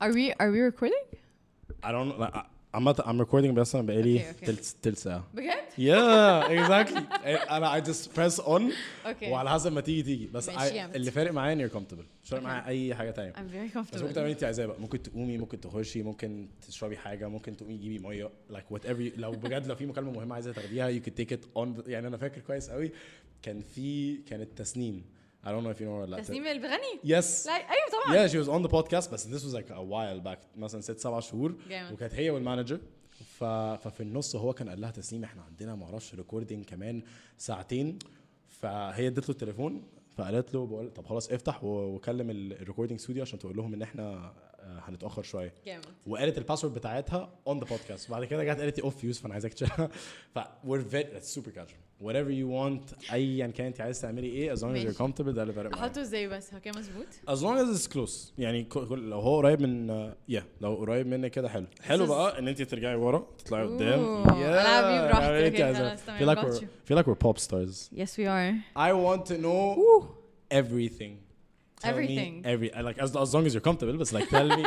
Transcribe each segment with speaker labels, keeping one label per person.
Speaker 1: Are we are we recording?
Speaker 2: I don't know. I, I'm not, I'm recording بس انا بقالي
Speaker 1: Okay, okay.
Speaker 2: تلت تلت ساعة.
Speaker 1: بجد؟
Speaker 2: Yeah, exactly. انا I just press on
Speaker 1: Okay.
Speaker 2: وعلى حسب ما تيجي تيجي بس I,
Speaker 1: ماشي يا مت.
Speaker 2: اللي فارق معايا ان you're comfortable. مش فارق
Speaker 1: Okay.
Speaker 2: معايا اي حاجة تانية.
Speaker 1: I'm very
Speaker 2: بس ممكن
Speaker 1: comfortable.
Speaker 2: تعملي انت عايزاه بقى ممكن تقومي ممكن تخشي ممكن تشربي حاجة ممكن تقومي تجيبي مية like whatever you- لو بجد لو في مكالمة مهمة عايزة تاخديها you could take it on the- يعني انا فاكر كويس قوي كان في كانت تسنيم I don't know if you know her or not.
Speaker 1: تسنيم اللي بتغني؟
Speaker 2: Yes.
Speaker 1: لا ايوه طبعا
Speaker 2: Yeah, she was on the podcast بس this was like a while back مثلا ست سبع شهور
Speaker 1: جامد.
Speaker 2: وكانت هي والمانجر ف... ففي النص هو كان قال لها تسنيم احنا عندنا ما اعرفش ريكوردنج كمان ساعتين فهي ادت له التليفون فقالت له بقول طب خلاص افتح و- وكلم الريكوردنج ستوديو عشان تقول لهم ان احنا آه، هنتاخر شويه
Speaker 1: جامد
Speaker 2: وقالت الباسورد بتاعتها اون ذا بودكاست بعد كده جت قالت لي اوف يوز فانا عايزك تشيلها ف we're very that's super casual whatever you want ايا كان انت عايز تعملي ايه as long as
Speaker 1: ماشي.
Speaker 2: you're comfortable ده اللي فارق معايا.
Speaker 1: احطه ازاي بس هو كان مظبوط؟
Speaker 2: as long as it's close يعني ك- كل- لو هو قريب من يا yeah, لو قريب منك كده حلو حلو
Speaker 1: is-
Speaker 2: بقى ان انت ترجعي ورا تطلعي
Speaker 1: Ooh.
Speaker 2: قدام
Speaker 1: ألعبي براحتك كده، خلاص،
Speaker 2: feel
Speaker 1: تمام،
Speaker 2: like
Speaker 1: got
Speaker 2: we're
Speaker 1: you.
Speaker 2: feel like we're pop stars
Speaker 1: Yes we are.
Speaker 2: I want to know everything Tell me
Speaker 1: Everything.
Speaker 2: every I like as, as long as you're comfortable but like tell me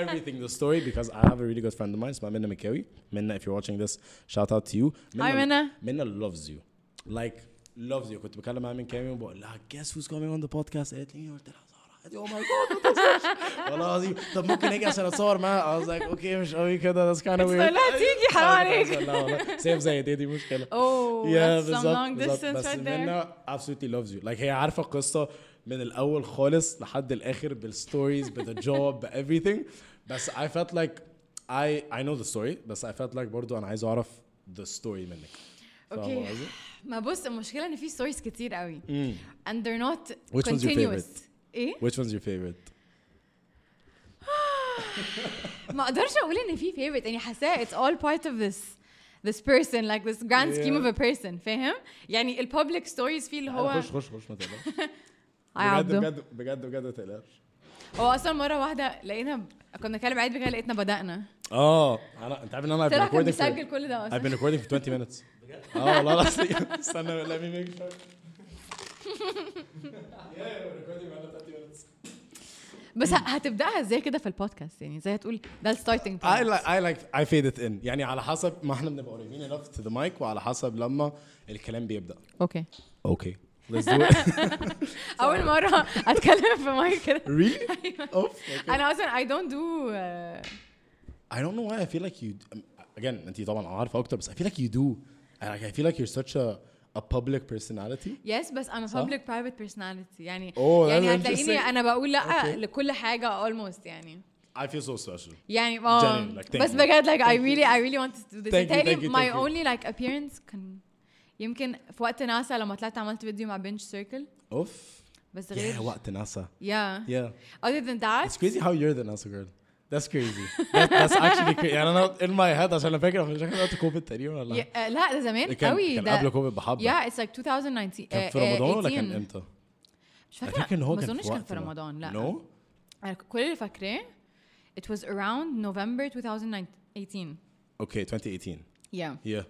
Speaker 2: everything the story because I have a really good friend of mine اسمها منى مكاوي منى if you're watching this shout out to you
Speaker 1: Hi منى
Speaker 2: Minna loves you like loves you كنت بكلم معاها من كام يوم بقول لها guess who's coming on the podcast قالت لي قلت لها سارة قالت لي oh my god ما تهزرش. والله العظيم طب ممكن اجي عشان اتصور معاها I was like okay مش قوي كده that's kind of
Speaker 1: تقول
Speaker 2: weird
Speaker 1: لها تيجي حرام عليك
Speaker 2: لا والله سيف زي دي دي مشكلة
Speaker 1: Oh, اوه
Speaker 2: Yeah,
Speaker 1: that's some long
Speaker 2: بالظبط.
Speaker 1: distance
Speaker 2: بس
Speaker 1: right there.
Speaker 2: منى absolutely loves you like هي عارفة القصة من الأول خالص لحد الآخر بالستوريز بال job everything بس I felt like I I know the story بس I felt like برضو أنا عايز أعرف the story منك فاهمة
Speaker 1: Okay.
Speaker 2: قصدي؟
Speaker 1: ما بص المشكلة ان في stories كتير قوي
Speaker 2: Mm.
Speaker 1: and they're not
Speaker 2: Which one's your
Speaker 1: continuous. Eh? ايه؟
Speaker 2: Which one's your favorite?
Speaker 1: ما اقدرش اقول ان في favorite يعني حاساه it's all part of this this person like this grand scheme of a
Speaker 2: Yeah.
Speaker 1: person فاهم؟ يعني ال public stories فيه اللي هو
Speaker 2: أه، خش خش خش ما تقلقش
Speaker 1: هاي
Speaker 2: بجد
Speaker 1: عبده.
Speaker 2: بجد بجد بجد ما تقلقش
Speaker 1: هو اصلا مره واحده لقينا كنا بنتكلم عيد كده لقيتنا بدانا
Speaker 2: اه انا انت عارف ان انا I've
Speaker 1: طلع
Speaker 2: been
Speaker 1: كان
Speaker 2: recording
Speaker 1: مسجل
Speaker 2: for
Speaker 1: كل ده
Speaker 2: I've
Speaker 1: اصلا
Speaker 2: been recording for 20 minutes Oh, اه والله العظيم استنى let me make sure Yeah, we're recording for another 30 minutes.
Speaker 1: بس ه- هتبداها ازاي كده في البودكاست يعني زي هتقول ده الستارتنج
Speaker 2: I
Speaker 1: بوينت
Speaker 2: like I like I fade it in يعني على حسب ما احنا بنبقى قريبين enough to the mic وعلى حسب لما الكلام بيبدا
Speaker 1: اوكي
Speaker 2: اوكي let's do it
Speaker 1: اول مره اتكلم في مايك كده
Speaker 2: really
Speaker 1: أيوة.
Speaker 2: اوف okay.
Speaker 1: انا اصلا اي دونت دو uh,
Speaker 2: I don't know why I feel like you again انت طبعا عارفه اكتر بس I feel like you do I, like, I feel like you're such a a public personality
Speaker 1: يس بس انا
Speaker 2: صح؟
Speaker 1: public private personality يعني
Speaker 2: Oh, that's
Speaker 1: يعني هتلاقيني
Speaker 2: interesting.
Speaker 1: انا بقول لا
Speaker 2: Okay.
Speaker 1: لكل حاجه almost يعني
Speaker 2: I feel so special
Speaker 1: يعني اه
Speaker 2: Genuine, like, thank
Speaker 1: بس
Speaker 2: you.
Speaker 1: بجد like I really I really wanted to do this
Speaker 2: Thank you,
Speaker 1: تاني
Speaker 2: thank you,
Speaker 1: my
Speaker 2: thank you.
Speaker 1: only like appearance كان يمكن في وقت ناسا لما طلعت عملت فيديو مع بنش سيركل
Speaker 2: اوف
Speaker 1: بس غير
Speaker 2: yeah وقت ناسا
Speaker 1: Yeah.
Speaker 2: yeah
Speaker 1: Other than
Speaker 2: it's
Speaker 1: that,
Speaker 2: crazy how you're the NASA girl that's crazy that, that's actually crazy يعني انا in my head عشان انا فاكر مش فاكر وقت كوفيد تقريبا ولا
Speaker 1: yeah, uh, لا ده زمان
Speaker 2: كان
Speaker 1: قوي
Speaker 2: كان
Speaker 1: ده
Speaker 2: قبل كوفيد بحبه
Speaker 1: yeah it's like 2019
Speaker 2: كان في
Speaker 1: uh, uh,
Speaker 2: رمضان ولا كان
Speaker 1: 18.
Speaker 2: امتى؟
Speaker 1: مش
Speaker 2: أنا
Speaker 1: فاكره
Speaker 2: إن
Speaker 1: ما
Speaker 2: في
Speaker 1: اظنش كان
Speaker 2: وقت
Speaker 1: في
Speaker 2: ده.
Speaker 1: رمضان لا
Speaker 2: no
Speaker 1: أنا كل اللي فاكراه it was around November 2018
Speaker 2: okay 2018
Speaker 1: yeah
Speaker 2: yeah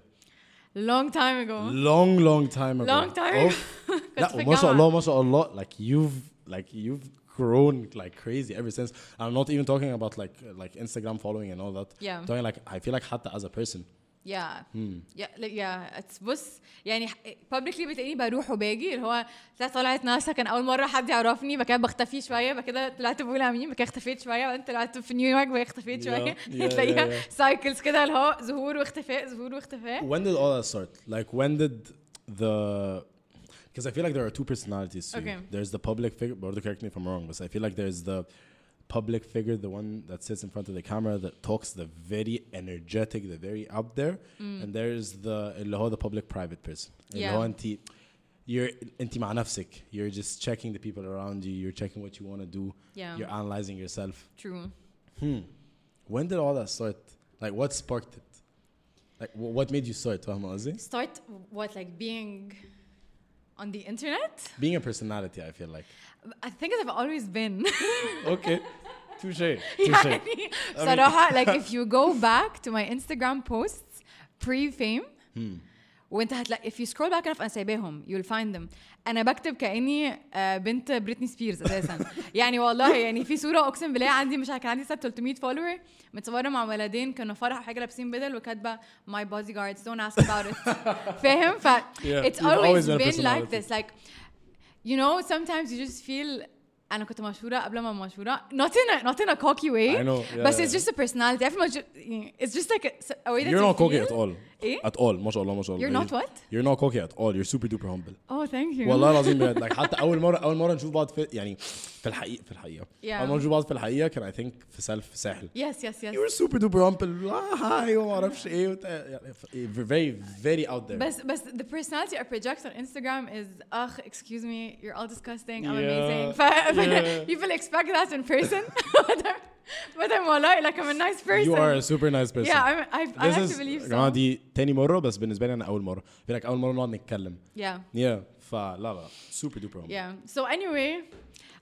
Speaker 1: long time ago
Speaker 2: long long time ago Oh.
Speaker 1: long time
Speaker 2: أوف.
Speaker 1: ago كنت
Speaker 2: لا
Speaker 1: في
Speaker 2: وما شاء
Speaker 1: الجامعة.
Speaker 2: الله ما شاء الله like you've like you've grown like crazy ever since I'm not even talking about like like Instagram following and all that
Speaker 1: Yeah.
Speaker 2: I'm talking like I feel like حتى as a person
Speaker 1: yeah
Speaker 2: Hmm.
Speaker 1: yeah like, yeah it's بص يعني ح- publicly بتلاقيني بروح وباجي اللي هو طلعت- طلعت ناسا كان اول مره حد يعرفني بعد كده بختفي شويه بعد كده طلعت بقول مين بعد كده اختفيت شويه بعدين طلعت في نيويورك بعد كده اختفيت
Speaker 2: Yeah,
Speaker 1: شويه
Speaker 2: yeah,
Speaker 1: تلاقيها
Speaker 2: yeah,
Speaker 1: سايكلز كده اللي هو ظهور واختفاء ظهور واختفاء
Speaker 2: when did all that start like when did the because I feel like there are two personalities to you.
Speaker 1: Okay.
Speaker 2: there's the public figure برضه correct me if I'm wrong but I feel like there's the public figure the one that sits in front of the camera that talks the very energetic the very out there and there's the اللي هو the public private person اللي
Speaker 1: Mm. Yeah.
Speaker 2: هو انت you're انت مع نفسك you're just checking the people around you you're checking what you want to do
Speaker 1: Yeah.
Speaker 2: you're analyzing yourself
Speaker 1: true
Speaker 2: when did all that start like what sparked it like wh- what made you start فاهمة قصدي
Speaker 1: start what like being on the internet
Speaker 2: being a personality I feel like
Speaker 1: I think I've always been
Speaker 2: okay touche touche
Speaker 1: يعني
Speaker 2: Hmm.
Speaker 1: بصراحة like if you go back to my Instagram posts pre-fame وانت هتلاقي if you scroll back enough انا سايباهم you'll find them انا بكتب كاني آه، بنت بريتني سبيرز اساسا يعني والله يعني في صوره اقسم بالله عندي مش كان عندي سب 300 فولور متصوره مع ولدين كانوا فرح وحاجه لابسين بدل وكاتبه my bodyguards don't ask about it فاهم ف
Speaker 2: Yeah,
Speaker 1: it's
Speaker 2: you've
Speaker 1: always
Speaker 2: always been a
Speaker 1: been like
Speaker 2: personality.
Speaker 1: this like you know sometimes you just feel انا كنت مشهوره قبل ما أبقى مشهوره not in a not in a cocky way
Speaker 2: I know, yeah,
Speaker 1: بس
Speaker 2: yeah,
Speaker 1: it's
Speaker 2: yeah.
Speaker 1: just a personality عارف ما ju- يعني it's just like a, a way that
Speaker 2: You're
Speaker 1: you
Speaker 2: not cocky
Speaker 1: feel.
Speaker 2: at all.
Speaker 1: إيه؟
Speaker 2: At all ما شاء الله ما شاء الله.
Speaker 1: You're not what?
Speaker 2: You're not cocky at all. You're super duper humble.
Speaker 1: oh thank you
Speaker 2: والله العظيم بجد like حتى اول مره اول مره نشوف بعض في يعني في الحقيقه في الحقيقه
Speaker 1: Yeah.
Speaker 2: اول مره نشوف بعض في الحقيقه كان اي ثينك في سالف في ساحل
Speaker 1: yes yes yes
Speaker 2: You were super duper humble. Ah, hi وما اعرفش ايه وت... يعني ف- very very out there
Speaker 1: But but the personality I project on Instagram is, ugh, excuse me, you're all disgusting. I'm
Speaker 2: Yeah,
Speaker 1: amazing. But,
Speaker 2: yeah.
Speaker 1: People expect that in person, but I'm, but I'm والله, like I'm a nice person.
Speaker 2: You are a super nice person.
Speaker 1: Yeah, I'm, I, I
Speaker 2: This
Speaker 1: have
Speaker 2: is-
Speaker 1: to believe
Speaker 2: يا جماعه
Speaker 1: so.
Speaker 2: دي تاني مره بس بالنسبه لي انا اول مره في like اول مره نقعد نتكلم
Speaker 1: Yeah,
Speaker 2: yeah فلا لا super duper humble
Speaker 1: yeah. So anyway,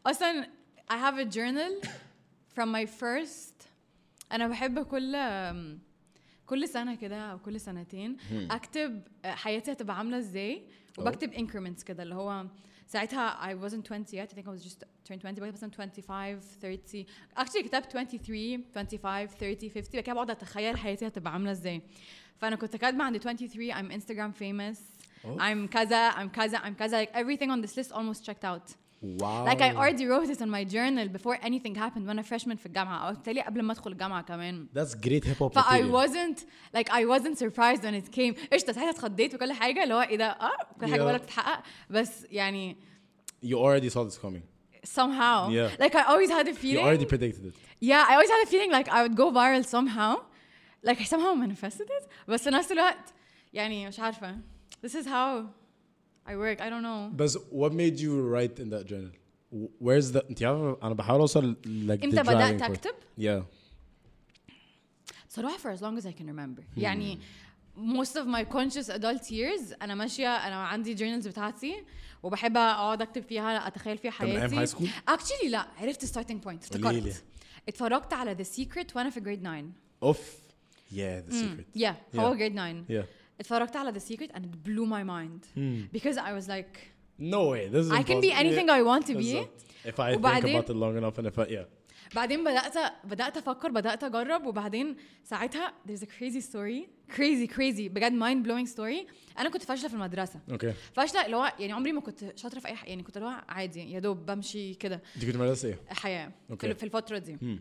Speaker 1: أصلا I have a journal from my first. أنا بحب كل um, كل سنة كده أو كل سنتين أكتب آه، حياتي هتبقى عاملة إزاي وبكتب increments كده اللي هو ساعتها I wasn't 20 yet I think I was just turned 20 بكتب مثلا 25 30 actually كتبت 23 25 30 50 بعد كده بقعد أتخيل حياتي هتبقى عاملة إزاي فأنا كنت كاتبة عند 23 I'm Instagram famous
Speaker 2: أوف.
Speaker 1: I'm كذا I'm كذا I'm كذا like everything on this list almost checked out
Speaker 2: wow
Speaker 1: Like I already wrote it on my journal before anything happened when I freshman في الجامعة أو بالتالي قبل ما أدخل الجامعة كمان
Speaker 2: that's great hip hop
Speaker 1: ف I
Speaker 2: material.
Speaker 1: wasn't like I wasn't surprised when it came قشطة ساعتها اتخضيت وكل حاجة اللي هو إيه ده أه كل حاجة
Speaker 2: Yeah.
Speaker 1: ولا بتتحقق بس يعني
Speaker 2: you already saw this coming
Speaker 1: somehow
Speaker 2: Yeah.
Speaker 1: like I always had a
Speaker 2: you
Speaker 1: feeling
Speaker 2: already predicted it
Speaker 1: yeah I always had a feeling like I would go viral somehow like I somehow manifested it بس في نفس الوقت يعني مش عارفة this is how I work I don't know
Speaker 2: بس what made you write in that journal W- where's the انت عارف انا بحاول اوصل like
Speaker 1: إمتى
Speaker 2: the
Speaker 1: بدأت
Speaker 2: driving force.
Speaker 1: أكتب؟
Speaker 2: yeah
Speaker 1: صراحة for as long as I can remember
Speaker 2: Hmm.
Speaker 1: يعني most of my conscious adult years أنا ماشية أنا عندي journals بتاعتي وبحب أقعد أكتب فيها أتخيل فيها
Speaker 2: من أيام
Speaker 1: حياتي
Speaker 2: high school؟
Speaker 1: actually لا عرفت starting point
Speaker 2: قوليلي.
Speaker 1: افتكرت اتفرجت على The Secret وأنا في grade 9
Speaker 2: اوف yeah
Speaker 1: Mm.
Speaker 2: the secret
Speaker 1: yeah, yeah.
Speaker 2: Yeah.
Speaker 1: هو grade 9
Speaker 2: yeah
Speaker 1: اتفرجت على The Secret and it blew my mind because I was like
Speaker 2: no way this is
Speaker 1: I can be
Speaker 2: Hmm. impossible.
Speaker 1: anything
Speaker 2: Yeah.
Speaker 1: I want to be
Speaker 2: بالظبط. if I think
Speaker 1: وبعدين-
Speaker 2: about it long enough and if I yeah
Speaker 1: بعدين بدات بدات افكر بدات اجرب وبعدين ساعتها there's a crazy story crazy crazy بجد mind blowing story انا كنت فاشله في المدرسه
Speaker 2: اوكي
Speaker 1: فاشله اللي هو يعني عمري ما كنت شاطره في اي حاجه يعني كنت اللي هو عادي يا دوب بمشي كده
Speaker 2: دي كنت مدرسه ايه؟
Speaker 1: حياه
Speaker 2: أوكي.
Speaker 1: في- في الفتره دي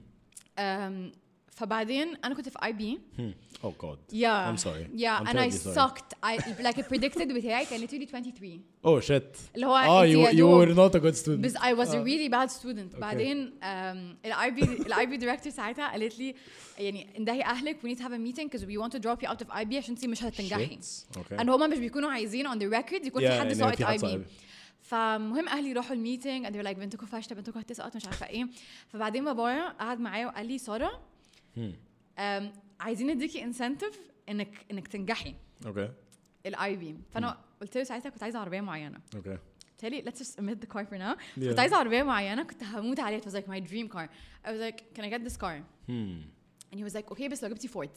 Speaker 1: أم، فبعدين انا كنت في اي بي
Speaker 2: Hmm. Oh God.
Speaker 1: Yeah.
Speaker 2: I'm sorry.
Speaker 1: Yeah,
Speaker 2: I'm
Speaker 1: and I
Speaker 2: terribly sorry.
Speaker 1: sucked. I like a predicted بتاعي كان literally 23.
Speaker 2: Oh shit.
Speaker 1: اللي هو
Speaker 2: Oh,
Speaker 1: أنت
Speaker 2: you,
Speaker 1: يا
Speaker 2: you
Speaker 1: دوب.
Speaker 2: were not a good student.
Speaker 1: بس I was a really bad student
Speaker 2: آه. Okay.
Speaker 1: بعدين الاي بي الاي بي دايركتور ساعتها قالت لي يعني اندهي اهلك we need to have a meeting because we want to drop you out of IB عشان انت مش هتنجحي
Speaker 2: Shit. Okay.
Speaker 1: ان هما مش بيكونوا عايزين on the record يكون
Speaker 2: Yeah,
Speaker 1: في حد
Speaker 2: إن
Speaker 1: ساقط
Speaker 2: في حد
Speaker 1: اي
Speaker 2: ساقط.
Speaker 1: بي فمهم اهلي راحوا الميتنج and they were like بنتكم فاشله بنتكم هتسقط مش عارفه ايه فبعدين بابايا قعد معايا وقال لي ساره أم، عايزين نديكي انسنتيف انك انك تنجحي
Speaker 2: Okay.
Speaker 1: الاي بي فانا قلت له ساعتها كنت عايزه عربيه معينه
Speaker 2: Okay.
Speaker 1: تالي let's just omit the car for now
Speaker 2: Yeah.
Speaker 1: كنت عايزه عربيه معينه كنت هموت عليها it was like my dream car I was like can I get this car
Speaker 2: Hmm.
Speaker 1: and he was like okay بس لو جبتي 40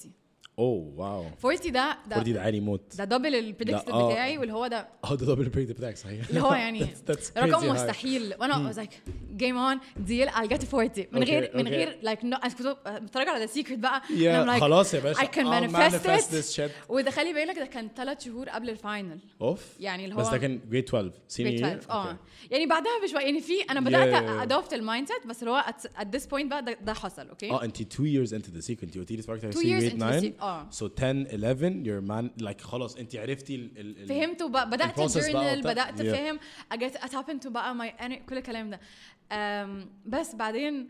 Speaker 2: Oh wow.
Speaker 1: 40 ده
Speaker 2: فور دي
Speaker 1: ده
Speaker 2: ده عالي موت.
Speaker 1: ده دبل البريدكتد
Speaker 2: ده- آه.
Speaker 1: بتاعي واللي هو ده
Speaker 2: Oh ده دبل بريد بتاعك صحيح.
Speaker 1: اللي هو يعني
Speaker 2: That's- that's crazy
Speaker 1: رقم
Speaker 2: high. Hmm.
Speaker 1: مستحيل وانا I was like game on deal I'll get 40 من
Speaker 2: Okay,
Speaker 1: غير من
Speaker 2: okay.
Speaker 1: غير like no انا كنت بتفرج على ذا سيكريت بقى and
Speaker 2: Yeah.
Speaker 1: I'm like,
Speaker 2: خلاص يا باشا.
Speaker 1: I can
Speaker 2: I'll
Speaker 1: manifest,
Speaker 2: manifest
Speaker 1: it
Speaker 2: this shit.
Speaker 1: وده خلي بالك ده كان ثلاث شهور قبل الفاينل
Speaker 2: اوف.
Speaker 1: يعني اللي
Speaker 2: بس
Speaker 1: هو-
Speaker 2: ده كان grade 12 senior
Speaker 1: grade
Speaker 2: year.
Speaker 1: 12 اه
Speaker 2: Okay.
Speaker 1: يعني بعدها بشويه يعني في انا
Speaker 2: Yeah,
Speaker 1: بدات
Speaker 2: yeah, yeah.
Speaker 1: ادوبت المايند سيت بس اللي هو ات ذس بوينت بقى ده, ده حصل اوكي
Speaker 2: اه انت 2 years into the secret انت قلتي لي اتفرجت على
Speaker 1: Two years
Speaker 2: grade
Speaker 1: into the
Speaker 2: 9
Speaker 1: secret. آه.
Speaker 2: so 10 11 your man like خلاص انت عرفتي ال ال ال-
Speaker 1: فهمت وبقى بدات
Speaker 2: الprocess بقى
Speaker 1: جورنال
Speaker 2: وبتاع.
Speaker 1: بدات
Speaker 2: Yeah.
Speaker 1: فاهم اجت اتابن تو بقى ماي كل الكلام ده أم بس بعدين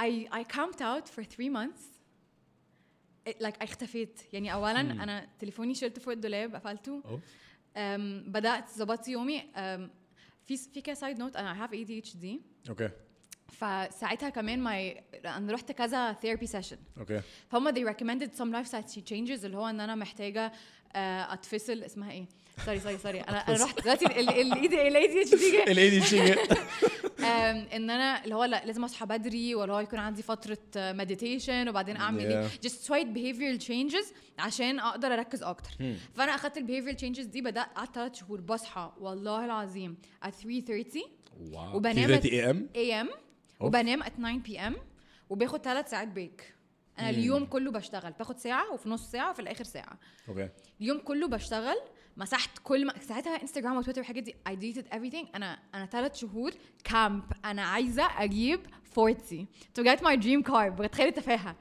Speaker 1: I I camped out for three months It- like I اختفيت يعني اولا
Speaker 2: Hmm.
Speaker 1: انا تليفوني شلته فوق الدولاب قفلته
Speaker 2: أوف.
Speaker 1: أم بدات ظبطت يومي أم في في كده سايد نوت انا I have ADHD
Speaker 2: اوكي
Speaker 1: فساعتها كمان ماي انا رحت كذا ثيرابي سيشن
Speaker 2: اوكي
Speaker 1: فهم they recommended some lifestyle changes اللي هو ان انا محتاجه آه، اتفصل اسمها ايه سوري سوري سوري انا انا رحت دلوقتي الاي دي الاي دي اتش دي
Speaker 2: الاي دي شيء
Speaker 1: آم، ان انا اللي هو لا لازم اصحى بدري ولا هو يكون عندي فتره مديتيشن وبعدين اعمل ايه
Speaker 2: Yeah.
Speaker 1: جست شويه behavioral changes عشان اقدر اركز اكتر فانا اخدت البيهيفيرال changes دي بدات قعدت ثلاث شهور بصحى والله العظيم at 3:30
Speaker 2: واو
Speaker 1: وبنام
Speaker 2: 3 اي ام
Speaker 1: am وبنام at 9 pm وباخد ثلاث ساعات بريك انا اليوم كله بشتغل باخد ساعه وفي نص ساعه وفي الاخر ساعه
Speaker 2: اوكي
Speaker 1: اليوم كله بشتغل مسحت كل ما ساعتها انستغرام وتويتر والحاجات دي I deleted everything انا انا ثلاث شهور كامب انا عايزه اجيب 40 to get my dream car بتخيل التفاهه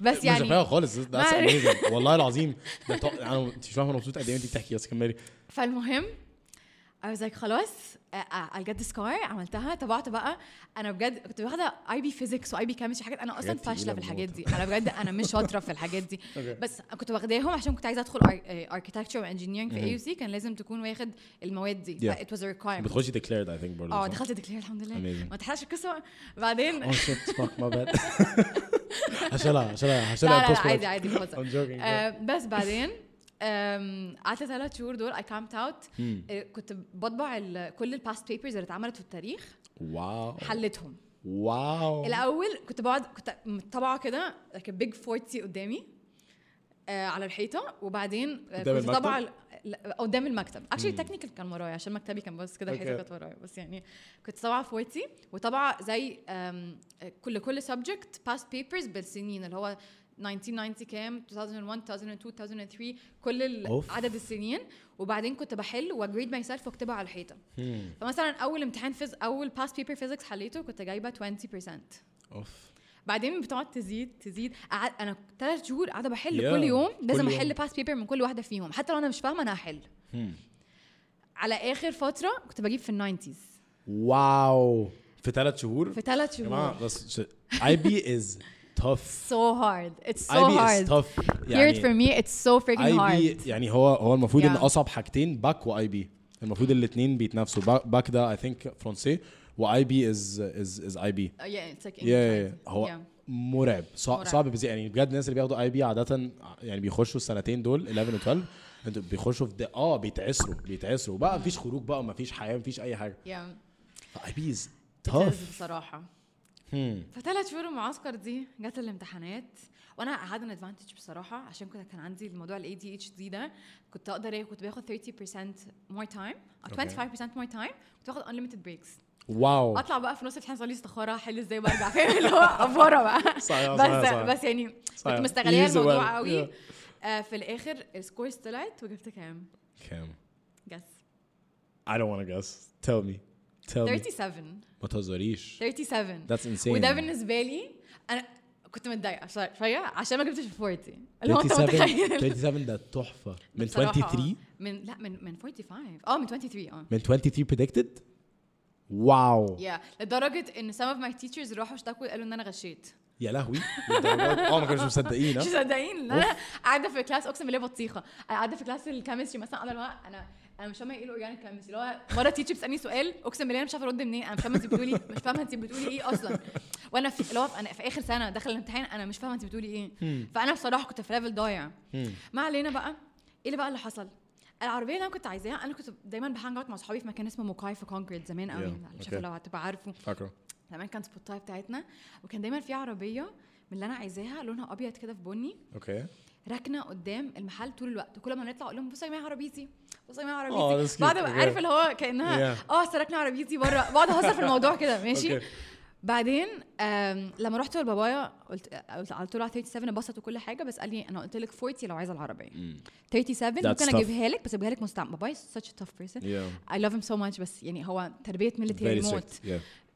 Speaker 1: بس
Speaker 2: مش رفيعه
Speaker 1: يعني
Speaker 2: خالص ده
Speaker 1: ما-
Speaker 2: amazing والله العظيم ده طو- انا انت مش فاهمه انا مبسوط قد ايه وانت بتحكي بس كملي
Speaker 1: فالمهم I was like خلاص I'll get this car عملتها طبعت بقى انا بجد كنت واخده اي بي فيزيكس واي بي كيمستري حاجات انا اصلا
Speaker 2: حاجات تقيلة
Speaker 1: فاشله في الحاجات
Speaker 2: موت.
Speaker 1: دي انا بجد انا مش شاطره في الحاجات دي
Speaker 2: أوكي.
Speaker 1: بس كنت واخداهم عشان كنت عايزه ادخل اركتكتشر وانجينيرنج في اي سي كان لازم تكون واخد المواد دي
Speaker 2: Yeah.
Speaker 1: فإت واز ريكوايرمنت
Speaker 2: بتخشي ديكليرد اي ثينك برضه
Speaker 1: اه
Speaker 2: صح؟
Speaker 1: دخلت ديكلير الحمد لله
Speaker 2: Amazing.
Speaker 1: ما تحرقش القصه بعدين
Speaker 2: Oh shit, fuck, my bad. هشيلها هشيلها
Speaker 1: لا
Speaker 2: هشيلها
Speaker 1: لا, لا
Speaker 2: post-production.
Speaker 1: عادي عادي خلاص
Speaker 2: I'm joking.
Speaker 1: آه، بس بعدين آم، قعدت ثلاث شهور دول اي كامت اوت آه، كنت بطبع ال- كل الباست بيبرز اللي اتعملت في التاريخ
Speaker 2: واو
Speaker 1: حلتهم
Speaker 2: واو
Speaker 1: الاول كنت بقعد كنت مطبعه كده like a big 40 قدامي آه، على الحيطه وبعدين آه،
Speaker 2: قدام
Speaker 1: كنت
Speaker 2: المكتب؟
Speaker 1: طبعا لا، قدام المكتب اكشلي التكنيكال كان ورايا عشان مكتبي كان بس كده الحيطه
Speaker 2: أوكي.
Speaker 1: كانت ورايا بس يعني كنت طبعا 40 وطبعا زي آم، كل كل سبجكت باست بيبرز بالسنين اللي هو 1990 كام 2001 2002 2003 كل ال-
Speaker 2: أوف.
Speaker 1: عدد السنين وبعدين كنت بحل واجريد ماي سيلف واكتبها على الحيطه
Speaker 2: مم.
Speaker 1: فمثلا اول امتحان فيز اول باست بيبر فيزكس حليته كنت جايبه 20%
Speaker 2: اوف
Speaker 1: بعدين بتقعد تزيد تزيد قعد انا ثلاث شهور قاعده بحل
Speaker 2: Yeah.
Speaker 1: كل يوم لازم
Speaker 2: كل
Speaker 1: احل
Speaker 2: يوم.
Speaker 1: باست بيبر من كل واحده فيهم حتى لو انا مش فاهمه انا هحل
Speaker 2: مم.
Speaker 1: على اخر فتره كنت بجيب في الناينتيز
Speaker 2: واو في ثلاث شهور
Speaker 1: في ثلاث
Speaker 2: يا
Speaker 1: شهور
Speaker 2: جماعه بس اي بي از tough
Speaker 1: so hard it's so
Speaker 2: اي بي
Speaker 1: hard
Speaker 2: از tough يعني
Speaker 1: hear it from me it's so freaking
Speaker 2: اي
Speaker 1: hard
Speaker 2: بي يعني هو هو المفروض
Speaker 1: Yeah.
Speaker 2: ان اصعب حاجتين باك واي بي المفروض الاثنين بيتنافسوا باك- باك ده اي ثينك فرنسي واي بي از از از اي بي
Speaker 1: Uh, yeah it's like English
Speaker 2: يا
Speaker 1: عادي.
Speaker 2: هو
Speaker 1: يعني Yeah.
Speaker 2: مرعب صع-
Speaker 1: مرعب.
Speaker 2: صعب بزي يعني بجد الناس اللي بياخدوا اي بي عاده يعني بيخشوا السنتين دول 11 و 12 انتوا بيخشوا في ده اه بيتعسروا بيتعسروا بقى مفيش خروج بقى مفيش حياه مفيش اي حاجه
Speaker 1: yeah
Speaker 2: اي بي از
Speaker 1: it is
Speaker 2: تاف
Speaker 1: بصراحه فثلاث شهور المعسكر دي جت الامتحانات وانا قاعده ان ادفانتج بصراحه عشان كنت كان عندي الموضوع الاي دي اتش دي ده كنت اقدر ايه كنت باخد 30% مور تايم
Speaker 2: Okay.
Speaker 1: 25% مور تايم كنت باخد انليمتد بريكس
Speaker 2: واو
Speaker 1: اطلع بقى في نص الامتحان اصلي استخاره احل ازاي وارجع فاهم اللي هو افوره بقى
Speaker 2: صحيح، آه، صحيح،
Speaker 1: بس
Speaker 2: صحيح.
Speaker 1: بس يعني كنت
Speaker 2: صحيح.
Speaker 1: مستغليه
Speaker 2: Easy well.
Speaker 1: الموضوع قوي
Speaker 2: Yeah.
Speaker 1: آه، في الاخر السكورز طلعت وجبت كام؟
Speaker 2: كام
Speaker 1: جس
Speaker 2: I don't want to guess tell me tell me
Speaker 1: 37
Speaker 2: ما تهزريش
Speaker 1: 37
Speaker 2: that's insane
Speaker 1: وده بالنسبه لي انا كنت متضايقه شوية- شويه عشان ما جبتش 40 اللي هو انت
Speaker 2: 37
Speaker 1: متخيل
Speaker 2: 37 ده تحفه من
Speaker 1: بصراحة،
Speaker 2: 23
Speaker 1: آه. من لا من من 45 اه من 23 اه
Speaker 2: من 23 predicted واو
Speaker 1: يا لدرجه ان some of my teachers راحوا اشتكوا قالوا ان انا غشيت
Speaker 2: يا لهوي للدرجة دي؟ اه ما كانوش مصدقين
Speaker 1: مش
Speaker 2: ها؟
Speaker 1: مصدقين ان انا قاعده في كلاس اقسم بالله بطيخه أنا قاعده في كلاس الكيمستري مثلا قاعده اللي هو انا انا مش فاهمه ايه الاورجانيك كيمستري اللي هو مره تيتشر بتسالني سؤال اقسم بالله انا مش عارفه ارد منين انا مش فاهمه انت بتقولي إيه، مش فاهمه انت بتقولي ايه اصلا وانا في اللي هو انا في اخر سنه داخل الامتحان انا مش فاهمه انت بتقولي ايه فانا بصراحه كنت في ليفل ضايع
Speaker 2: مم.
Speaker 1: ما علينا بقى ايه اللي بقى اللي حصل العربيه اللي انا كنت عايزاها انا كنت دايما بهانج اوت مع اصحابي في مكان اسمه موكاي في كونكريت زمان قوي
Speaker 2: Yeah.
Speaker 1: مش
Speaker 2: Okay.
Speaker 1: عارفه لو هتبقى عارفه
Speaker 2: فاكره
Speaker 1: زمان كان سبوتاي بتاعتنا وكان دايما في عربيه من اللي انا عايزاها لونها ابيض كده في بني
Speaker 2: اوكي
Speaker 1: راكنه قدام المحل طول الوقت وكل ما نطلع اقول لهم بصوا يا جماعه عربيتي بصوا يا جماعه
Speaker 2: آه، that's
Speaker 1: عربيتي
Speaker 2: cute.
Speaker 1: بعد ما
Speaker 2: Okay.
Speaker 1: عارف اللي هو كانها
Speaker 2: Yeah.
Speaker 1: اه أصل راكنه عربيتي بره بقعد اهزر في الموضوع كده ماشي
Speaker 2: أوكي.
Speaker 1: بعدين آم، لما رحت لبابايا قلت آه، قلت- قلت له على 37 انبسط وكل حاجه بس قال لي انا قلت لك 40 لو عايزه العربيه 37
Speaker 2: Mm. That's
Speaker 1: ممكن
Speaker 2: tough.
Speaker 1: اجيبها لك بس اجيبها لك مستعمل بابايا such a tough person
Speaker 2: yeah
Speaker 1: I love him so much بس يعني هو تربيه ميليتري
Speaker 2: very
Speaker 1: موت
Speaker 2: strict yeah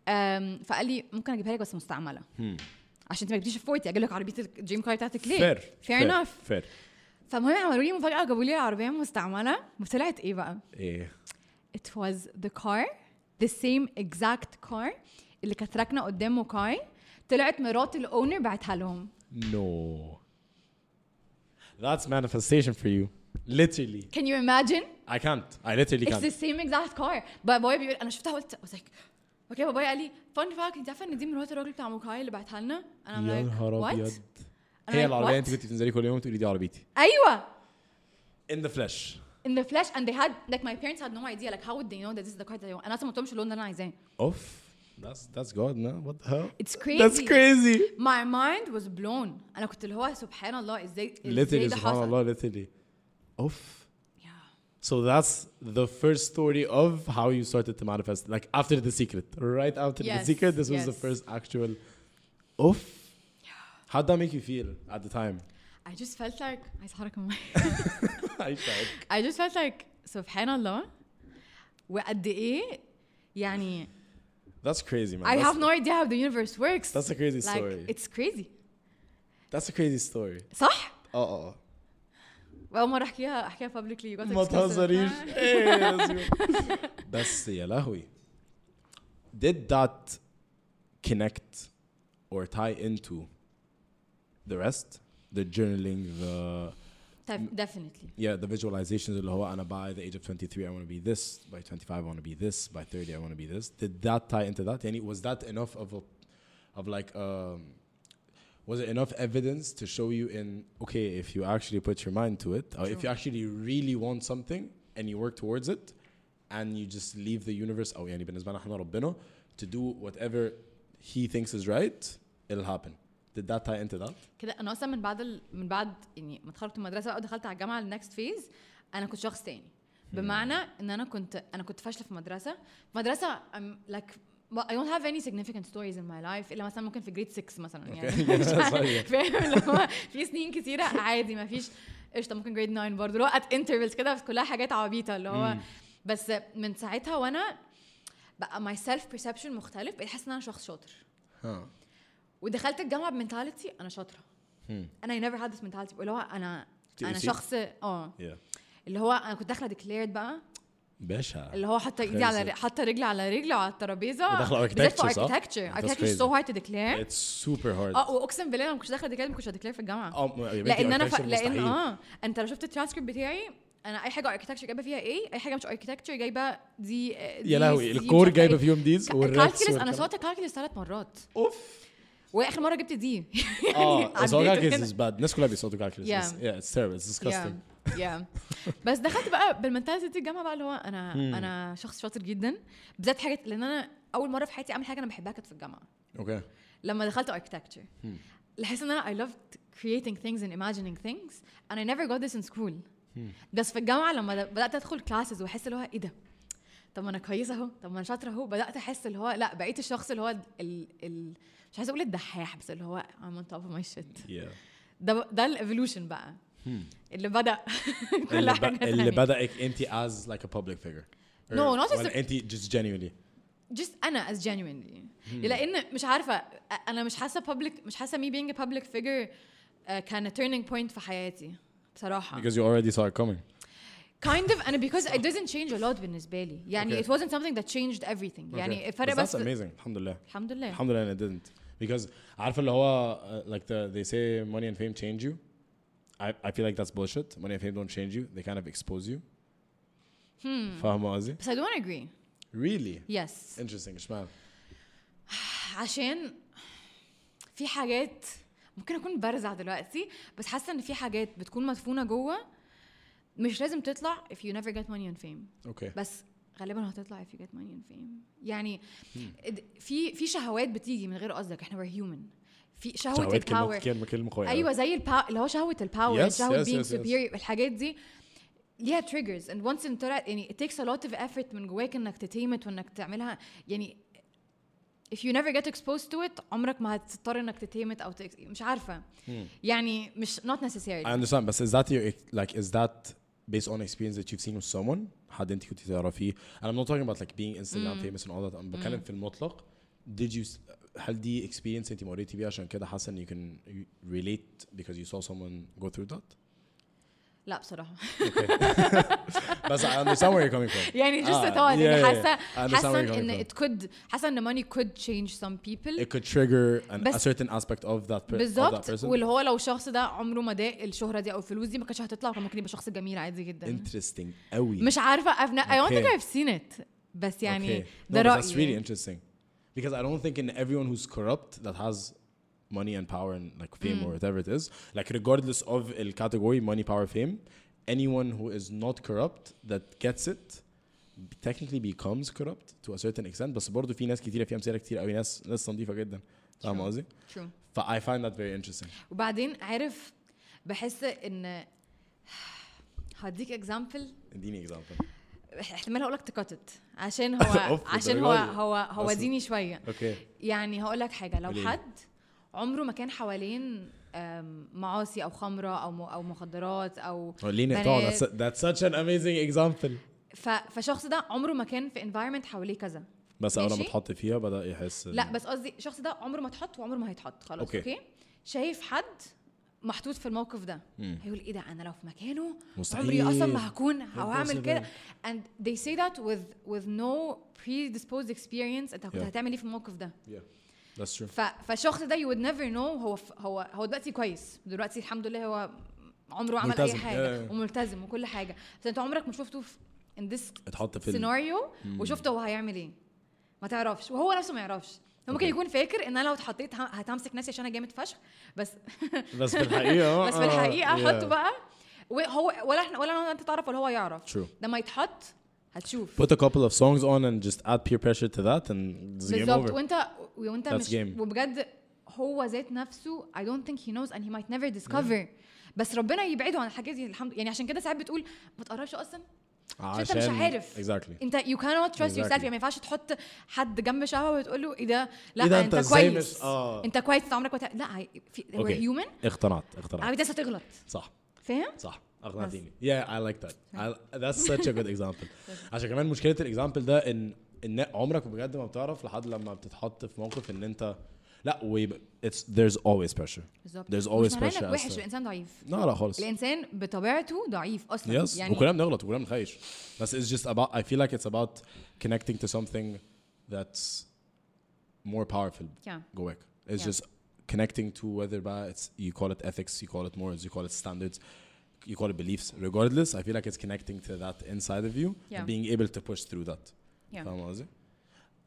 Speaker 1: آم، فقال لي ممكن اجيبها لك بس مستعمله
Speaker 2: Hmm.
Speaker 1: عشان انت ما جبتيش 40 اجيب لك عربيه الدريم كار بتاعتك ليه؟
Speaker 2: fair
Speaker 1: fair enough
Speaker 2: fair
Speaker 1: فالمهم عملوا لي مفاجاه وجابوا لي العربيه مستعمله وطلعت ايه بقى؟
Speaker 2: ايه
Speaker 1: It was the car the same exact car اللي كانت راكنه قدام موكاي طلعت مرات الاونر بعتها لهم
Speaker 2: no that's manifestation for you literally
Speaker 1: can you imagine
Speaker 2: I can't I literally
Speaker 1: it's the
Speaker 2: can't
Speaker 1: same exact car بابايا بيقول انا شفتها قلت I was like اوكي بابايا قال لي فان فاكت انت عارفه ان دي مرات الراجل بتاع موكاي اللي بعتها لنا انا
Speaker 2: يا
Speaker 1: I'm like
Speaker 2: نهار
Speaker 1: what
Speaker 2: ابيض
Speaker 1: I'm
Speaker 2: هي
Speaker 1: like,
Speaker 2: العربيه
Speaker 1: what؟
Speaker 2: انت كنت بتنزلي كل يوم وتقولي دي عربيتي
Speaker 1: ايوه
Speaker 2: in the flesh
Speaker 1: in the flesh and they had like my parents had no idea like how would they know that this is the card that I want انا اصلا ما قلتهمش اللون اللي انا عايزاه
Speaker 2: اوف That's that's God now. What the hell?
Speaker 1: It's crazy.
Speaker 2: That's crazy.
Speaker 1: my mind was blown انا كنت اللي هو سبحان الله ازاي ازاي
Speaker 2: literally,
Speaker 1: ده حصل
Speaker 2: subhanallah, literally. Oof.
Speaker 1: Yeah.
Speaker 2: So that's the first story of how you started to manifest. Like after the secret, right after
Speaker 1: Yes,
Speaker 2: the secret, this was the
Speaker 1: yes.
Speaker 2: first actual. Oof. How'd that make you feel at the time?
Speaker 1: I just felt like عايز احرك المايك
Speaker 2: I tried.
Speaker 1: I just felt like سبحان الله وقد ايه يعني
Speaker 2: That's crazy, man.
Speaker 1: I
Speaker 2: that's,
Speaker 1: have no idea how the universe works
Speaker 2: that's a crazy
Speaker 1: like
Speaker 2: story.
Speaker 1: it's crazy
Speaker 2: that's a crazy story.
Speaker 1: صح؟
Speaker 2: Uh oh.
Speaker 1: واول مره احكيها احكيها publicly you got
Speaker 2: ما
Speaker 1: expensive.
Speaker 2: تهزريش إيه يا زلمة. بس يا لهوي did that connect or tie into the rest the journaling the
Speaker 1: Def- طيب، definitely
Speaker 2: yeah the visualizations اللي هو انا by the age of 23 I want to be this by 25 I want to be this by 30 I want to be this did that tie into that يعني was that enough of a of like um, was it enough evidence to show you in okay if you actually put your mind to it or if you actually really want something and you work towards it and you just leave the universe او يعني بالنسبه لنا احنا ربنا to do whatever he thinks is right it'll happen did that tie into that
Speaker 1: كده انا اصلا من بعد ال... من بعد يعني ما اتخرجت من المدرسه بقى ودخلت على الجامعه النكست فيز انا كنت شخص تاني بمعنى ان انا كنت انا كنت فاشله في مدرسه مدرسه I'm like well, I don't have any significant stories in my life الا مثلا ممكن في جريد 6 مثلا يعني
Speaker 2: Okay.
Speaker 1: مش عارف-
Speaker 2: صحيح.
Speaker 1: فاهم اللي هو في سنين كتيره عادي ما فيش قشطه ممكن جريد 9 برضه اللي هو ات انترفلز كده بس كلها حاجات عبيطه اللي هو بس من ساعتها وانا بقى ماي سيلف perception مختلف بقيت حاسه ان انا شخص شاطر
Speaker 2: huh.
Speaker 1: ودخلت الجامعه بمنتاليتي انا شاطره
Speaker 2: Hmm.
Speaker 1: انا اي نيفر هاد ذس منتاليتي اللي هو انا
Speaker 2: تي إي
Speaker 1: انا
Speaker 2: سي؟
Speaker 1: شخص اه
Speaker 2: yeah
Speaker 1: اللي هو انا كنت داخله ديكليرد بقى
Speaker 2: باشا
Speaker 1: اللي هو حاطه ايدي على
Speaker 2: Crazy.
Speaker 1: ر- حاطه رجل على رجل على الترابيزه
Speaker 2: وداخلة
Speaker 1: بالذات
Speaker 2: architecture،
Speaker 1: في
Speaker 2: صح؟
Speaker 1: architecture
Speaker 2: That's
Speaker 1: architecture is
Speaker 2: crazy.
Speaker 1: so hard to declare
Speaker 2: It's super hard.
Speaker 1: اه واقسم بالله انا ما كنتش داخله ديكليرد ما كنتش هديكلير في الجامعه
Speaker 2: اه م- يا بنتي
Speaker 1: لان انا ف...
Speaker 2: architecture
Speaker 1: لان
Speaker 2: مستحيل.
Speaker 1: اه انت لو شفت الترانسكريبت بتاعي انا اي حاجه اركتكتشر جايبه فيها ايه اي حاجه مش اركتكتشر جايبه دي
Speaker 2: يا لهوي الكور جايبه فيهم ديز والريكس
Speaker 1: كالكلس انا صوت كالكلس ثلاث مرات
Speaker 2: اوف
Speaker 1: واخر مره جبت دي
Speaker 2: اه
Speaker 1: يعني عديت
Speaker 2: صوت كالكلس
Speaker 1: هنا.
Speaker 2: از باد الناس كلها بيصوتوا كالكلس
Speaker 1: Yeah.
Speaker 2: yeah it's terrible it's disgusting
Speaker 1: Yeah. yeah. بس دخلت بقى بالمنتاليتي الجامعه بقى اللي هو انا انا شخص شاطر جدا بالذات حاجه لان انا اول مره في حياتي اعمل حاجه انا بحبها كانت في الجامعه
Speaker 2: اوكي
Speaker 1: لما دخلت architecture لحس ان انا I loved creating things and imagining things and I never got this in school بس في الجامعه لما د- بدات ادخل كلاسز واحس اللي هو ايه ده طب ما انا كويسه اهو طب ما انا شاطره اهو بدات احس اللي هو لا بقيت الشخص اللي هو ال, ال مش عايزه اقول الدحاح بس اللي هو I'm on top of my shit
Speaker 2: yeah
Speaker 1: ده ده الايفولوشن بقى اللي بدا كل
Speaker 2: Hmm. اللي, ب...
Speaker 1: حاجه تانية.
Speaker 2: اللي بدأك انت as like a public figure Or
Speaker 1: No, not as
Speaker 2: ولا
Speaker 1: a-
Speaker 2: انت just genuinely
Speaker 1: just انا as genuinely لان مش عارفه أ- انا مش حاسه public مش حاسه me being a public figure uh, كان turning point في حياتي بصراحه
Speaker 2: because you already saw it coming
Speaker 1: kind of and because it doesn't change a lot بالنسبه لي يعني
Speaker 2: Okay.
Speaker 1: it wasn't something that changed everything يعني
Speaker 2: Okay.
Speaker 1: الفرق
Speaker 2: But that's
Speaker 1: بس
Speaker 2: amazing الحمد لله
Speaker 1: الحمد لله
Speaker 2: الحمد لله and it didn't because عارفه اللي هو uh, like the, they say money and fame change you I, I feel like that's bullshit money and fame don't change you they kind of expose you
Speaker 1: Hmm.
Speaker 2: فاهمه قصدي
Speaker 1: بس I don't agree
Speaker 2: really
Speaker 1: yes
Speaker 2: interesting اشمعنى
Speaker 1: عشان في حاجات ممكن اكون برزع دلوقتي بس حاسه ان في حاجات بتكون مدفونه جوه مش لازم تطلع if you never get money and fame
Speaker 2: اوكي
Speaker 1: بس غالبا هتطلع if you get money and fame يعني د- في في شهوات بتيجي من غير قصدك احنا we're human في شهوة
Speaker 2: شهوات كلمه
Speaker 1: الباور
Speaker 2: كلمه كلمه قويه
Speaker 1: ايوه زي البا... اللي هو شهوة الباور
Speaker 2: Yes,
Speaker 1: شهوة
Speaker 2: yes,
Speaker 1: being
Speaker 2: yes, yes.
Speaker 1: superior الحاجات دي ليها triggers and once ان طلعت يعني it takes a lot of effort من جواك انك تتيمت وانك تعملها يعني if you never get exposed to it عمرك ما هتضطر انك تتيمت او تك... مش عارفه يعني مش not necessarily
Speaker 2: Hmm. I understand بس is that your like is that based on experience that you've seen with someone حد انت كنت تعرفيه and I'm not talking about like being Instagram famous and all that um, I'm بتكلم في المطلق did you s- هل دي experience انت مريتي بيها عشان كده حاسه ان you can you relate because you saw someone go through that
Speaker 1: لا بصراحه
Speaker 2: بس I understand where you're coming from
Speaker 1: يعني just
Speaker 2: آه،
Speaker 1: at all
Speaker 2: yeah,
Speaker 1: يعني
Speaker 2: yeah,
Speaker 1: حاسه
Speaker 2: yeah. I understand
Speaker 1: حاسه
Speaker 2: where you're
Speaker 1: ان
Speaker 2: coming
Speaker 1: it could حاسه ان money could change some people
Speaker 2: it could trigger an, a
Speaker 1: بس-
Speaker 2: certain aspect of that, per, of that
Speaker 1: بالظبط
Speaker 2: person
Speaker 1: واللي هو لو الشخص ده عمره ما ضاق الشهره دي او الفلوس دي ما كانش هتطلع كان ممكن يبقى شخص جميل عادي جدا
Speaker 2: interesting قوي
Speaker 1: مش عارفه I've not, I don't think
Speaker 2: Okay.
Speaker 1: I've seen it بس يعني
Speaker 2: Okay.
Speaker 1: ده
Speaker 2: no, but that's really
Speaker 1: رايي
Speaker 2: interesting because I don't think in everyone who's corrupt that has
Speaker 1: Mm.
Speaker 2: money and power and like fame or whatever it is, like regardless of the category money, power, fame, anyone who is not corrupt that gets it technically becomes corrupt to a certain extent بس برضه في ناس كتيره في امثله كتير قوي ناس ناس نظيفه جدا فاهم
Speaker 1: True.
Speaker 2: قصدي؟
Speaker 1: True.
Speaker 2: ف I find that very interesting
Speaker 1: وبعدين عارف بحس ان هديك اكزامبل
Speaker 2: اديني example
Speaker 1: احتمال هقول لك تكتت عشان هو
Speaker 2: أوف،
Speaker 1: عشان هو
Speaker 2: للدرجة دي؟
Speaker 1: هو هو
Speaker 2: أصلاً.
Speaker 1: ديني شويه
Speaker 2: اوكي
Speaker 1: يعني هقول لك حاجه لو
Speaker 2: قوليلي.
Speaker 1: حد عمره ما كان حوالين أم، معاصي او خمره او م- او مخدرات او
Speaker 2: وريني طبعا
Speaker 1: بنات.
Speaker 2: that's, that's such an amazing example
Speaker 1: ف- فالشخص ده عمره ما كان في انفايرمنت حواليه كذا
Speaker 2: بس اول ما
Speaker 1: ماشي.
Speaker 2: اتحط فيها بدا يحس
Speaker 1: لا بس قصدي الشخص ده عمره ما اتحط وعمره ما هيتحط خلاص
Speaker 2: أوكي.
Speaker 1: اوكي, أوكي؟ شايف حد محطوط في الموقف ده
Speaker 2: مم.
Speaker 1: هيقول ايه ده انا لو في مكانه
Speaker 2: مستحيل.
Speaker 1: عمري اصلا ما هكون او هعمل
Speaker 2: Impossible.
Speaker 1: كده and they say that with with no predisposed experience انت كنت
Speaker 2: Yeah.
Speaker 1: هتعمل ايه في الموقف ده
Speaker 2: yeah. that's true
Speaker 1: ف... فالشخص ده you would never know هو ف... هو هو دلوقتي كويس دلوقتي الحمد لله هو عمره عمل اي
Speaker 2: ملتزم.
Speaker 1: حاجه
Speaker 2: Yeah, yeah.
Speaker 1: وملتزم وكل حاجه بس انت عمرك ما شفته في in this
Speaker 2: اتحط في ال...
Speaker 1: سيناريو وشفته هو هيعمل ايه ما تعرفش وهو نفسه ما يعرفش ممكن
Speaker 2: Okay.
Speaker 1: يكون فاكر ان انا لو اتحطيت ه- هتمسك نفسي عشان انا جامد فشخ بس
Speaker 2: بس في الحقيقه
Speaker 1: بس في الحقيقه
Speaker 2: إيه، آه،
Speaker 1: حطه بقى وهو ولا احنا ولا أنا- انت تعرف ولا هو يعرف
Speaker 2: True.
Speaker 1: لما يتحط هتشوف
Speaker 2: put a couple of songs on and just add peer pressure to that and it's game
Speaker 1: بالظبط
Speaker 2: over
Speaker 1: وانت وانت
Speaker 2: That's
Speaker 1: مش
Speaker 2: game.
Speaker 1: وبجد هو ذات نفسه I don't think he knows and he might never
Speaker 2: Mm.
Speaker 1: discover بس ربنا يبعده عن الحاجات دي الحمد يعني عشان كده ساعات بتقول ما تقربش اصلا عشان انت مش عارف
Speaker 2: Ah, exactly
Speaker 1: انت يو كانوت تراست يور
Speaker 2: Exactly.
Speaker 1: سيلف يعني ما ينفعش تحط حد جنب شقه وتقول له ايه ده لا
Speaker 2: إيه ده
Speaker 1: انت,
Speaker 2: أنت إزاي
Speaker 1: كويس
Speaker 2: مش- آه.
Speaker 1: انت كويس انت عمرك ما تع- لا هي- في
Speaker 2: Okay.
Speaker 1: وير هيومن
Speaker 2: اقتنعت اقتنعت
Speaker 1: عادي ناس هتغلط
Speaker 2: صح
Speaker 1: فاهم؟
Speaker 2: صح اقنعتيني yeah I like that I, that's such a good example عشان كمان مشكله الاكزامبل ده ان ان عمرك بجد ما بتعرف لحد لما بتتحط في موقف ان انت لا ويبقى it's there's always pressure
Speaker 1: بالظبط
Speaker 2: there's always
Speaker 1: مش معناه انك
Speaker 2: pressure as
Speaker 1: وحش
Speaker 2: to-
Speaker 1: الانسان ضعيف
Speaker 2: لا لا خالص
Speaker 1: الانسان بطبيعته ضعيف اصلا
Speaker 2: Yes.
Speaker 1: يعني
Speaker 2: وكلنا بنغلط وكلنا بنخيش بس it's just about I feel like it's about connecting to something that's more powerful
Speaker 1: Yeah.
Speaker 2: جواك it's
Speaker 1: Yeah.
Speaker 2: just connecting to whether بقى it's you call it ethics you call it morals you call it standards you call it beliefs regardless I feel like it's connecting to that inside of you
Speaker 1: Yeah.
Speaker 2: and being able to push through that
Speaker 1: Yeah.
Speaker 2: فاهم قصدي؟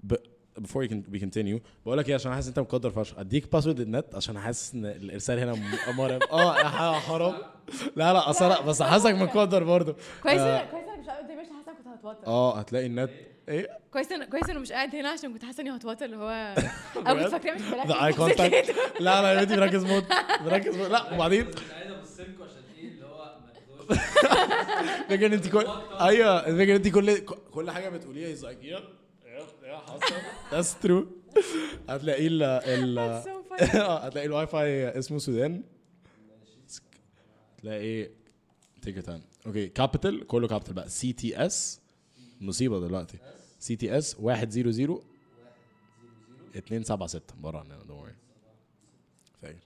Speaker 2: But before you can we continue بقول لك ايه عشان حاسس انت مقدر فشخ اديك باسورد النت عشان حاسس ان الارسال هنا م- مرعب اه يا ح- حرام لا لا اصل بس حاسسك مقدر برضه
Speaker 1: كويس
Speaker 2: آه،
Speaker 1: إن- كويس انا مش قاعد مش حاسه كنت هتوتر
Speaker 2: اه هتلاقي النت ايه
Speaker 1: كويس انا كويس انا مش قاعد هنا عشان كنت حاسه اني هتوتر اللي هو او كنت
Speaker 2: بجد؟
Speaker 1: فاكره مش
Speaker 2: ذا اي كونتاكت لا لا يا بنتي مركز موت مركز موت لا وبعدين
Speaker 3: كنت عايز ابص لكم عشان ايه اللي هو ما تاخدوش
Speaker 2: فكرة ان انت كل ايوه فكرة ان انت كل كل حاجه بتقوليها از لايك يب يب حصل ذاتس ترو هتلاقي ال ال
Speaker 1: so
Speaker 2: آه.
Speaker 1: funny.
Speaker 2: هتلاقي الواي فاي اسمه سودان تلاقي تيك تايم اوكي كابيتال كله كابيتال بقى سي تي اس مصيبه دلوقتي سي تي اس 100 276 بره عننا دونت وري فاكر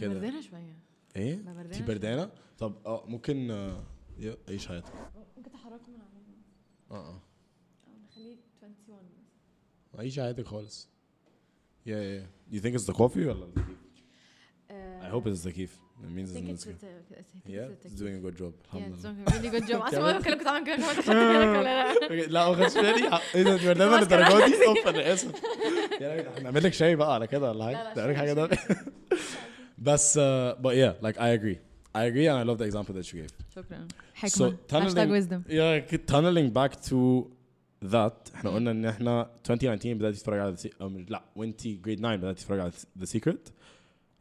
Speaker 2: كده
Speaker 1: بردانه شويه
Speaker 2: ايه؟
Speaker 1: أنا بردانة
Speaker 2: في
Speaker 1: شوية.
Speaker 2: بردانه؟ طب اه ممكن آه، ي- عيش حياتك
Speaker 1: ممكن تحركه من علينا
Speaker 2: اه اه
Speaker 1: او نخليه 21
Speaker 2: عيش حياتك خالص yeah yeah yeah. you think it's the coffee ولا التكييف I hope it's the كيف it means
Speaker 1: آه، I
Speaker 2: it's
Speaker 1: think
Speaker 2: not
Speaker 1: it's
Speaker 2: the
Speaker 1: with
Speaker 2: كيف
Speaker 1: the- I think
Speaker 2: yeah
Speaker 1: it's with
Speaker 2: it's
Speaker 1: the-
Speaker 2: doing a good job
Speaker 1: Yeah,
Speaker 2: الحمد
Speaker 1: it's doing
Speaker 2: لله
Speaker 1: a really good job. Ah, اصلا انا
Speaker 2: كمان؟
Speaker 1: كنت عامل كده كمان خدت بالك ولا لا؟
Speaker 2: أوكي، لا ما خدتش بالي ح- ايه ده انت بردانه
Speaker 1: ماسكة
Speaker 2: للدرجه دي اوف انا اسف يا راجل احنا نعمل لك شاي بقى على كده ولا
Speaker 1: لا،
Speaker 2: حاجه
Speaker 1: لا،
Speaker 2: تعمل لك
Speaker 1: شاي،
Speaker 2: حاجه ده بس uh, but yeah like I agree I agree and I love the example that you gave
Speaker 1: شكرا
Speaker 2: So,
Speaker 1: حكمه هاشتاج
Speaker 2: tunneling-
Speaker 1: ويزدم
Speaker 2: Yeah, k- tunneling back to that احنا قلنا ان احنا 2019 بدأت تتفرج على The Se- أم لا وانت grade 9 بدأت تتفرج على The Secret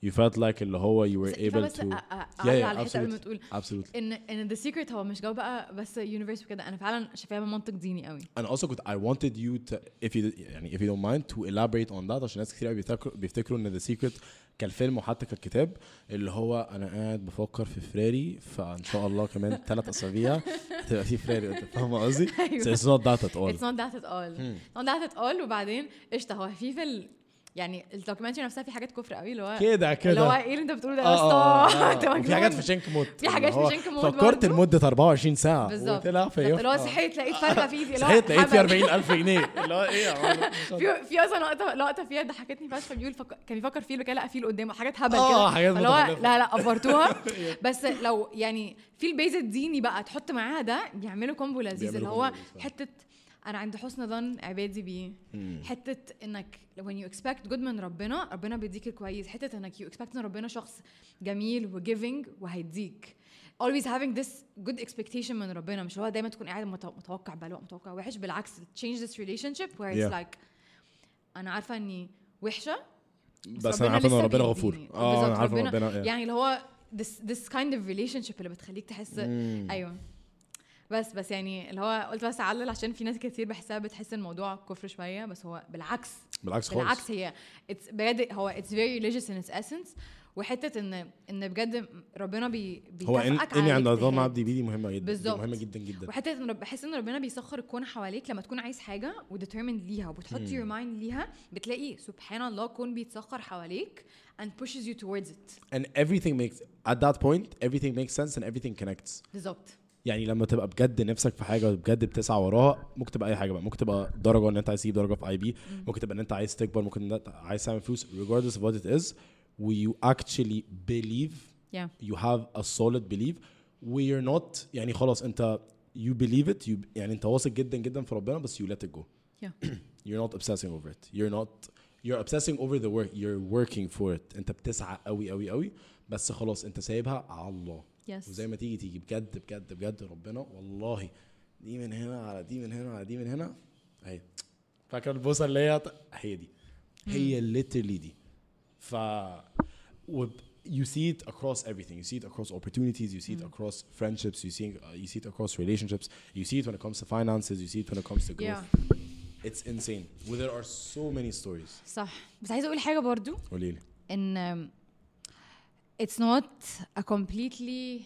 Speaker 2: you felt like اللي هو you were able
Speaker 1: بس آه. أ-
Speaker 2: to
Speaker 1: أ- اعلق على الحته قبل ما تقول
Speaker 2: absolutely
Speaker 1: ان ان ذا سيكريت هو مش جو بقى بس يونيفرس وكده انا فعلا شايفاها منطق ديني قوي
Speaker 2: and also كنت I wanted you to if you يعني if you don't mind to elaborate on that عشان ناس كتير قوي بيفتكروا بيفتكروا ان The Secret كالفيلم وحتى كالكتاب اللي هو انا قاعد بفكر في فراري فان شاء الله كمان ثلاث اسابيع هتبقى في فراري انت فاهمه قصدي؟
Speaker 1: أيوة.
Speaker 2: so it's not that at all
Speaker 1: اتس نوت ذات ات
Speaker 2: Hmm.
Speaker 1: اول نوت ذات ات اول وبعدين قشطه هو في في ال- يعني الدوكيومنتري نفسها في حاجات كفر قوي اللي هو
Speaker 2: كده
Speaker 1: اللي هو
Speaker 2: كده
Speaker 1: ايه اللي انت بتقوله ده يا
Speaker 2: اه
Speaker 1: اسطى
Speaker 2: اه
Speaker 1: انت
Speaker 2: اه. وفي حاجات في
Speaker 1: مجنون.
Speaker 2: شنك موت
Speaker 1: في حاجات
Speaker 2: اللي هو
Speaker 1: في شنك موت
Speaker 2: فكرت
Speaker 1: برضه.
Speaker 2: لمده 24 ساعه
Speaker 1: بالظبط
Speaker 2: وطلع في
Speaker 1: بالظبط.
Speaker 2: يوم
Speaker 1: اللي هو
Speaker 2: اه.
Speaker 1: صحيت لقيت فرخه في ايدي اللي هو
Speaker 2: آه. صحيت لقيت في
Speaker 1: هبل.
Speaker 2: 40000 جنيه اللي هو ايه يا عم؟
Speaker 1: في في اصلا لقطه لقطه فيها ضحكتني فشخ بيقول فك... كان يفكر فيل وكده لا فيل قدامه حاجات هبل
Speaker 2: آه،
Speaker 1: كده
Speaker 2: حاجات
Speaker 1: فاللي هو
Speaker 2: متخلفة.
Speaker 1: لا لا افرتوها بس لو يعني في البيز الديني بقى تحط معاها ده بيعملوا كومبو لذيذ
Speaker 2: بيعملوا
Speaker 1: اللي هو
Speaker 2: كومبو لذيذ فعلا.
Speaker 1: حته انا عند حسن ظن عبادي بيه حته انك when you expect good من ربنا ربنا بيديك الكويس حته انك you expect ان ربنا شخص جميل وجيفنج وهيديك always having this good expectation من ربنا مش اللي هو دايما تكون قاعد مت- متوقع بلاء متوقع وحش بالعكس change this relationship where it's
Speaker 2: Yeah.
Speaker 1: like انا عارفه اني وحشه
Speaker 2: بس انا عارف ان
Speaker 1: لسه
Speaker 2: ربنا
Speaker 1: بيهديني.
Speaker 2: غفور
Speaker 1: بالظبط،
Speaker 2: اه انا عارف ان ربنا
Speaker 1: يعني اللي هو this this kind of relationship اللي بتخليك تحس
Speaker 2: مم.
Speaker 1: ايوه بس بس يعني اللي هو قلت بس اعلل عشان في ناس كتير بحسها بتحس الموضوع كفر شويه بس هو بالعكس
Speaker 2: بالعكس خالص
Speaker 1: بالعكس هي it's بجد هو it's very religious in its essence وحته ان ان بجد ربنا بي
Speaker 2: هو إن-
Speaker 1: بيكافئك
Speaker 2: اني
Speaker 1: على
Speaker 2: عند الله
Speaker 1: الاجتهاد.
Speaker 2: عبدي بيدي مهمه جدا دي
Speaker 1: بالظبط.
Speaker 2: مهمه جدا جدا
Speaker 1: وحته ان رب- بحس ان ربنا بيسخر الكون حواليك لما تكون عايز حاجه وديترمند ليها وبتحط
Speaker 2: مم.
Speaker 1: يور مايند ليها بتلاقي سبحان الله الكون بيتسخر حواليك and pushes you towards it
Speaker 2: and everything makes at that point everything makes sense and everything connects
Speaker 1: بالظبط
Speaker 2: يعني لما تبقى بجد نفسك في حاجه وبجد بتسعى وراها ممكن تبقى اي حاجه بقى ممكن تبقى درجه ان انت عايز تجيب درجه في اي بي ممكن تبقى ان انت عايز تكبر ممكن ان انت عايز تعمل فلوس regardless of what it is you actually believe
Speaker 1: yeah
Speaker 2: you have a solid belief we're not يعني خلاص انت you believe it you يعني انت واثق جدا جدا في ربنا بس you let it go
Speaker 1: yeah
Speaker 2: you're not obsessing over it you're not you're obsessing over the work you're working for it انت بتسعى قوي قوي قوي بس خلاص انت سايبها على الله
Speaker 1: Yes.
Speaker 2: وزي ما تيجي تيجي بجد بجد بجد ربنا والله دي من هنا على دي من هنا على دي من هنا اهي فاكر البوصه اللي هي هي دي هي literally دي ف وب- you see it across everything you see it across opportunities you see it across friendships you see uh, you see it across relationships you see it when it comes to finances you see it when it comes to growth
Speaker 1: yeah
Speaker 2: It's insane. Well, there are so many stories.
Speaker 1: صح بس عايزه اقول حاجه برضو
Speaker 2: قولي لي.
Speaker 1: ان um, it's not a completely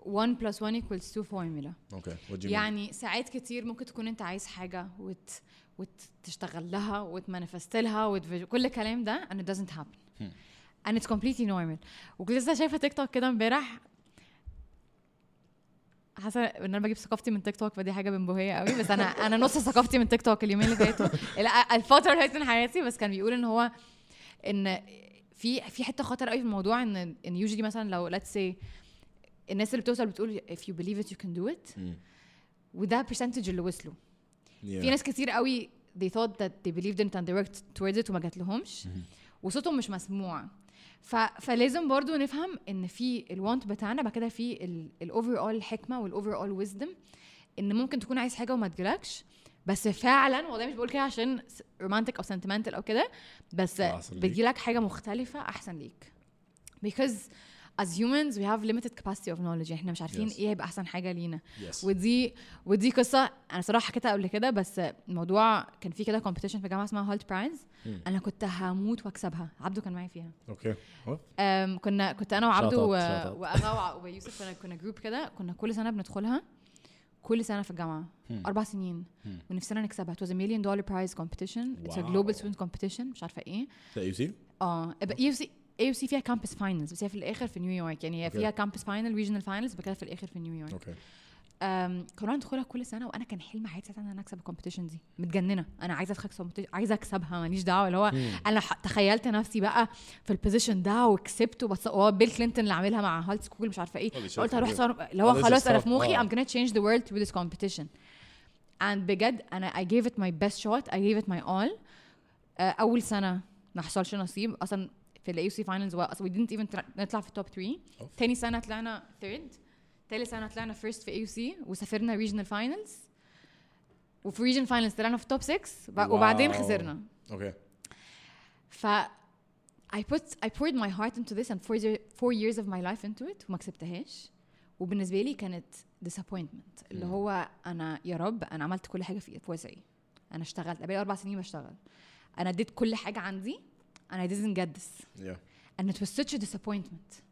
Speaker 1: 1 plus 1 equals 2 formula
Speaker 2: Okay. What do you mean?
Speaker 1: يعني ساعات كتير ممكن تكون انت عايز حاجه وت وتشتغل لها وتمانيفست لها وت- كل الكلام ده and it doesn't happen and it's completely normal وكنت لسه شايفه تيك توك كده امبارح حاسه ان انا بجيب ثقافتي من تيك توك فدي حاجه بنبوهيه قوي بس انا انا نص ثقافتي من تيك توك اليومين اللي فاتوا ال- الفتره اللي فاتت من حياتي بس كان بيقول ان هو ان في في حته خطر قوي في الموضوع ان ان يوجلي مثلا لو let's say الناس اللي بتوصل بتقول if you believe it you can do it
Speaker 2: مم.
Speaker 1: وده percentage اللي وصلوا
Speaker 2: Yeah.
Speaker 1: في ناس كتير قوي they thought that they believed in it and they worked towards it وما جات لهمش
Speaker 2: Mm-hmm.
Speaker 1: وصوتهم مش مسموع ف... فلازم برضو نفهم ان في الوانت بتاعنا بعد كده في الاوفر اول حكمه والاوفر اول ويزدم ان ممكن تكون عايز حاجه وما تجيلكش بس فعلا والله مش بقول كده عشان رومانتك او سنتمنتال او كده بس
Speaker 2: أحسن ليك.
Speaker 1: بتجيلك حاجه مختلفه احسن ليك because as humans we have limited capacity of knowledge احنا مش عارفين
Speaker 2: Yes.
Speaker 1: ايه هيبقى احسن حاجه لينا
Speaker 2: Yes.
Speaker 1: ودي ودي قصه انا صراحه حكيتها قبل كده بس الموضوع كان في كده كومبيتيشن في جامعه اسمها هولت برايز انا كنت هموت واكسبها عبده كان معايا فيها
Speaker 2: Okay. What?
Speaker 1: أم كنا كنت انا وعبده
Speaker 2: Shout out,
Speaker 1: و-
Speaker 2: shout out.
Speaker 1: واغا وع- ويوسف كنا كنا جروب كده كنا كل سنه بندخلها كل سنه في الجامعه اربع سنين ونفسنا نكسبها it was a million dollar prize competition it's a global
Speaker 2: Wow.
Speaker 1: student competition مش عارفه ايه
Speaker 2: That you see?
Speaker 1: اه اي سي اي سي فيها كامبس فاينلز بس هي في الاخر في نيويورك يعني هي
Speaker 2: Okay.
Speaker 1: فيها كامبس فاينل ريجنال فاينلز بكده في الاخر في نيويورك
Speaker 2: Okay.
Speaker 1: أم، كنا ندخلها كل سنه وانا كان حلم حياتي ساعتها ان انا اكسب الكومبيتيشن دي متجننه انا عايزه اكسب competition- عايزه اكسبها ماليش دعوه اللي هو انا ح- تخيلت نفسي بقى في البوزيشن ده وكسبته بس هو بيل كلينتون اللي عاملها مع هالت سكول مش عارفه ايه
Speaker 2: Holy shit,
Speaker 1: قلت هروح
Speaker 2: yeah.
Speaker 1: صار- اللي هو
Speaker 2: Oh, this is
Speaker 1: خلاص انا
Speaker 2: tough.
Speaker 1: في مخي
Speaker 2: آه.
Speaker 1: I'm gonna change the world through this competition and بجد انا I gave it my best shot I gave it my all آه، اول سنه ما حصلش نصيب اصلا في الاي سي فاينلز we didn't even tra- نطلع في التوب 3
Speaker 2: أوف.
Speaker 1: تاني سنه طلعنا ثيرد تالت سنه طلعنا فيرست في اي سي وسافرنا ريجنال فاينلز وفي ريجن فاينلز طلعنا في التوب 6 وب- وبعدين
Speaker 2: Wow.
Speaker 1: خسرنا
Speaker 2: Okay.
Speaker 1: ف I put I poured my heart into this and four, year- four years of my life into it وما كسبتهاش وبالنسبه لي كانت disappointment اللي هو انا يا رب انا عملت كل حاجه في في وسعي انا اشتغلت بقالي اربع سنين بشتغل انا اديت كل حاجه عندي and I didn't get this
Speaker 2: Yeah.
Speaker 1: and it was such a disappointment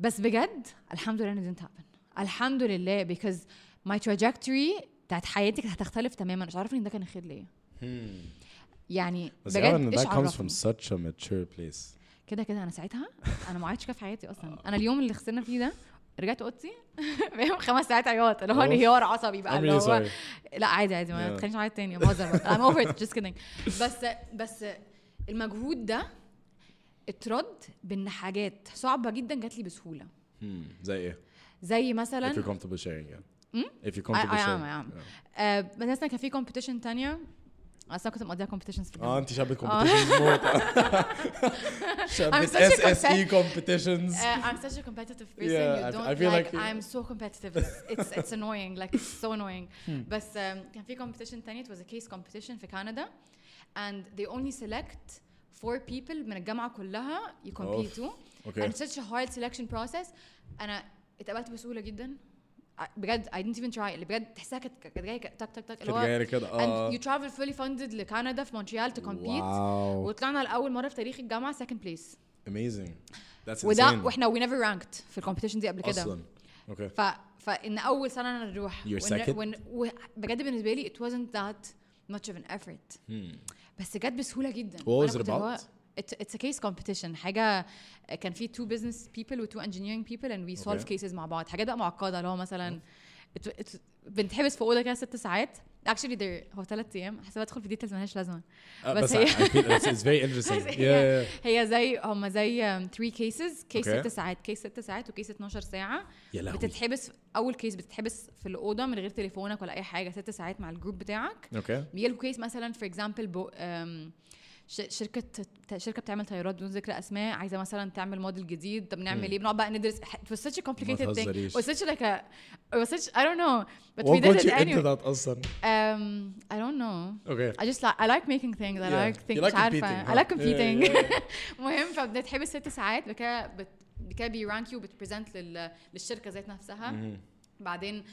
Speaker 1: بس بجد الحمد لله it didn't happen الحمد لله because my trajectory بتاعت حياتي كانت هتختلف تماما مش عارفه ان ده كان خير ليا
Speaker 2: Hmm.
Speaker 1: يعني
Speaker 2: بس يعني
Speaker 1: بجد
Speaker 2: ان
Speaker 1: ايش
Speaker 2: that comes from
Speaker 1: عرفني
Speaker 2: such a mature place.
Speaker 1: كده كده انا ساعتها انا ما عادش كده في حياتي اصلا انا اليوم اللي خسرنا فيه ده رجعت اوضتي فاهم خمس ساعات عياط اللي هو
Speaker 2: أوف.
Speaker 1: انهيار عصبي بقى
Speaker 2: I'm
Speaker 1: اللي
Speaker 2: really
Speaker 1: هو
Speaker 2: sorry.
Speaker 1: لا عادي عادي ما
Speaker 2: Yeah.
Speaker 1: تخلينيش اعيط تاني بهزر بس I'm over it just kidding بس بس المجهود ده اترد بان حاجات صعبه جدا جات لي بسهوله
Speaker 2: Hmm. زي ايه؟
Speaker 1: زي
Speaker 2: If you're
Speaker 1: مثلا
Speaker 2: comfortable sharing yeah. If you're comfortable
Speaker 1: I Hmm? am, I am.
Speaker 2: sharing. yeah.
Speaker 1: آه مثلا كان في كومبيتيشن تانية اصل كنت مقضيها كومبيتيشنز في
Speaker 2: اه
Speaker 1: الجامعة.
Speaker 2: انت شابه كومبيتيشنز موت شابه
Speaker 1: Oh. I'm such a
Speaker 2: اس اس اي
Speaker 1: compet-
Speaker 2: كومبيتيشنز
Speaker 1: Uh, I'm such a competitive person.
Speaker 2: Yeah, I-
Speaker 1: you don't
Speaker 2: I feel
Speaker 1: like,
Speaker 2: like-
Speaker 1: I'm so competitive. It's, it's, it's annoying. Like it's so annoying.
Speaker 2: Hmm.
Speaker 1: بس um, كان في competition تاني it was a case competition في كندا and they only select four people من الجامعة كلها يكمبيتوا
Speaker 2: اوكي
Speaker 1: Uh, and it's such a hard selection process انا اتقبلت بسهوله جدا I- بجد I didn't even try اللي بجد تحسها كانت كانت جايه ك- تك تك تك
Speaker 2: كانت
Speaker 1: اللي هو
Speaker 2: جايه لي كده اه
Speaker 1: and you travel fully funded لكندا في مونتريال تكمبيت
Speaker 2: واو
Speaker 1: وطلعنا لاول مره في تاريخ الجامعه second place
Speaker 2: اميزنج ذاتس
Speaker 1: وده واحنا we never ranked في الكومبيتيشن دي قبل كده
Speaker 2: اصلا اوكي
Speaker 1: ف فان اول سنه انا نروح
Speaker 2: You're second?
Speaker 1: بجد بالنسبه لي it wasn't that much of an effort
Speaker 2: Hmm.
Speaker 1: بس جت بسهوله جدا
Speaker 2: What was
Speaker 1: وأنا
Speaker 2: it
Speaker 1: كنت اللي
Speaker 2: about?
Speaker 1: It, it's a case competition حاجه كان في two business people و two engineering people and we solve
Speaker 2: Okay.
Speaker 1: cases مع بعض حاجات بقى معقده اللي هو مثلا it, it, بنتحبس في اوضه كده ست ساعات actually there هو ثلاث ايام حسب ادخل في ديتيلز مالهاش لازمه
Speaker 2: آه،
Speaker 1: بس
Speaker 2: بس
Speaker 1: هي-
Speaker 2: اتس فيري انترستنج
Speaker 1: بس هي- هي زي هم زي um, 3 كيسز كيس
Speaker 2: Okay.
Speaker 1: ست ساعات كيس ست ساعات وكيس 12 ساعه
Speaker 2: يا لهوي.
Speaker 1: بتتحبس اول كيس بتتحبس في الاوضه من غير تليفونك ولا اي حاجه ست ساعات مع الجروب بتاعك
Speaker 2: اوكي
Speaker 1: بيجيلكوا كيس مثلا فور اكزامبل بو أم، ش- شركه ت- شركه بتعمل طيارات بدون ذكر اسماء عايزه مثلا تعمل موديل جديد طب نعمل ايه بنقعد بقى ندرس it was such a complicated thing
Speaker 2: تهزريش.
Speaker 1: it was such like a it was such I don't know but we
Speaker 2: what
Speaker 1: did
Speaker 2: got
Speaker 1: it
Speaker 2: you into
Speaker 1: anyway
Speaker 2: that اصلا
Speaker 1: um, I don't know
Speaker 2: اوكي
Speaker 1: I just like I like making things I
Speaker 2: Yeah.
Speaker 1: like
Speaker 2: You
Speaker 1: things
Speaker 2: like
Speaker 1: مش عارفة
Speaker 2: competing,
Speaker 1: I like
Speaker 2: huh? Yeah,
Speaker 1: competing
Speaker 2: yeah, yeah.
Speaker 1: المهم فبنتحبس ست ساعات بعد كده بت بكده بيرانك يو بتبريزنت لل... للشركه ذات نفسها
Speaker 2: Mm-hmm.
Speaker 1: بعدين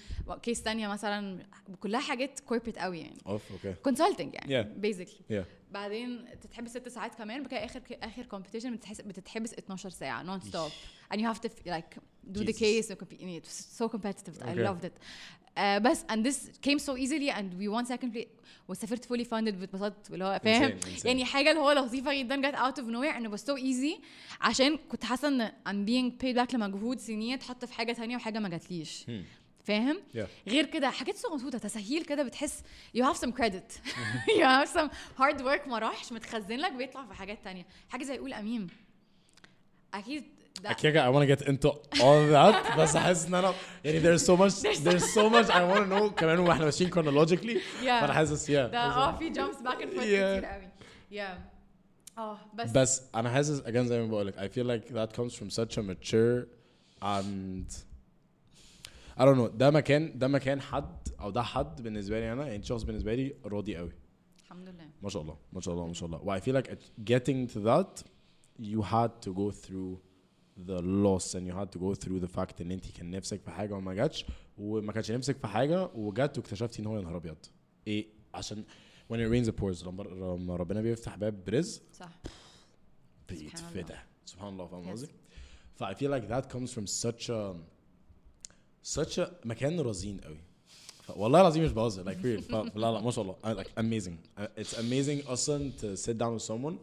Speaker 1: كيس تانية مثلا كلها حاجات كوربريت قوي يعني
Speaker 2: اوف اوكي
Speaker 1: كونسلتنج يعني
Speaker 2: Yeah.
Speaker 1: بيزيكلي
Speaker 2: يا
Speaker 1: بعدين تتحبس ست ساعات كمان بكده اخر اخر كومبيتيشن بتحس بتتحبس 12 ساعه نون ستوب and you have to f- like do the
Speaker 2: Jesus.
Speaker 1: case and compete in it. It was so competitive I
Speaker 2: Okay.
Speaker 1: loved it uh, بس and this came so easily and we won second place وسافرت fully funded باتبسطت اللي هو فاهم
Speaker 2: Insane, insane.
Speaker 1: يعني حاجه اللي هو لطيفه جدا جت out of nowhere and it was so easy عشان كنت حاسه ان I'm being paid back لمجهود سنين اتحط في حاجه تانية وحاجه ما جاتليش
Speaker 2: Hmm.
Speaker 1: فاهم
Speaker 2: Yeah.
Speaker 1: غير كده حاجات صغنطوطه تسهيل كده بتحس you have some credit you have some hard work ما راحش متخزن لك بيطلع في حاجات تانية حاجه زي يقول اميم اكيد ده
Speaker 2: Okay, I want to get into all that بس حاسس ان انا يعني there's so much there's so much I want to know كمان واحنا ماشيين chronologically فانا حاسس
Speaker 1: ده
Speaker 2: yeah
Speaker 1: اه في جامبس باك اند فورث كتير
Speaker 2: Yeah.
Speaker 1: قوي يا اه بس
Speaker 2: بس انا حاسس again زي ما بقولك I feel like that comes from such a mature and I don't know ده مكان ده مكان حد او ده حد بالنسبه لي انا يعني شخص بالنسبه لي راضي قوي
Speaker 1: الحمد لله
Speaker 2: ما شاء الله ما شاء الله ما شاء الله و I feel like it- getting to that you had to go through the loss and you had to go through the fact ان انت كان نفسك في حاجه وما جاتش وما كانش نفسك في حاجه وجت واكتشفتي ان هو يا نهار ابيض ايه عشان when it rains it pours لما لما ربنا بيفتح باب رزق
Speaker 1: صح سبحان الله.
Speaker 2: بيتفتح سبحان الله فاهم
Speaker 1: Yes.
Speaker 2: قصدي؟ ف I feel like that comes from such a such a مكان رزين قوي ف- والله العظيم مش بهزر like weird ف- لا لا ما شاء الله I- like amazing Uh, it's amazing اصلا to sit down with someone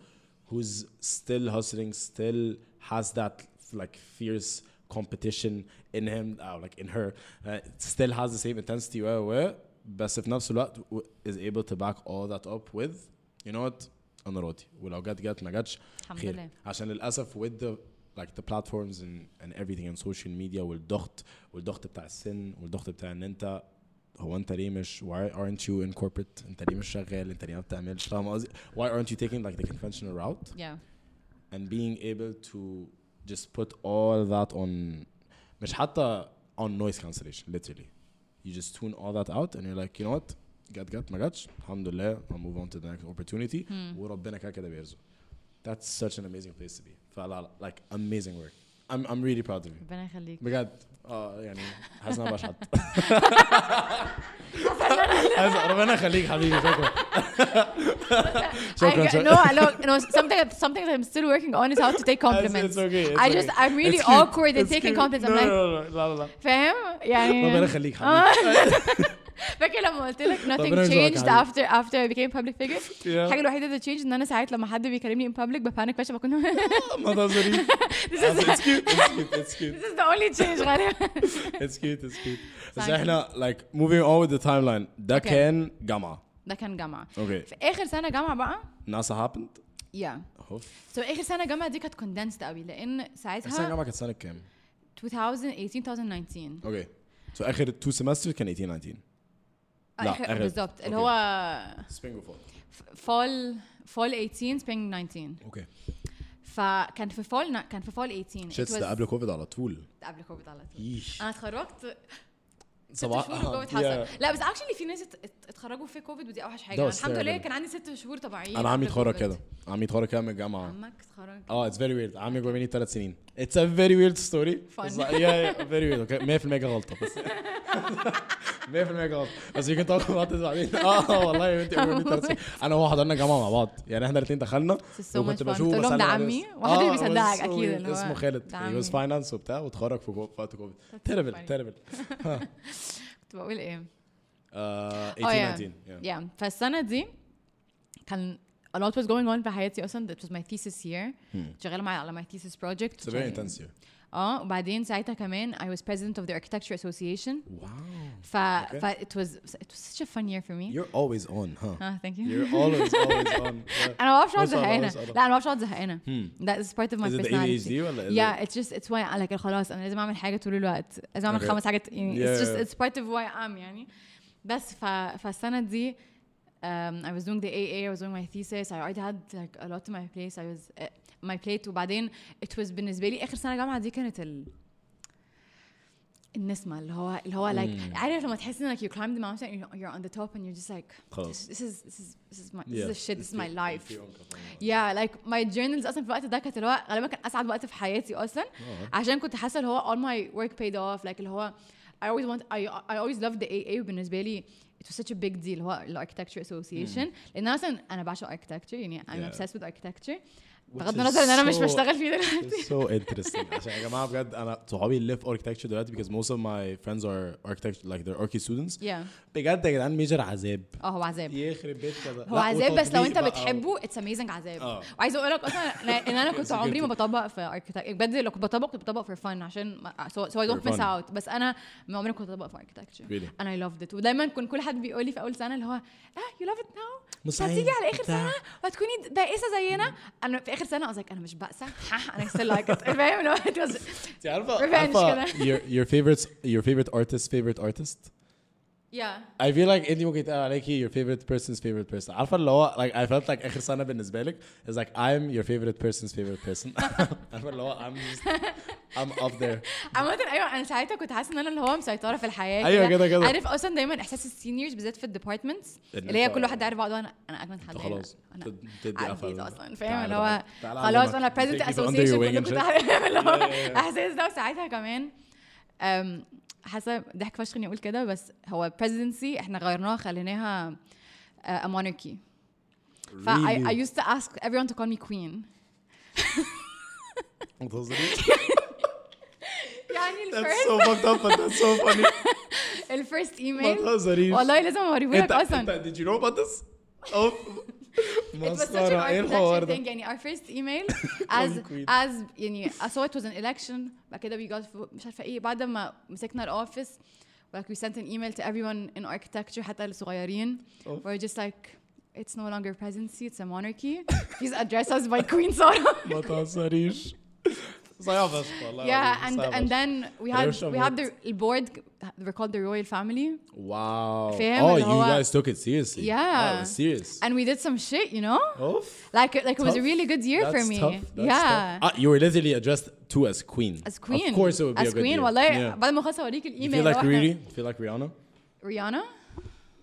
Speaker 2: who's still hustling still has that like fierce competition in him or like in her uh, still has the same intensity where where بس في نفس الوقت w- is able to back all that up with you know what انا راضي ولو جت جت ما جاتش
Speaker 1: الحمد
Speaker 2: خير.
Speaker 1: لله
Speaker 2: عشان للاسف with the like the platforms and and everything and social media والضغط والضغط بتاع السن والضغط بتاع ان انت هو انت ليه مش why aren't you in corporate انت ليه مش شغال انت ليه ما بتعملش فاهم قصدي why aren't you taking like the conventional route
Speaker 1: يا
Speaker 2: and being able to just put all that on مش حتى on noise cancellation literally you just tune all that out and you're like you know what جت جت ما جاتش الحمد لله I'll move on to the next opportunity
Speaker 1: Hmm.
Speaker 2: وربنا كده كده بيرزق that's such an amazing place to be فلا لا like amazing work I'm I'm really proud of you
Speaker 1: ربنا يخليك
Speaker 2: بجد اه يعني حاسس ان انا بشحت حاسس- ربنا يخليك حبيبي شكرا شكرا
Speaker 1: I,
Speaker 2: شكرا
Speaker 1: no, no, no. Something, something that I'm still working on is how to take compliments.
Speaker 2: It's okay, it's
Speaker 1: I just,
Speaker 2: okay.
Speaker 1: I'm really
Speaker 2: It's cute,
Speaker 1: awkward in
Speaker 2: it's
Speaker 1: taking
Speaker 2: cute.
Speaker 1: compliments.
Speaker 2: No,
Speaker 1: I'm like,
Speaker 2: no, no, no, لا لا لا
Speaker 1: فاهم؟ يعني
Speaker 2: ربنا يخليك
Speaker 1: آه.
Speaker 2: حبيبي
Speaker 1: فاكر لما قلت لك nothing
Speaker 2: ربنا يرزقك
Speaker 1: changed
Speaker 2: يا
Speaker 1: after after I became public figure
Speaker 2: Yeah.
Speaker 1: الحاجه الوحيده اللي changed ان انا ساعات لما حد بيكلمني in public ببانك فشخ بكون
Speaker 2: ما تهزريش
Speaker 1: this is
Speaker 2: It's cute it's cute it's cute
Speaker 1: this is the only change غالبا
Speaker 2: it's cute it's cute بس
Speaker 1: Thank you.
Speaker 2: احنا like moving on with the timeline ده
Speaker 1: Okay.
Speaker 2: كان جامعة
Speaker 1: ده كان جامعه
Speaker 2: اوكي
Speaker 1: في اخر سنه جامعه بقى
Speaker 2: ناسا happened
Speaker 1: يا
Speaker 2: اوف
Speaker 1: سو اخر سنه جامعه دي كانت كوندنسد قوي لان
Speaker 2: احسن
Speaker 1: ساعتها
Speaker 2: جامعة كانت سنة كام؟
Speaker 1: 2018 2019
Speaker 2: اوكي سو اخر تو سيمستر كان 18 19 لا،
Speaker 1: آخر-
Speaker 2: آخر-
Speaker 1: آه، بالظبط اللي
Speaker 2: أوكي.
Speaker 1: هو
Speaker 2: سبرينج وفول
Speaker 1: فول فول 18 سبرينج 19
Speaker 2: اوكي
Speaker 1: فكان في فول كان في فول 18
Speaker 2: شيتس
Speaker 1: It was
Speaker 2: ده قبل كوفيد على طول
Speaker 1: قبل كوفيد على طول
Speaker 2: ييش
Speaker 1: انا اتخرجت ست
Speaker 2: سبعة-
Speaker 1: شهور وجوه
Speaker 2: آه،
Speaker 1: اتحصل
Speaker 2: yeah.
Speaker 1: لا بس اكشلي في ناس ات- ات- اتخرجوا في كوفيد ودي اوحش حاجه
Speaker 2: ده
Speaker 1: أنا
Speaker 2: was
Speaker 1: الحمد لله
Speaker 2: terrible.
Speaker 1: كان عندي ست شهور طبيعيين
Speaker 2: انا عمي
Speaker 1: قبل
Speaker 2: اتخرج
Speaker 1: COVID.
Speaker 2: كده عمي اتخرج كده من الجامعه
Speaker 1: عمك اتخرج
Speaker 2: اه اتس فيري ويرد عمي جوه مني ثلاث سنين اتس ا فيري ويرد ستوري
Speaker 1: Fun.
Speaker 2: يا فيري ويرد اوكي 100% غلطه بس 100% غلطه بس يمكن طبعا بعد بعدين اه آه، والله يا بنتي جوه مني ثلاث سنين انا وهو حضرنا جامعه مع بعض يعني احنا الاثنين دخلنا
Speaker 1: This is so much fun. تقول لهم
Speaker 2: بسلم
Speaker 1: ده
Speaker 2: عليه
Speaker 1: عمي
Speaker 2: بس-
Speaker 1: ومحدش
Speaker 2: آه،
Speaker 1: بيصدقك
Speaker 2: بس-
Speaker 1: أكيد إن هو
Speaker 2: اسمه خالد
Speaker 1: ده
Speaker 2: هي واز
Speaker 1: عمي.
Speaker 2: فاينانس وبتاع واتخرج في كو- في وقت كوفيد تيربل
Speaker 1: funny.
Speaker 2: تيربل
Speaker 1: كنت بقول ايه Oh,
Speaker 2: 18 19 آه، yeah.
Speaker 1: yeah. فالسنه دي كان a lot was going on في حياتي اصلا it was my thesis year كنت شغاله مع على my thesis project
Speaker 2: Hmm. It's a very intense year.
Speaker 1: اه وبعدين ساعتها كمان I was president of the architecture association
Speaker 2: Wow.
Speaker 1: ف
Speaker 2: Okay.
Speaker 1: ف it was it was such a fun year for me
Speaker 2: You're always on, huh?
Speaker 1: اه thank you
Speaker 2: You're always, always on. Yeah.
Speaker 1: انا ما بعرفش اقعد
Speaker 2: Always on,
Speaker 1: زهقانه
Speaker 2: always
Speaker 1: لا
Speaker 2: on.
Speaker 1: انا ما بعرفش اقعد زهقانه that is part of my
Speaker 2: Is it the
Speaker 1: personality
Speaker 2: ADHD ولا is it-
Speaker 1: yeah it's just it's why I like خلاص انا لازم اعمل حاجه طول الوقت لازم اعمل
Speaker 2: Okay.
Speaker 1: خمس حاجات يعني it's
Speaker 2: Yeah,
Speaker 1: just
Speaker 2: yeah.
Speaker 1: it's part of why I'm يعني بس ف فالسنه دي um, I was doing the AA I was doing my thesis I already had like a lot on my place I was uh, my plate وبعدين it was بالنسبه لي اخر سنه جامعه دي كانت ال النسمه اللي هو اللي هو
Speaker 2: Hmm.
Speaker 1: like عارف لما تحس انك you climb the mountain and you're on the top and you're just like
Speaker 2: خلاص.
Speaker 1: this is this is this is my this
Speaker 2: Yeah.
Speaker 1: is the shit this is my
Speaker 2: It's
Speaker 1: life
Speaker 2: the- it's the-
Speaker 1: يا لايك ماي جورنالز اصلا في الوقت ده كانت اللي هو غالبا كان اسعد وقت في حياتي اصلا
Speaker 2: Oh,
Speaker 1: عشان كنت حاسه اللي هو all my work paid off like اللي هو I always want I, I always loved the AA وبالنسبه لي it was such a big deal اللي هو ال architecture association لان أنا اصلا انا بعشق architecture يعني I'm
Speaker 2: Yeah.
Speaker 1: obsessed with architecture
Speaker 2: Which
Speaker 1: بغض
Speaker 2: is
Speaker 1: النظر ان انا مش
Speaker 2: so-
Speaker 1: بشتغل فيه دلوقتي
Speaker 2: It's so interesting عشان يا جماعه بجد انا صحابي اللي في architecture دلوقتي because most of my friends are architecture like they're archi students
Speaker 1: Yeah.
Speaker 2: بجد يا جدعان ميجر عذاب
Speaker 1: اه هو عذاب
Speaker 2: يخرب بيت كده
Speaker 1: هو
Speaker 2: لا،
Speaker 1: عذاب بس لو
Speaker 2: وتطبيق
Speaker 1: انت
Speaker 2: بقى.
Speaker 1: بتحبه اتس اميزنج عذاب
Speaker 2: اه.
Speaker 1: وعايزه اقول لك اصلا أنا- ان انا كنت
Speaker 2: It's
Speaker 1: عمري ما
Speaker 2: guilty.
Speaker 1: بطبق في اركتكتشر بجد لو كنت بطبق كنت بطبق فور فن عشان ما- so, so I don't
Speaker 2: For
Speaker 1: miss
Speaker 2: fun.
Speaker 1: out بس انا ما عمري ما كنت بطبق في اركتكتشر
Speaker 2: Really?
Speaker 1: انا اي لافد ات ودايما كان كل حد بيقول لي في اول سنه اللي هو اه يو لاف ات ناو مش
Speaker 2: مستحيل.
Speaker 1: هتيجي على اخر
Speaker 2: بتاع.
Speaker 1: سنه وهتكوني بائسه زينا انا في اخر سنه قصدك انا مش بائسه ها، انا ستيل لايك ات فاهم اللي هو it was-
Speaker 2: انت عارفه
Speaker 1: Revenge
Speaker 2: عارفه
Speaker 1: كده.
Speaker 2: your your favorite your favorite artist favorite artist
Speaker 1: yeah
Speaker 2: I feel like انت ممكن تقول عليكي your favorite person's favorite person عارفه اللي هو like I felt like اخر سنه بالنسبه لك is like I'm your favorite person's favorite person عارفه اللي هو I'm just I'm up there
Speaker 1: عامة ايوه انا ساعتها كنت حاسه ان انا اللي هو مسيطره في الحياه
Speaker 2: أيوة كده كده.
Speaker 1: عارف اصلا دايما احساس السينيورز بالذات في الديبارتمنتس
Speaker 2: إن
Speaker 1: اللي هي
Speaker 2: أنت-
Speaker 1: كل واحد عارف بعضه انا انا اجمد حد
Speaker 2: انت خلاص
Speaker 1: هنا.
Speaker 2: تد- تدي
Speaker 1: انا
Speaker 2: قفل.
Speaker 1: عديت اصلا فاهم
Speaker 2: تعالى
Speaker 1: اللي هو
Speaker 2: بقى. تعالى
Speaker 1: خلاص
Speaker 2: أعلمك.
Speaker 1: انا بريزنت
Speaker 2: Take people under your
Speaker 1: اسوسيشن
Speaker 2: wing
Speaker 1: كنت
Speaker 2: and shit.
Speaker 1: عارف اللي
Speaker 2: Yeah,
Speaker 1: هو
Speaker 2: yeah, yeah.
Speaker 1: احساس ده وساعتها كمان أم، حاسه ضحك فشخ اني اقول كده بس هو بريزنسي احنا غيرناها خليناها آه، a monarchy ف I, I
Speaker 2: Really?
Speaker 1: used to ask everyone to call me queen
Speaker 2: بتهزري؟
Speaker 1: يعني
Speaker 2: That's
Speaker 1: الفيرست
Speaker 2: so fucked up, but that's so funny.
Speaker 1: الفيرست
Speaker 2: ما
Speaker 1: ايميل
Speaker 2: تهزريش.
Speaker 1: والله لازم اوريهولك
Speaker 2: انت-
Speaker 1: اصلا
Speaker 2: انت- did you know about this? Oh. eh, اوف
Speaker 1: It was such an
Speaker 2: مسخرة ايه الحوار
Speaker 1: architecture
Speaker 2: ده؟
Speaker 1: thing يعني our first email as
Speaker 2: Queen.
Speaker 1: as يعني I saw it was an election بعد كده we got مش عارفة ايه بعد ما مسكنا الاوفيس like we sent an email to everyone in architecture حتى الصغيرين
Speaker 2: أوف.
Speaker 1: we're just like it's no longer presidency it's a monarchy please address us by Queen Sara
Speaker 2: ما تهزريش. صياع فشخ والله
Speaker 1: yeah
Speaker 2: العظيم،
Speaker 1: and
Speaker 2: صياع
Speaker 1: and
Speaker 2: فشخ.
Speaker 1: then we had
Speaker 2: Russia
Speaker 1: we had the
Speaker 2: vote.
Speaker 1: board they're called the royal family
Speaker 2: Wow.
Speaker 1: فاهم
Speaker 2: Oh,
Speaker 1: اللي
Speaker 2: you
Speaker 1: هو-
Speaker 2: guys took it seriously.
Speaker 1: Yeah.
Speaker 2: Oh, it was serious.
Speaker 1: and we did some shit you know
Speaker 2: Oof.
Speaker 1: like like it was a
Speaker 2: Tough.
Speaker 1: really good year for
Speaker 2: That's
Speaker 1: me
Speaker 2: tough. That's
Speaker 1: yeah
Speaker 2: tough. Ah, you were literally addressed to as queen.
Speaker 1: as queen
Speaker 2: Of course it would be
Speaker 1: as
Speaker 2: a good
Speaker 1: queen
Speaker 2: year.
Speaker 1: والله
Speaker 2: Yeah.
Speaker 1: بعد ما خلاص اوريك
Speaker 2: You
Speaker 1: الايميل
Speaker 2: feel like
Speaker 1: لو إحنا-
Speaker 2: Riri? You feel like Rihanna?
Speaker 1: ريانا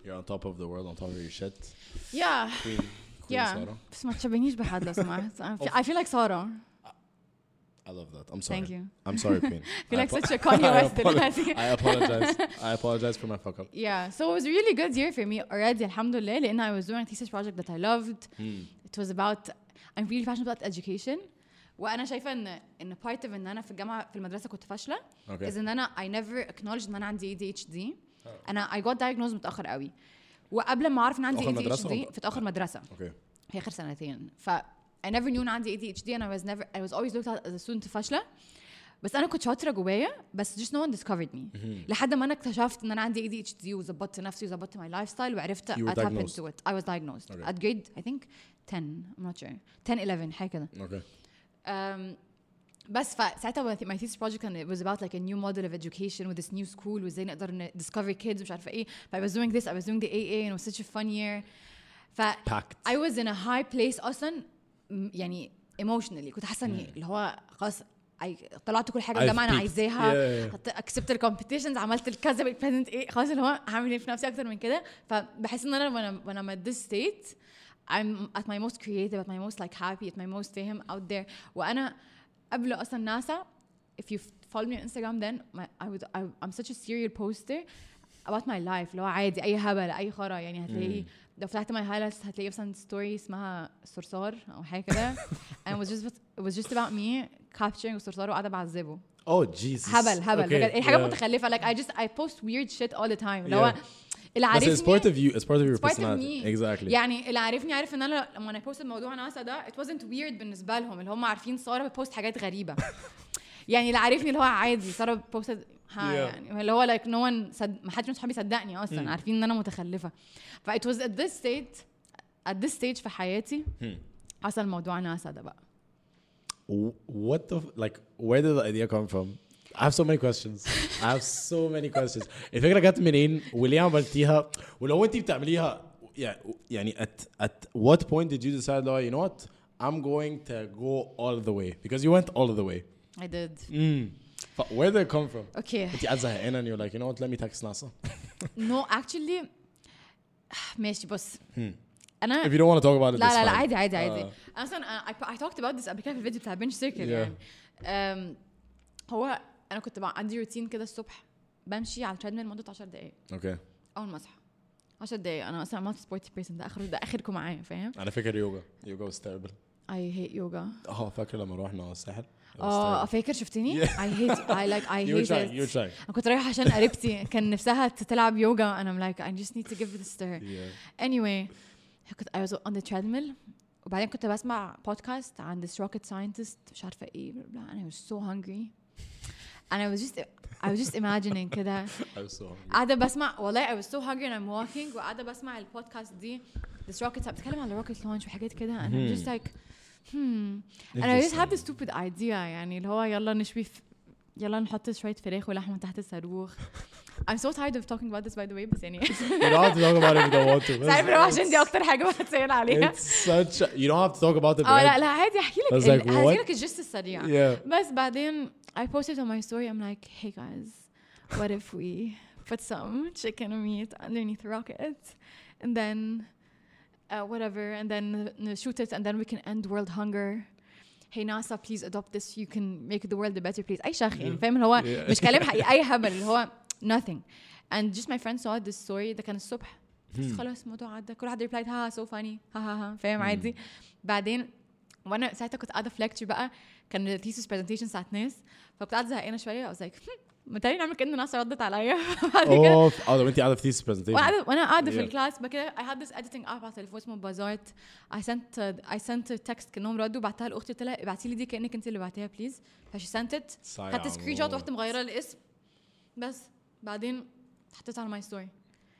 Speaker 2: You're on top of the world, on top of your shit.
Speaker 1: يا
Speaker 2: Queen. Queen
Speaker 1: يا
Speaker 2: Sarah.
Speaker 1: بس ما تشبهنيش بحد لو سمحت I feel- I feel like Sarah
Speaker 2: I love that. I'm sorry.
Speaker 1: Thank you.
Speaker 2: I'm sorry, Queen.
Speaker 1: I feel like
Speaker 2: apo-
Speaker 1: such a Kanye
Speaker 2: I
Speaker 1: West
Speaker 2: apolo-
Speaker 1: دلوقتي.
Speaker 2: I apologize. I apologize for my fuck up.
Speaker 1: yeah so it was a really good year for me already الحمد لله لان I was doing a thesis project that I loved
Speaker 2: Hmm.
Speaker 1: it was about I'm really passionate about education وانا شايفه ان ان part of ان انا في الجامعه في المدرسه كنت فاشله
Speaker 2: Okay.
Speaker 1: is ان انا I never acknowledged ان انا عندي ADHD انا I got diagnosed متاخر قوي وقبل ما اعرف ان عندي
Speaker 2: Oh. في آخر مدرسة
Speaker 1: ADHD
Speaker 2: ولا-
Speaker 1: في اخر مدرسه
Speaker 2: Okay.
Speaker 1: في اخر سنتين ف I never knew ان عندي ADHD and I was never I was always looked at as a student فاشله بس انا كنت شاطره جوايا بس just no one discovered me لحد ما انا اكتشفت ان انا عندي ADHD وظبطت نفسي وظبطت my lifestyle وعرفت
Speaker 2: You were
Speaker 1: what happened
Speaker 2: diagnosed.
Speaker 1: to it I was diagnosed
Speaker 2: Okay.
Speaker 1: at grade I think 10 I'm not sure 10 11 حاجه كده
Speaker 2: Okay.
Speaker 1: Um, بس فساعتها when my thesis project and it was about like a new model of education with this new school وازاي نقدر ن- discover kids مش عارفه ايه ف I was doing this I was doing the AA and it was such a fun year ف
Speaker 2: Packed.
Speaker 1: I was in a high place اصلا م- يعني emotionally كنت حاسه اني اللي هو خلاص I- طلعت كل حاجه
Speaker 2: I've
Speaker 1: الجامعه انا
Speaker 2: peaked.
Speaker 1: عايزاها
Speaker 2: Yeah, yeah.
Speaker 1: حط- accept الكومبيتيشنز عملت الكذا بالبيزنت ايه خلاص اللي هو هعمل ايه في نفسي اكتر من كده فبحس ان انا when I'm- when I'm at this state I'm at my most creative at my most like happy at my most فاهم out there وانا قبل اصلا ناسا if you follow me on Instagram then my, I would I, I'm such a serial poster about my life اللي هو عادي اي هبل اي خرا يعني هتلاقيه لو فتحت ماي هايلايتس هتلاقي مثلا ستوري اسمها صرصار او حاجه كده and it was just it was just about me capturing الصرصار وقاعده بعذبه
Speaker 2: اوه جيسس
Speaker 1: هبل هبل بجد إيه حاجه
Speaker 2: Oh, yeah.
Speaker 1: متخلفه like I just I post weird shit all the time اللي هو
Speaker 2: Yeah.
Speaker 1: اللي
Speaker 2: بس it's
Speaker 1: عارفني
Speaker 2: part of you it's part of your
Speaker 1: It's part of
Speaker 2: personality
Speaker 1: me.
Speaker 2: exactly
Speaker 1: يعني اللي عارفني عارف ان انا لما انا بوست موضوع ناسا ده it wasn't weird بالنسبه لهم اللي هم عارفين ساره بتبوست حاجات غريبه يعني اللي عارفني اللي هو عادي ساره بتبوست ها
Speaker 2: Yeah. Hmm.
Speaker 1: يعني اللي هو لايك نو ون ما حدش من صحابي صدقني اصلا عارفين ان انا متخلفه ف it was at this state at this stage في حياتي
Speaker 2: Hmm.
Speaker 1: حصل موضوع ناسا ده بقى
Speaker 2: W- what the f- like where did the idea come from I have so many questions I have so many questions الفكرة جت منين وليه عملتيها ولو انت بتعمليها يع- يعني at at what point did you decide like you know what I'm going to go all the way because you went all the way
Speaker 1: I did
Speaker 2: Hmm. But where did it come from
Speaker 1: اوكي
Speaker 2: انت قاعد زهقانة and you're like you know what let me text NASA
Speaker 1: نو اكشلي ماشي بص
Speaker 2: Hmm.
Speaker 1: انا
Speaker 2: if you don't want to talk about it
Speaker 1: لا
Speaker 2: it's
Speaker 1: لا لا
Speaker 2: fine.
Speaker 1: عادي عادي عادي
Speaker 2: آه.
Speaker 1: انا اصلا I, I talked about this قبل كده في الفيديو بتاع بنش سيركل
Speaker 2: Yeah.
Speaker 1: يعني أم، هو انا كنت بقى عندي روتين كده الصبح بمشي على التريدميل لمده 10 دقائق
Speaker 2: okay
Speaker 1: اول ما اصحى 10 دقائق انا اصلا not سبورتي بيرسون ده اخر ده اخركم معايا فاهم
Speaker 2: على فكرة يوجا يوجا was terrible
Speaker 1: اي هيت يوجا
Speaker 2: اه فاكر لما روحنا الساحل It was
Speaker 1: اه
Speaker 2: terrible.
Speaker 1: فاكر شفتني
Speaker 2: Yeah.
Speaker 1: اي هيت اي لايك اي
Speaker 2: you were
Speaker 1: هيت
Speaker 2: trying you were
Speaker 1: انا
Speaker 2: trying
Speaker 1: كنت رايحه عشان قريبتي كان نفسها تلعب يوجا انا لايك I just need to give this to her
Speaker 2: yeah
Speaker 1: anyway كنت I was on the treadmill وبعدين كنت بسمع بودكاست عن this rocket scientist مش عارفة ايه blah, blah, and I was so hungry and I was just I was just imagining كده
Speaker 2: I was so hungry
Speaker 1: قاعدة بسمع والله I was so hungry and I'm walking وقاعدة بسمع البودكاست دي this rocket scientist بتكلم على rocket launch وحاجات كده and I'm just like hmm and I just had this stupid idea يعني اللي هو يلا نشوي ف... يلا نحط شوية فراخ ولحمة تحت الصاروخ I'm so tired of talking about this by the way بس يعني
Speaker 2: You don't have to talk about it if you don't want to.
Speaker 1: بس عارف اللي هو عشان دي اكتر حاجه بتسال عليها
Speaker 2: It's such a, you don't have to talk about it.
Speaker 1: اه لا
Speaker 2: بجد.
Speaker 1: لا عادي احكي
Speaker 2: I
Speaker 1: لك
Speaker 2: was like,
Speaker 1: هحكي
Speaker 2: what?
Speaker 1: لك الجست السريع
Speaker 2: Yeah.
Speaker 1: بس بعدين I posted on my story I'm like hey guys what if we put some chicken meat underneath the rocket and then uh, whatever and then shoot it and then we can end world hunger hey NASA please adopt this you can make the world a better place اي شخ يعني فاهم اللي هو
Speaker 2: Yeah.
Speaker 1: مش كلام حقيقي اي هبل اللي هو nothing and just my friend saw this story ده كان الصبح بس
Speaker 2: Hmm.
Speaker 1: خلاص الموضوع عدى كل حد replied ها سو فاني ها ها ها فاهم عادي بعدين وانا ساعتها كنت قاعده في lecture بقى كان الثيسس برزنتيشن ساعه ناس فكنت قاعده زهقانه شويه I was like "Hmm، متهيألي نعمل كأن ناس ردت عليا بعد كده
Speaker 2: اوف اه لو انت قاعده في تيس برزنتيشن
Speaker 1: وانا وانا قاعده في
Speaker 2: Yeah.
Speaker 1: الكلاس بقى كده I had this editing app على التليفون اسمه بازارت I sent I sent a text كانهم ردوا بعتها لاختي قلت لها ابعتي لي دي كانك انت اللي بعتيها بليز فشي sent it خدت سكرين شوت ورحت مغيره الاسم بس بعدين حطيتها على ماي ستوري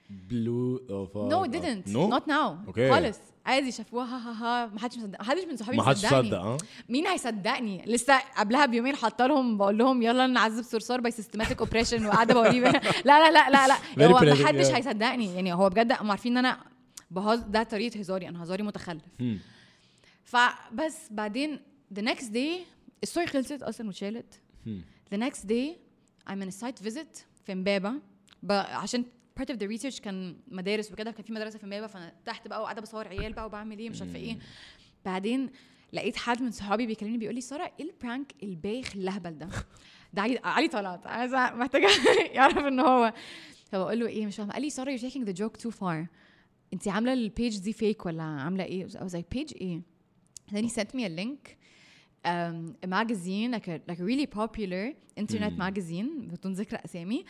Speaker 2: بلو اوف
Speaker 1: نو didn't
Speaker 2: نو
Speaker 1: نوت ناو
Speaker 2: Okay.
Speaker 1: خالص عادي شافوها ها ها ها ما حدش مصدق ما حدش من صحابي
Speaker 2: ما حدش
Speaker 1: مصدقني.
Speaker 2: صدق اه
Speaker 1: مين هيصدقني لسه قبلها بيومين حاطه لهم بقول لهم يلا نعذب صرصار باي سيستماتيك اوبريشن وقاعده بوريه لا لا لا لا لا
Speaker 2: Very
Speaker 1: هو ما
Speaker 2: predictable.
Speaker 1: حدش هيصدقني يعني هو بجد هم عارفين ان انا بهز ده طريقه هزاري انا هزاري متخلف
Speaker 2: Hmm.
Speaker 1: فبس بعدين the next day الستوري خلصت اصلا واتشالت the next day I'm in a site visit في امبابه ب- عشان part of the research كان مدارس وكده كان في مدرسه في امبابه فانا تحت بقى وقاعده بصور عيال بقى وبعمل ايه مش عارفه ايه بعدين لقيت حد من صحابي بيكلمني بيقول لي ساره ايه البرانك البايخ الاهبل ده ده علي- علي طلعت عايزه محتاجه يعرف ان هو فبقول له ايه مش فاهمه قال لي ساره you're taking the joke too far انت عامله البيج دي فيك ولا عامله ايه I was like page ايه then he sent me a link um, a magazine like a like a really popular internet magazine بدون ذكر اسامي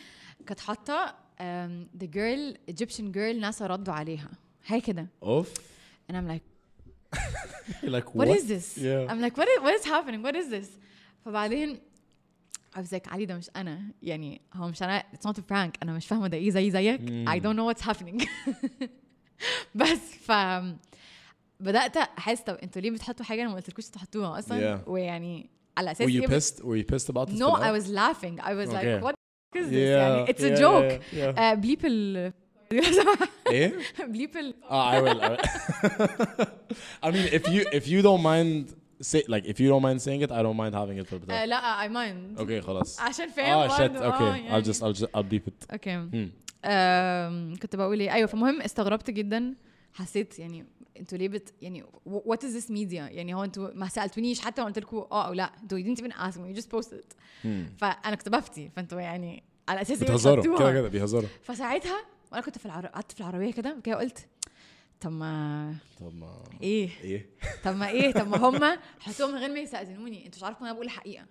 Speaker 1: كانت حاطه um, the girl Egyptian girl ناسا ردوا عليها هاي كده
Speaker 2: اوف
Speaker 1: and I'm like
Speaker 2: Oh, like
Speaker 1: what is this
Speaker 2: Yeah.
Speaker 1: I'm like what is what is happening what is this فبعدين I was like علي ده مش انا يعني هو مش انا it's not a prank انا مش فاهمه ده ايه زي زيك I don't know what's happening بس ف بدات احس طب انتوا ليه بتحطوا حاجه انا ما قلتلكوش تحطوها اصلا
Speaker 2: Yeah.
Speaker 1: ويعني على اساس
Speaker 2: were you
Speaker 1: ايه بت-
Speaker 2: pissed were you pissed about this
Speaker 1: No,
Speaker 2: for now?
Speaker 1: I was laughing. I was like,
Speaker 2: Okay.
Speaker 1: what the f- is this?
Speaker 2: Yeah,
Speaker 1: يعني, it's a
Speaker 2: yeah,
Speaker 1: joke.
Speaker 2: yeah, yeah.
Speaker 1: Uh, bleep ال
Speaker 2: ايه
Speaker 1: بليب ال-
Speaker 2: Oh, I will. I, will. I mean, if you if you don't mind say like if you don't mind saying it, I don't mind having it for the
Speaker 1: آه، لا اي مايند
Speaker 2: Okay, خلاص.
Speaker 1: عشان فاهم
Speaker 2: Oh shit.
Speaker 1: برضه،
Speaker 2: Okay,
Speaker 1: آه،
Speaker 2: I'll
Speaker 1: يعني.
Speaker 2: just I'll just I'll beep it.
Speaker 1: اوكي
Speaker 2: مم.
Speaker 1: آم، كنت بقول ايه ايوه فمهم استغربت جدا حسيت يعني انتوا ليه بت يعني وات از ذس ميديا يعني هو انتوا ما سالتونيش حتى قلت لكم اه او لا انتوا you didn't even ask me you just posted فانا كنت بفتي فانتوا يعني على اساس إيه
Speaker 2: بيهزروا كده
Speaker 1: بتحطوها؟
Speaker 2: كده بيهزروا.
Speaker 1: فساعتها وانا كنت في العربيه قعدت في العربيه كده كده قلت طب ما
Speaker 2: طب ما
Speaker 1: ايه
Speaker 2: ايه؟
Speaker 1: طب ما ايه طب ما هم حطوهم من غير ما يستاذنوني انتوا مش عارفين انا بقول الحقيقه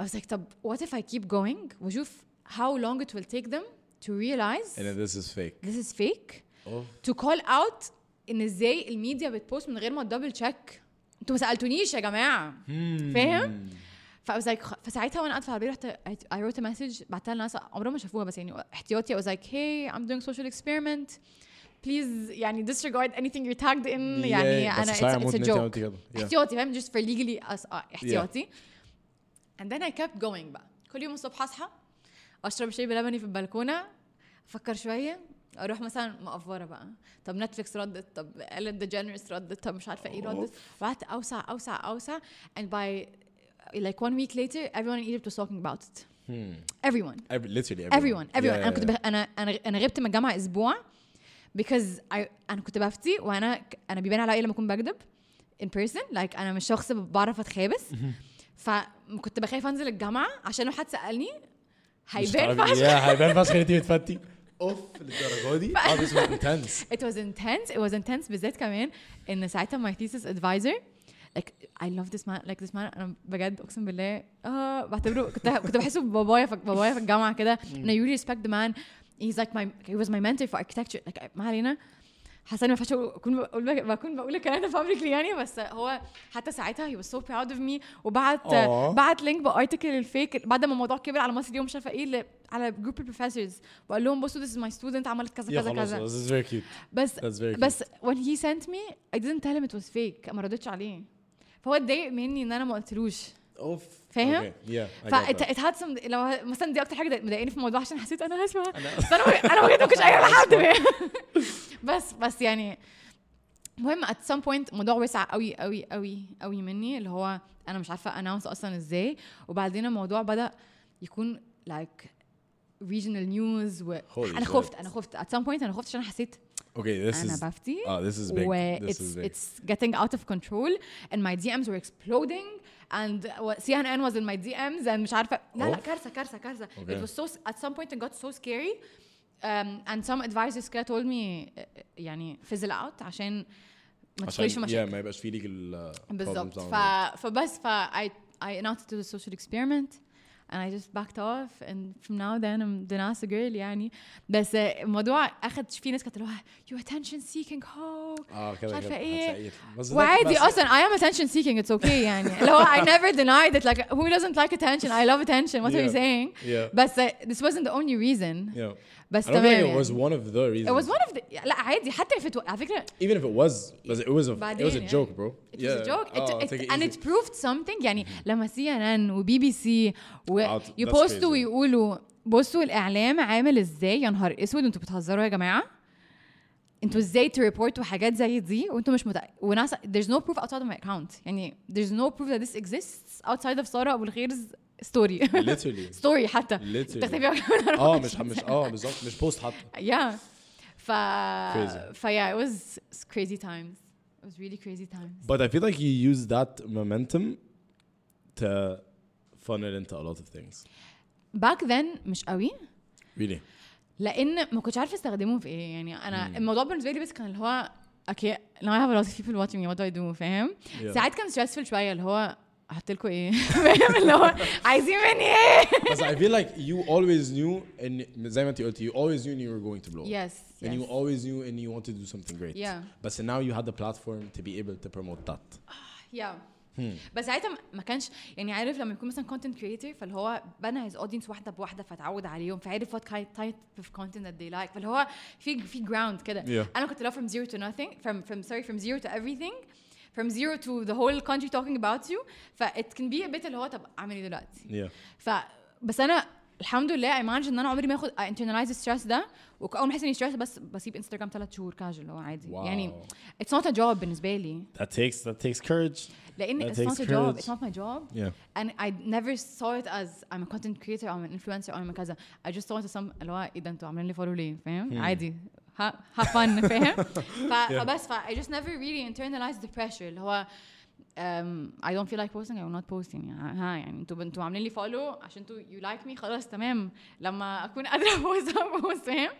Speaker 1: I was like طب what if I keep going واشوف how long it will take them to realize
Speaker 2: And this is fake.
Speaker 1: this is fake
Speaker 2: Oh.
Speaker 1: to call out ان ازاي الميديا بتبوست من غير ما تدبل تشيك انتوا ما سالتونيش يا جماعه فاهم؟ ف I was like خ- فساعتها وانا قاعده في العربيه رحت I- I wrote a message بعتها لناس عمرهم ما شافوها بس يعني احتياطي I was like hey I'm doing social experiment please يعني disregard anything you're tagged in يعني
Speaker 2: Yeah, بس
Speaker 1: انا
Speaker 2: مش عارف
Speaker 1: it's, it's
Speaker 2: أموت إن
Speaker 1: a
Speaker 2: أنت عملتي
Speaker 1: joke
Speaker 2: كده. Yeah.
Speaker 1: احتياطي فاهم just for legally as آه، احتياطي and then I kept going بقى كل يوم الصبح اصحى اشرب شاي بلبني في البلكونه افكر شويه اروح مثلا مقفره بقى طب نتفليكس ردت طب ellen ديجينيرس ردت طب مش عارفه ايه ردت وقعدت اوسع اوسع اوسع and by like one week later everyone in Egypt was talking about it everyone
Speaker 2: Every, literally
Speaker 1: everyone
Speaker 2: everyone.
Speaker 1: everyone
Speaker 2: يعني Yeah,
Speaker 1: انا كنت
Speaker 2: yeah,
Speaker 1: بخ... انا انا انا غبت من الجامعه اسبوع because I... انا كنت بفتي وانا ك- انا بيبان عليا لما اكون بكذب in person like انا مش شخص بعرف اتخابس فكنت بخاف انزل الجامعه عشان لو حد سالني
Speaker 2: yeah. مش
Speaker 1: هيبان
Speaker 2: تعرفي-
Speaker 1: فشخ
Speaker 2: Yeah, هيبان فشخ ان انت بتفتي. اوف للدرجه دي. Oh, this was intense.
Speaker 1: it was intense it was intense بالذات كمان ان ساعتها my thesis advisor like I love this man like this man انا بجد اقسم بالله اه بعتبره كنت كنت بحسه بابايا في بابايا في الجامعه كده and I really respect the man he's like my he was my mentor for architecture like ما علينا حسن ما ينفعش أقول- اكون بقول بكون بقول الكلام ده publicly يعني بس هو حتى ساعتها he was so proud of me وبعت
Speaker 2: آه.
Speaker 1: بعت لينك بارتكل الفيك بعد ما الموضوع كبر على مصر اليوم مش عارفه ايه اللي- على جروب البروفيسورز وقال لهم بصوا this is my student عملت كذا
Speaker 2: يا
Speaker 1: كذا
Speaker 2: خلاص
Speaker 1: كذا
Speaker 2: this is very cute.
Speaker 1: بس
Speaker 2: That's very
Speaker 1: بس when he sent me I didn't tell him it was fake ما ردتش عليه فهو اتضايق مني ان انا ما قلتلوش
Speaker 2: اوف
Speaker 1: فاهم؟
Speaker 2: يا
Speaker 1: ف it, it had some لو مثلا دي اكتر حاجه ضايق- مضايقاني في الموضوع عشان حسيت انا هسمع بس انا انا بجد ما كنتش قايله لحد بس بس يعني المهم at some point الموضوع وسع قوي قوي قوي قوي مني اللي هو انا مش عارفه اناونس اصلا ازاي وبعدين الموضوع بدا يكون like regional news و...
Speaker 2: Holy
Speaker 1: انا
Speaker 2: shit.
Speaker 1: خفت انا خفت at some point انا خفت عشان حسيت
Speaker 2: اوكي this
Speaker 1: انا
Speaker 2: is
Speaker 1: بفتي
Speaker 2: اه this is big.
Speaker 1: و
Speaker 2: This is
Speaker 1: it's
Speaker 2: big.
Speaker 1: it's getting out of control and my DMs were exploding and uh, سي ان ان was in my DMs and مش عارفه لا لا
Speaker 2: Oof.
Speaker 1: كارثه كارثه كارثه
Speaker 2: Oh. Okay.
Speaker 1: it was so at some point it got so scary um, and some advisors كده told me uh, يعني fizzle out عشان ما تدخليش في
Speaker 2: عشان
Speaker 1: مشاكل
Speaker 2: yeah, ما يبقاش في legal uh,
Speaker 1: بالظبط
Speaker 2: problems down
Speaker 1: ف...
Speaker 2: the road.
Speaker 1: فبس ف I, I announced it to the social experiment and I just backed off and from now then I'm the NASA girl يعني بس الموضوع اخد في ناس كانت اللي هو you attention seeking hoe
Speaker 2: اه كده
Speaker 1: مش
Speaker 2: كده
Speaker 1: عارفه ايه
Speaker 2: هتلاقيه. بس ده-
Speaker 1: وعادي
Speaker 2: بس-
Speaker 1: اصلا I am attention seeking it's okay يعني اللي هو I never denied it like who doesn't like attention I love attention what are you
Speaker 2: Yeah.
Speaker 1: saying
Speaker 2: Yeah.
Speaker 1: بس uh, this wasn't the only reason
Speaker 2: Yeah.
Speaker 1: بس
Speaker 2: I don't think
Speaker 1: تمام
Speaker 2: it was
Speaker 1: يعني.
Speaker 2: one of the reasons.
Speaker 1: it was one of the لا عادي حتى if it wa- على فكره
Speaker 2: Even if it was, but it was a it was a
Speaker 1: بعدين
Speaker 2: joke, bro.
Speaker 1: eh? It was a joke. It,
Speaker 2: آه،
Speaker 1: it,
Speaker 2: take it
Speaker 1: and
Speaker 2: easy.
Speaker 1: it proved something يعني لما سي ان ان وبي بي سي
Speaker 2: آه، that's crazy.
Speaker 1: ويبوستوا ويقولوا بصوا الاعلام عامل ازاي يا نهار اسود انتوا بتهزروا يا جماعه انتوا ازاي تريبورتوا حاجات زي دي وانتوا مش متأ... وناس there's no proof outside of my account يعني there's no proof that this exists outside of ساره ابو الخير's story
Speaker 2: literally
Speaker 1: story حتى
Speaker 2: literally. Oh,
Speaker 1: تختفيها كمان
Speaker 2: اه مش مش اه بالظبط مش بوست حتى.
Speaker 1: yeah ف
Speaker 2: Crazy.
Speaker 1: فيا it was crazy times it was really crazy times
Speaker 2: But I feel like you use that momentum to funnel into a lot of things.
Speaker 1: باك ذن مش قوي
Speaker 2: Really.
Speaker 1: لان ما كنتش عارفه استخدمه في ايه يعني انا الموضوع بالنسبه لي بس كان اللي هو اوكي now I have a lot of people watching me what do I do فاهم
Speaker 2: Yeah.
Speaker 1: ساعات كان stressful شويه اللي هو احط لكم ايه فاهم اللي هو عايزين مني ايه
Speaker 2: Because I feel like you always knew and زي ما انت قلتي you always knew you were going to blow up.
Speaker 1: Yes,
Speaker 2: And you
Speaker 1: yes.
Speaker 2: always knew and you wanted to do something great.
Speaker 1: Yeah. Uh.
Speaker 2: But now you had the platform to be able to promote that.
Speaker 1: يا بس ساعتها ما- ما كانش يعني عارف لما يكون مثلا كونتنت كريتور فاللي هو بنى هيز اودينس واحده بواحده فتعود عليهم فعرف وات تايب اوف كونتنت ذات they لايك فاللي هو في في جراوند كده
Speaker 2: Yeah.
Speaker 1: انا كنت لو فروم زيرو تو nothing from from sorry from zero to everything from zero to the whole country talking about you ف it can be a bit اللي هو طب اعمل ايه إيه دلوقتي
Speaker 2: Yeah.
Speaker 1: ف بس انا الحمد لله I managed ان انا عمري ما اخد I internalize stress ده واول ما احس اني stressed بس بسيب انستغرام ثلاث شهور كاجوال اللي هو عادي
Speaker 2: واو.
Speaker 1: يعني it's not a job بالنسبه لي
Speaker 2: That takes that takes courage.
Speaker 1: لان
Speaker 2: That
Speaker 1: it's not
Speaker 2: takes
Speaker 1: a job
Speaker 2: courage.
Speaker 1: it's not my job
Speaker 2: Yeah.
Speaker 1: and I never saw it as I'm a content creator I'm an influencer I'm a كذا I just saw it as some اللي هو ايه ده انتوا عاملين لي فولو ليه
Speaker 2: Hmm.
Speaker 1: فاهم عادي ها ها فن فاهم ف- فبس ف I just never really internalized the pressure اللي هو um, I don't feel like posting I will not post يعني ها يعني انتوا انتوا عاملين لي فولو عشان انتوا you like me خلاص تمام لما اكون قادره ابوظ ابوظ فاهم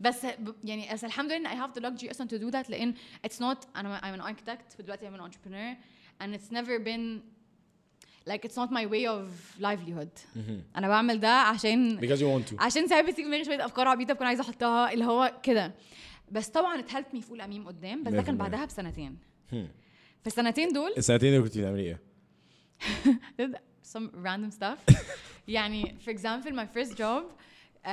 Speaker 1: بس ب- يعني بس الحمد لله ان I have the luxury اصلا to do that لان it's not انا I'm an architect ودلوقتي I'm an entrepreneur and it's never been like it's not my way of livelihood انا بعمل ده عشان
Speaker 2: Because you want to.
Speaker 1: عشان ساعات بتيجي في دماغي شويه افكار عبيطه بكون عايزه احطها اللي هو كده بس طبعا اتهلت مي فول اميم قدام بس ده كان
Speaker 2: 100%.
Speaker 1: بعدها بسنتين
Speaker 2: Hmm.
Speaker 1: في السنتين دول
Speaker 2: السنتين اللي كنت بتعملي ايه؟
Speaker 1: did some random stuff يعني for example my first job um,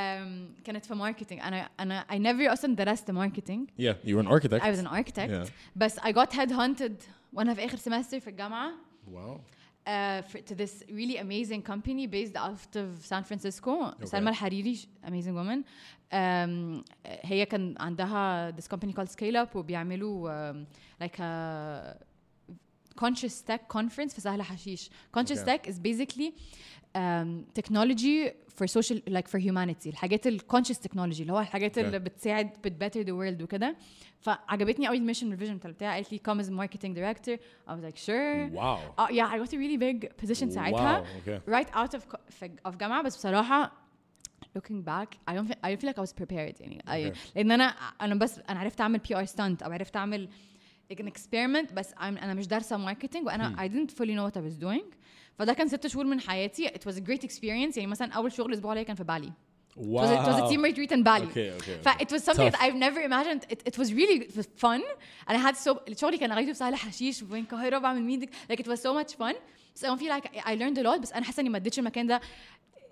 Speaker 1: كانت في marketing انا انا I never اصلا درست marketing
Speaker 2: Yeah, you were an architect.
Speaker 1: I was an architect
Speaker 2: Yeah.
Speaker 1: بس I got headhunted وانا في اخر semester في الجامعه
Speaker 2: Wow.
Speaker 1: uh, for, to this really amazing company based out of San Francisco okay. سلمى الحريري sh- amazing woman um, هي كان عندها this company called Scale Up وبيعملوا um, like a conscious tech conference في سهل حشيش conscious
Speaker 2: Okay.
Speaker 1: tech is basically um, technology for social like for humanity الحاجات ال conscious technology اللي هو الحاجات
Speaker 2: Okay.
Speaker 1: اللي بتساعد بتباتر ذا وورلد وكده فعجبتني قوي الميشن والفيجن بتاعتها قالت لي come as marketing director I was like
Speaker 2: Mm-hmm.
Speaker 1: sure
Speaker 2: Wow.
Speaker 1: اه yeah I got a really big position ساعتها
Speaker 2: Wow. Okay.
Speaker 1: right out of co- في- of جامعة بس بصراحة looking back I don't feel, I don't feel like I was prepared يعني I,
Speaker 2: Okay.
Speaker 1: لأن أنا أنا بس أنا عرفت أعمل PR stunt أو عرفت أعمل like an experiment بس I'm, أنا مش دارسة ماركتينج وأنا
Speaker 2: Hmm.
Speaker 1: I didn't fully know what I was doing فده كان ست شهور من حياتي it was a great experience يعني مثلا أول شغل أسبوع ليا كان في بالي
Speaker 2: Wow.
Speaker 1: it, was a, it was a team retreat in Bali
Speaker 2: Okay, okay,
Speaker 1: ف-
Speaker 2: okay.
Speaker 1: it was something
Speaker 2: Tough.
Speaker 1: that I've never imagined it, it was really f- fun and I had so شغلي كان غايته في سهل حشيش وبين القاهرة بعمل ميتنج like it was so much fun so I don't feel like I learned a lot بس أنا حاسة إني ما اديتش المكان ده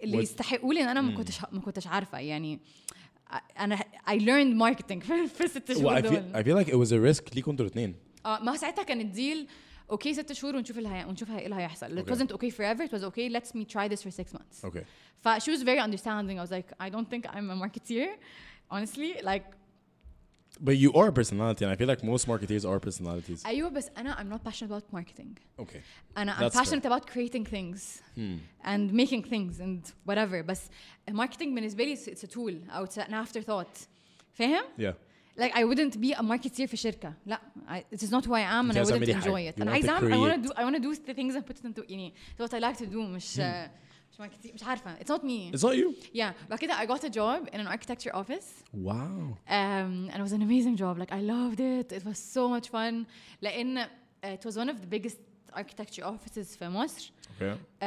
Speaker 1: اللي
Speaker 2: What-
Speaker 1: يستحقوه لأن أنا ما كنتش ما كنتش عارفة يعني أنا I learned marketing في في الست
Speaker 2: Well,
Speaker 1: شهور
Speaker 2: I feel
Speaker 1: دول
Speaker 2: I feel like it was a risk ليكوا انتوا الاثنين.
Speaker 1: اه ما هو ساعتها كان الديل اوكي ست شهور ونشوف اللي هي... ونشوف هي- ايه اللي هيحصل it
Speaker 2: Okay.
Speaker 1: wasn't okay forever it was okay let me try this for six months
Speaker 2: Okay.
Speaker 1: ف she was very understanding. I was like, I don't think I'm a marketeer, honestly. Like,
Speaker 2: But you are a personality, and I feel like most marketeers are personalities.
Speaker 1: أيوة بس أنا I'm not passionate about marketing.
Speaker 2: okay.
Speaker 1: أنا I'm
Speaker 2: That's fair. Hmm.
Speaker 1: passionate about creating things and making things and whatever. بس marketing بالنسبة لي it's- it's a tool أو it's an afterthought. فاهم؟
Speaker 2: Yeah.
Speaker 1: Like I wouldn't be a marketeer في شركة. لا, I, this is not who I am and
Speaker 2: أنت
Speaker 1: I
Speaker 2: عايزة
Speaker 1: wouldn't
Speaker 2: تعملي حاجة.
Speaker 1: enjoy it.
Speaker 2: You
Speaker 1: أنا
Speaker 2: want
Speaker 1: عايزة
Speaker 2: to
Speaker 1: أعمل I want
Speaker 2: create.
Speaker 1: to do I want to do the things and put it into يعني it's what I like to do مش مش marketeer مش عارفة. It's not me.
Speaker 2: Hmm. It's not you.
Speaker 1: Yeah. بعد كده I got a job in an architecture office.
Speaker 2: Wow.
Speaker 1: um, and it was an amazing job. Like I loved it. It was so much fun. لأن uh, it was one of the biggest architecture offices في مصر.
Speaker 2: Okay.
Speaker 1: Um,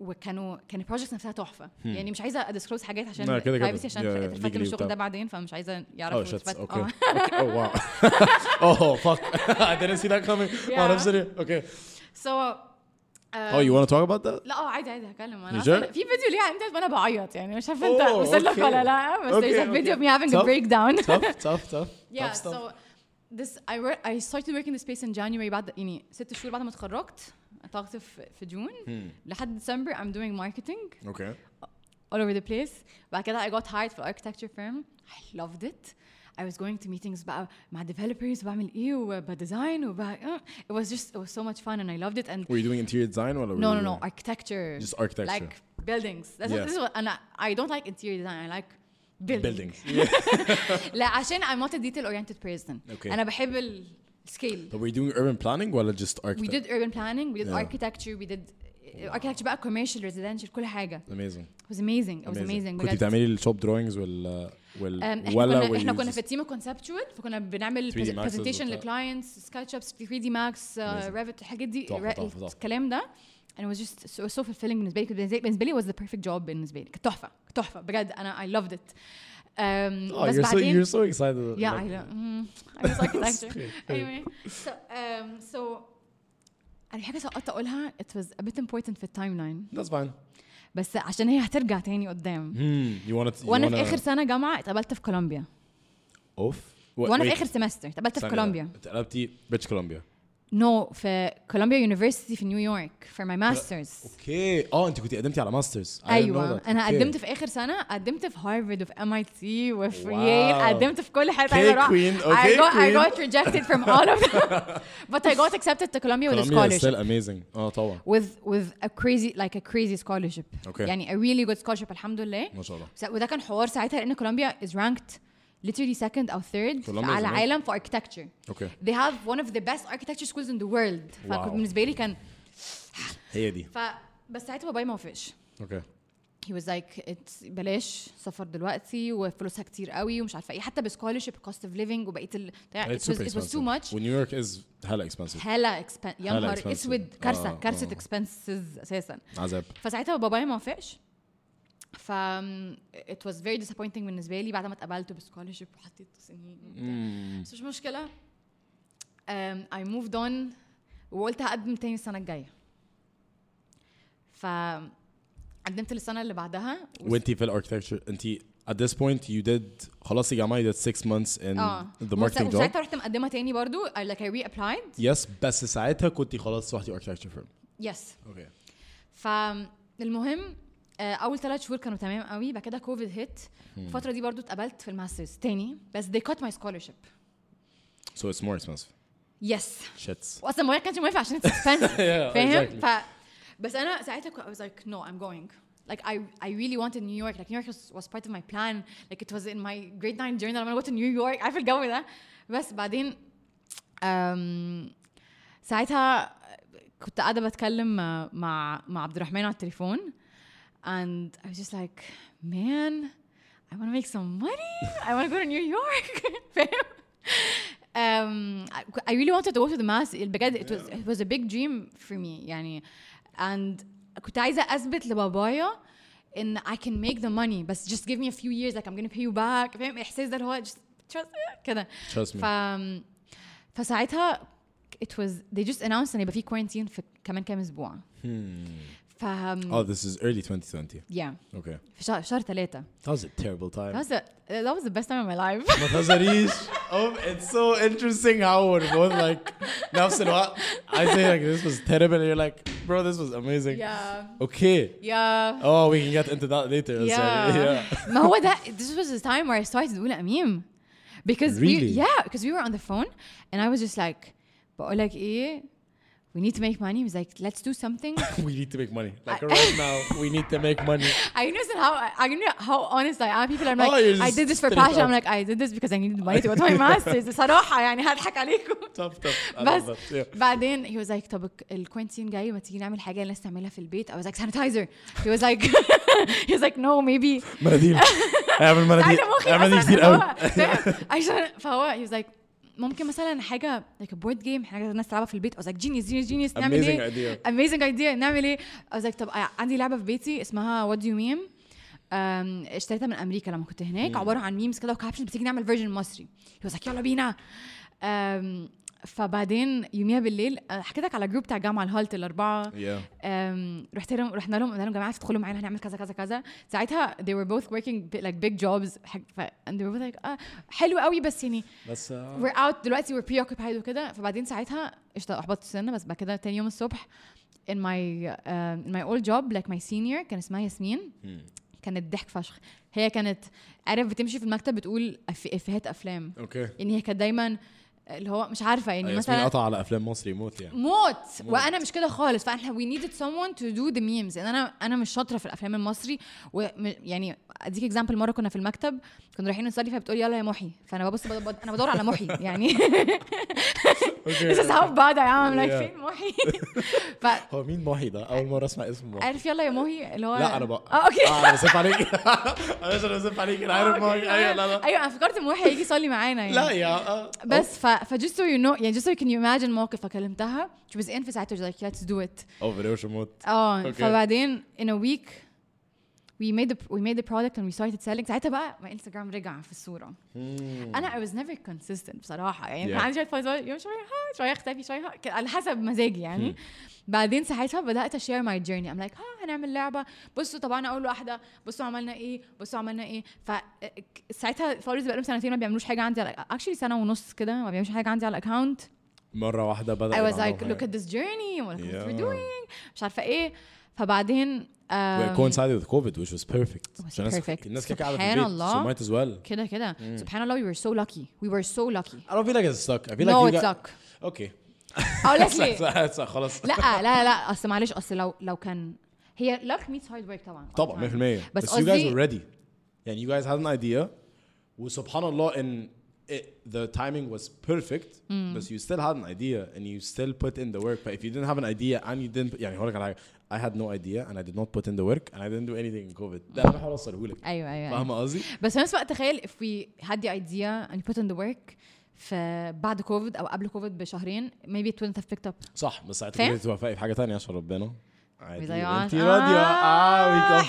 Speaker 1: وكانوا كان البروجكت نفسها تحفة. يعني مش عايزة ادسكلوز حاجات عشان
Speaker 2: Hmm. لا، كده كده.
Speaker 1: privacy عشان
Speaker 2: Yeah, yeah.
Speaker 1: اتفلت من
Speaker 2: legally
Speaker 1: الشغل
Speaker 2: وبتاع.
Speaker 1: ده بعدين فمش عايزة يعرفوا
Speaker 2: Oh shit.
Speaker 1: اتفلت-
Speaker 2: Okay.
Speaker 1: آه.
Speaker 2: okay. Oh wow. oh fuck. I didn't see that coming.
Speaker 1: Yeah.
Speaker 2: Oh, I'm sorry. Okay.
Speaker 1: So uh,
Speaker 2: Oh, you want to talk about that?
Speaker 1: لا اه عادي عادي هكلم انا
Speaker 2: You
Speaker 1: أصلاً
Speaker 2: sure?
Speaker 1: في فيديو ليها انت وانا بعيط يعني مش عارفه انت
Speaker 2: Oh,
Speaker 1: مسلك
Speaker 2: okay.
Speaker 1: ولا لا بس
Speaker 2: Okay,
Speaker 1: there's a video
Speaker 2: okay.
Speaker 1: of me having a
Speaker 2: Tough.
Speaker 1: break down
Speaker 2: tough, tough, tough.
Speaker 1: yeah
Speaker 2: tough stuff.
Speaker 1: so this I work I started working the space in January بعد يعني ست شهور بعد ما اتخرجت اتخرجت في في جون
Speaker 2: Hmm.
Speaker 1: لحد ديسمبر I'm doing marketing
Speaker 2: okay.
Speaker 1: all over the place بعد كده I got hired for architecture firm I loved it I was going to meetings بقى مع developers وبعمل ايه وبديزاين وب uh, it was just it was so much fun and I loved it and
Speaker 2: Were you doing interior design or were
Speaker 1: no
Speaker 2: you
Speaker 1: no no
Speaker 2: doing-
Speaker 1: architecture
Speaker 2: Just architecture.
Speaker 1: like buildings that's
Speaker 2: Yes.
Speaker 1: this is what and I, I don't like interior design I like building
Speaker 2: building? Yeah.
Speaker 1: لا عشان I'm not a detail oriented person
Speaker 2: Okay.
Speaker 1: انا بحب ال- scale
Speaker 2: but were you doing urban planning or just
Speaker 1: we
Speaker 2: architect?
Speaker 1: did urban planning we did
Speaker 2: Yeah.
Speaker 1: architecture we did uh, architecture بقى commercial residential كل حاجة
Speaker 2: Amazing.
Speaker 1: it was amazing it was amazing
Speaker 2: كنت
Speaker 1: بجد
Speaker 2: بتعملي الشوب drawings وال
Speaker 1: Um,
Speaker 2: وال
Speaker 1: احنا
Speaker 2: ولا
Speaker 1: كنا
Speaker 2: were
Speaker 1: احنا
Speaker 2: you
Speaker 1: كنا
Speaker 2: just-
Speaker 1: في التيم الكونسبتشوال فكنا بنعمل
Speaker 2: 3D Maxes
Speaker 1: برزنتيشن
Speaker 2: وبتاع.
Speaker 1: لكلاينتس سكتش ابس 3 دي ماكس
Speaker 2: Amazing.
Speaker 1: ريفت uh, الحاجات دي
Speaker 2: تحفة،
Speaker 1: الر-
Speaker 2: تحفة، تحفة.
Speaker 1: الكلام ده and it was just so, so fulfilling بالنسبه لي كنت بالنسبه- بالنسبه لي was the perfect job بالنسبه لي كانت تحفه كانت تحفه بجد انا I loved it um,
Speaker 2: Oh,
Speaker 1: بس
Speaker 2: you're so
Speaker 1: بعدين
Speaker 2: you're so excited.
Speaker 1: Yeah,
Speaker 2: Like-
Speaker 1: I don't. Mm, I just architecture.
Speaker 2: Okay.
Speaker 1: anyway, so um, so أنا في حاجة سقطت أقولها it was a bit important في التايم لاين
Speaker 2: That's fine.
Speaker 1: بس عشان هي هترجع تاني قدام
Speaker 2: Hmm. You wanted. you
Speaker 1: وأنا
Speaker 2: wanna-
Speaker 1: في آخر سنة جامعة اتقبلت في كولومبيا
Speaker 2: Off. Wait,
Speaker 1: وأنا في
Speaker 2: wait.
Speaker 1: آخر سمستر اتقبلت في
Speaker 2: ثانية.
Speaker 1: كولومبيا
Speaker 2: اتقلبتي بيتش كولومبيا.
Speaker 1: نو في كولومبيا يونيفرسيتي في نيويورك فور ماي ماسترز
Speaker 2: اوكي اه انت كنت قدمتي على ماسترز I didn't know
Speaker 1: ايوه
Speaker 2: that.
Speaker 1: انا
Speaker 2: أوكي.
Speaker 1: قدمت في اخر سنه قدمت في هارفرد وفي ام اي تي وفي
Speaker 2: واو.
Speaker 1: ييل قدمت في كل حته
Speaker 2: Okay,
Speaker 1: عايزة أروح.
Speaker 2: queen,
Speaker 1: I
Speaker 2: okay,
Speaker 1: got I
Speaker 2: queen.
Speaker 1: got rejected from all of them but I got accepted to Columbia with a
Speaker 2: Colombia is
Speaker 1: scholarship
Speaker 2: still amazing اه طبعا
Speaker 1: with with a crazy like a crazy scholarship
Speaker 2: Okay.
Speaker 1: يعني a really good scholarship الحمد لله
Speaker 2: ما شاء الله
Speaker 1: س- وده كان حوار ساعتها لان كولومبيا is ranked literally second او third
Speaker 2: Colombia is
Speaker 1: على
Speaker 2: amazing.
Speaker 1: عالم for architecture
Speaker 2: اوكي
Speaker 1: they have one of the best architecture schools in the world
Speaker 2: واو.
Speaker 1: فكنت بالنسبه لي كان
Speaker 2: هي دي
Speaker 1: ف بس ساعتها باباي ما وافقش
Speaker 2: اوكي
Speaker 1: he was like it's بلاش سفر دلوقتي وفلوسها كتير قوي ومش عارفه ايه حتى بسكولرشيب cost of living وبقيه ال... يعني it
Speaker 2: It's
Speaker 1: was,
Speaker 2: super
Speaker 1: it was too
Speaker 2: expensive.
Speaker 1: much
Speaker 2: ونيويورك is hella expensive
Speaker 1: هلا expen... يا
Speaker 2: هلا
Speaker 1: نهار
Speaker 2: expensive.
Speaker 1: اسود كارثه
Speaker 2: آه،
Speaker 1: كارثه
Speaker 2: آه.
Speaker 1: expenses اساسا
Speaker 2: عذاب
Speaker 1: فساعتها بابايا ما وافقش ف it was very disappointing بالنسبه لي بعد ما اتقبلت بسكولرشيب وحطيت سنين وبتاع. بس مش مشكله um, I moved on وقلت هقدم تاني السنه الجايه ف قدمت للسنه اللي بعدها وس-
Speaker 2: وانت في الاركتكتشر انت at this point you did خلاص يا جماعه you did six months in
Speaker 1: اه
Speaker 2: the marketing job
Speaker 1: ساعتها رحت مقدمه تاني برضو I- like I reapplied
Speaker 2: يس بس ساعتها كنت خلاص روحتي architecture firm
Speaker 1: يس
Speaker 2: اوكي
Speaker 1: فالمهم آه، اول ثلاث شهور كانوا تمام قوي بعد كده كوفيد هيت الفتره دي برضو اتقبلت في الماسترز تاني بس they cut my scholarship
Speaker 2: so it's more expensive
Speaker 1: يس
Speaker 2: shits
Speaker 1: واصلا بابايا كانش موافق عشان it's expensive
Speaker 2: Yeah,
Speaker 1: فاهم
Speaker 2: exactly.
Speaker 1: ف بس انا ساعتها كو- I was like no I'm going like I I really wanted New York like New York was, was part of my plan like it was in my grade 9 journal I'm gonna go to New York عارف الجو ده بس بعدين أم، um, ساعتها كنت قاعده بتكلم مع مع عبد الرحمن على التليفون and I was just like man I want to make some money I want to go to New York فاهم um, I I really wanted to go to the mass بجد it was it was a big dream for me يعني and كنت عايزه اثبت لبابايا ان I can make the money بس just give me a few years like I'm gonna pay you back فاهم الاحساس ده اللي هو just trust- كده
Speaker 2: trust me
Speaker 1: ف فساعتها it was they just announced ان هيبقى في quarantine في كمان كام اسبوع ف um,
Speaker 2: oh this is early 2020
Speaker 1: yeah
Speaker 2: okay
Speaker 1: في شهر شهر ثلاثة
Speaker 2: that was a terrible time
Speaker 1: that was the, that was the best time of my life
Speaker 2: ما تهزريش oh it's so interesting how we're both like نفس الوقت I say like this was terrible and you're like bro this was amazing
Speaker 1: yeah
Speaker 2: okay
Speaker 1: yeah
Speaker 2: Oh, we can get into that later. Yeah.
Speaker 1: yeah.
Speaker 2: yeah.
Speaker 1: ما هو ده this was the time where I started أقول أميم because
Speaker 2: Really?
Speaker 1: we yeah because we were on the phone and I was just like بقول لك إيه we need to make money he was like let's do something
Speaker 2: we need to make money. Like right now, we need to make money.
Speaker 1: I noticed how I know how honest I am people I'm like
Speaker 2: Oh, you're
Speaker 1: I
Speaker 2: just
Speaker 1: did this for
Speaker 2: straight
Speaker 1: passion
Speaker 2: up.
Speaker 1: I'm like I did this because I needed money to go to my masters "Oh, صراحة يعني هضحك عليكم
Speaker 2: Tough, tough. I
Speaker 1: بس
Speaker 2: love that. Yeah.
Speaker 1: بعدين he was like طب الكوينتين جاي ما تيجي نعمل حاجه الناس تعملها في البيت I was like sanitizer he was like he was like no maybe
Speaker 2: مناديل اعمل مناديل
Speaker 1: انا مخي
Speaker 2: اعمل مناديل
Speaker 1: اصلا
Speaker 2: كتير
Speaker 1: اللي هو
Speaker 2: قوي
Speaker 1: فاهم؟ عشان فهو he was like ممكن مثلا حاجه like a board game حاجه الناس تلعبها في البيت I was like genius genius genius نعمل
Speaker 2: Amazing
Speaker 1: ايه
Speaker 2: idea.
Speaker 1: amazing idea نعمل ايه I was like طب عندي لعبه في بيتي اسمها what do you meme أم، اشتريتها من امريكا لما كنت هناك عباره عن ميمز كده وكابشنز بتيجي نعمل فيرجن مصري he was like يلا بينا أم، فبعدين يوميها بالليل أه، حكيت لك على الجروب بتاع الجامعه الهالت الاربعه
Speaker 2: Yeah.
Speaker 1: أم، رحت لهم رحنا لهم قلنا لهم يا جماعه تدخلوا معانا هنعمل كذا كذا كذا ساعتها they were both working bi- like big jobs حاج- ف and they were both like آه حلو قوي بس يعني
Speaker 2: بس آه،
Speaker 1: we're out دلوقتي we're preoccupied وكده فبعدين ساعتها قشطه احبطت سنه بس بعد كده تاني يوم الصبح in my uh, in my old job like my senior كان اسمها ياسمين
Speaker 2: Hmm.
Speaker 1: كانت ضحك فشخ هي كانت عارف بتمشي في المكتب بتقول أف- افيهات افلام
Speaker 2: اوكي
Speaker 1: يعني هي كانت دايما اللي هو مش عارفه يعني
Speaker 2: آه، ياسمين
Speaker 1: مثلا
Speaker 2: قطع على افلام مصري موت يعني
Speaker 1: موت وانا مش كده خالص فاحنا we needed someone to do the memes ان انا انا مش شاطره في الافلام المصري وم- يعني اديك اكزامبل مره كنا في المكتب كنا رايحين نصلي فبتقولي يلا يا محي فانا ببص بد- بد- انا بدور على محي يعني this is how bad I am I'm like
Speaker 2: Yeah.
Speaker 1: فين محي
Speaker 2: هو مين محي ده؟ أول مرة أسمع اسم محي
Speaker 1: فعارف يلا يا محي اللي هو
Speaker 2: لا أنا بقى
Speaker 1: اه اوكي
Speaker 2: أنا بسف عليك أنا مش أنا بسف عليك أنا عارف
Speaker 1: آه، أوكي،
Speaker 2: محي أيوه لا
Speaker 1: تمام.
Speaker 2: لا
Speaker 1: ايوه انا فكرت محي هيجي يصلي معانا يعني
Speaker 2: لا يا آه.
Speaker 1: بس ف ف just so you know يعني just so you can imagine موقف فكلمتها she was in في ساعتها she was like let's do it
Speaker 2: أوفر أوش موت
Speaker 1: اه
Speaker 2: Okay.
Speaker 1: فبعدين in a week we made the we made the product and we started selling ساعتها بقى ما انستغرام رجع في الصوره انا I was never consistent بصراحه يعني كان
Speaker 2: Hmm. Yeah.
Speaker 1: عندي شويه فايزات يوم شويه ها شويه اختفي شويه ها كان على حسب مزاجي يعني
Speaker 2: Hmm.
Speaker 1: بعدين ساعتها بدات اشير ماي جيرني ام لايك ها هنعمل لعبه بصوا طبعا اول واحده بصوا عملنا ايه بصوا عملنا ايه ف ساعتها فولورز بقالهم سنتين ما بيعملوش حاجه عندي على اكشلي سنه ونص كده ما بيعملوش حاجه عندي على الاكونت
Speaker 2: مره واحده بدا
Speaker 1: I was
Speaker 2: يبقى
Speaker 1: like
Speaker 2: عندهم
Speaker 1: look at this journey and what
Speaker 2: طيب، Yeah.
Speaker 1: we're doing مش عارفه ايه فبعدين
Speaker 2: We
Speaker 1: um,
Speaker 2: coincided with COVID which was perfect
Speaker 1: was
Speaker 2: عشان الناس-
Speaker 1: Oh, perfect.
Speaker 2: الناس كده قاعده في
Speaker 1: سبحان
Speaker 2: البيت
Speaker 1: الله.
Speaker 2: so might as well
Speaker 1: كده كده سبحان الله we were so lucky we were so lucky
Speaker 2: I don't feel like it's stuck I feel like
Speaker 1: no
Speaker 2: you
Speaker 1: it's
Speaker 2: got-
Speaker 1: luck
Speaker 2: اوكي
Speaker 1: اقول لك ليه
Speaker 2: خلاص
Speaker 1: لا آه، لا لا اصل معلش اصل لو لو كان هي luck meets hard work طبعا
Speaker 2: طبعا 100%
Speaker 1: يعني. بس
Speaker 2: بس you guys
Speaker 1: قصدي-
Speaker 2: were ready يعني you guys had an idea وسبحان الله in it, the timing was perfect بس you still had an idea and you still put in the work but if you didn't have an idea and you didn't يعني هقول لك على حاجه I had no idea and I did not put in the work and I didn't do anything in COVID ده انا بحاول اوصله لك
Speaker 1: ايوه ايوه, أيوة.
Speaker 2: فاهمه قصدي؟
Speaker 1: بس في نفس الوقت تخيل if we had the idea and put in the work فبعد كوفيد او قبل كوفيد بشهرين maybe it wouldn't have picked up
Speaker 2: صح بس
Speaker 1: فاهم؟
Speaker 2: ساعتها كنت توفقي في حاجه ثانيه عشان ربنا عادي
Speaker 1: We're like, آه،
Speaker 2: انت راضيه اه we come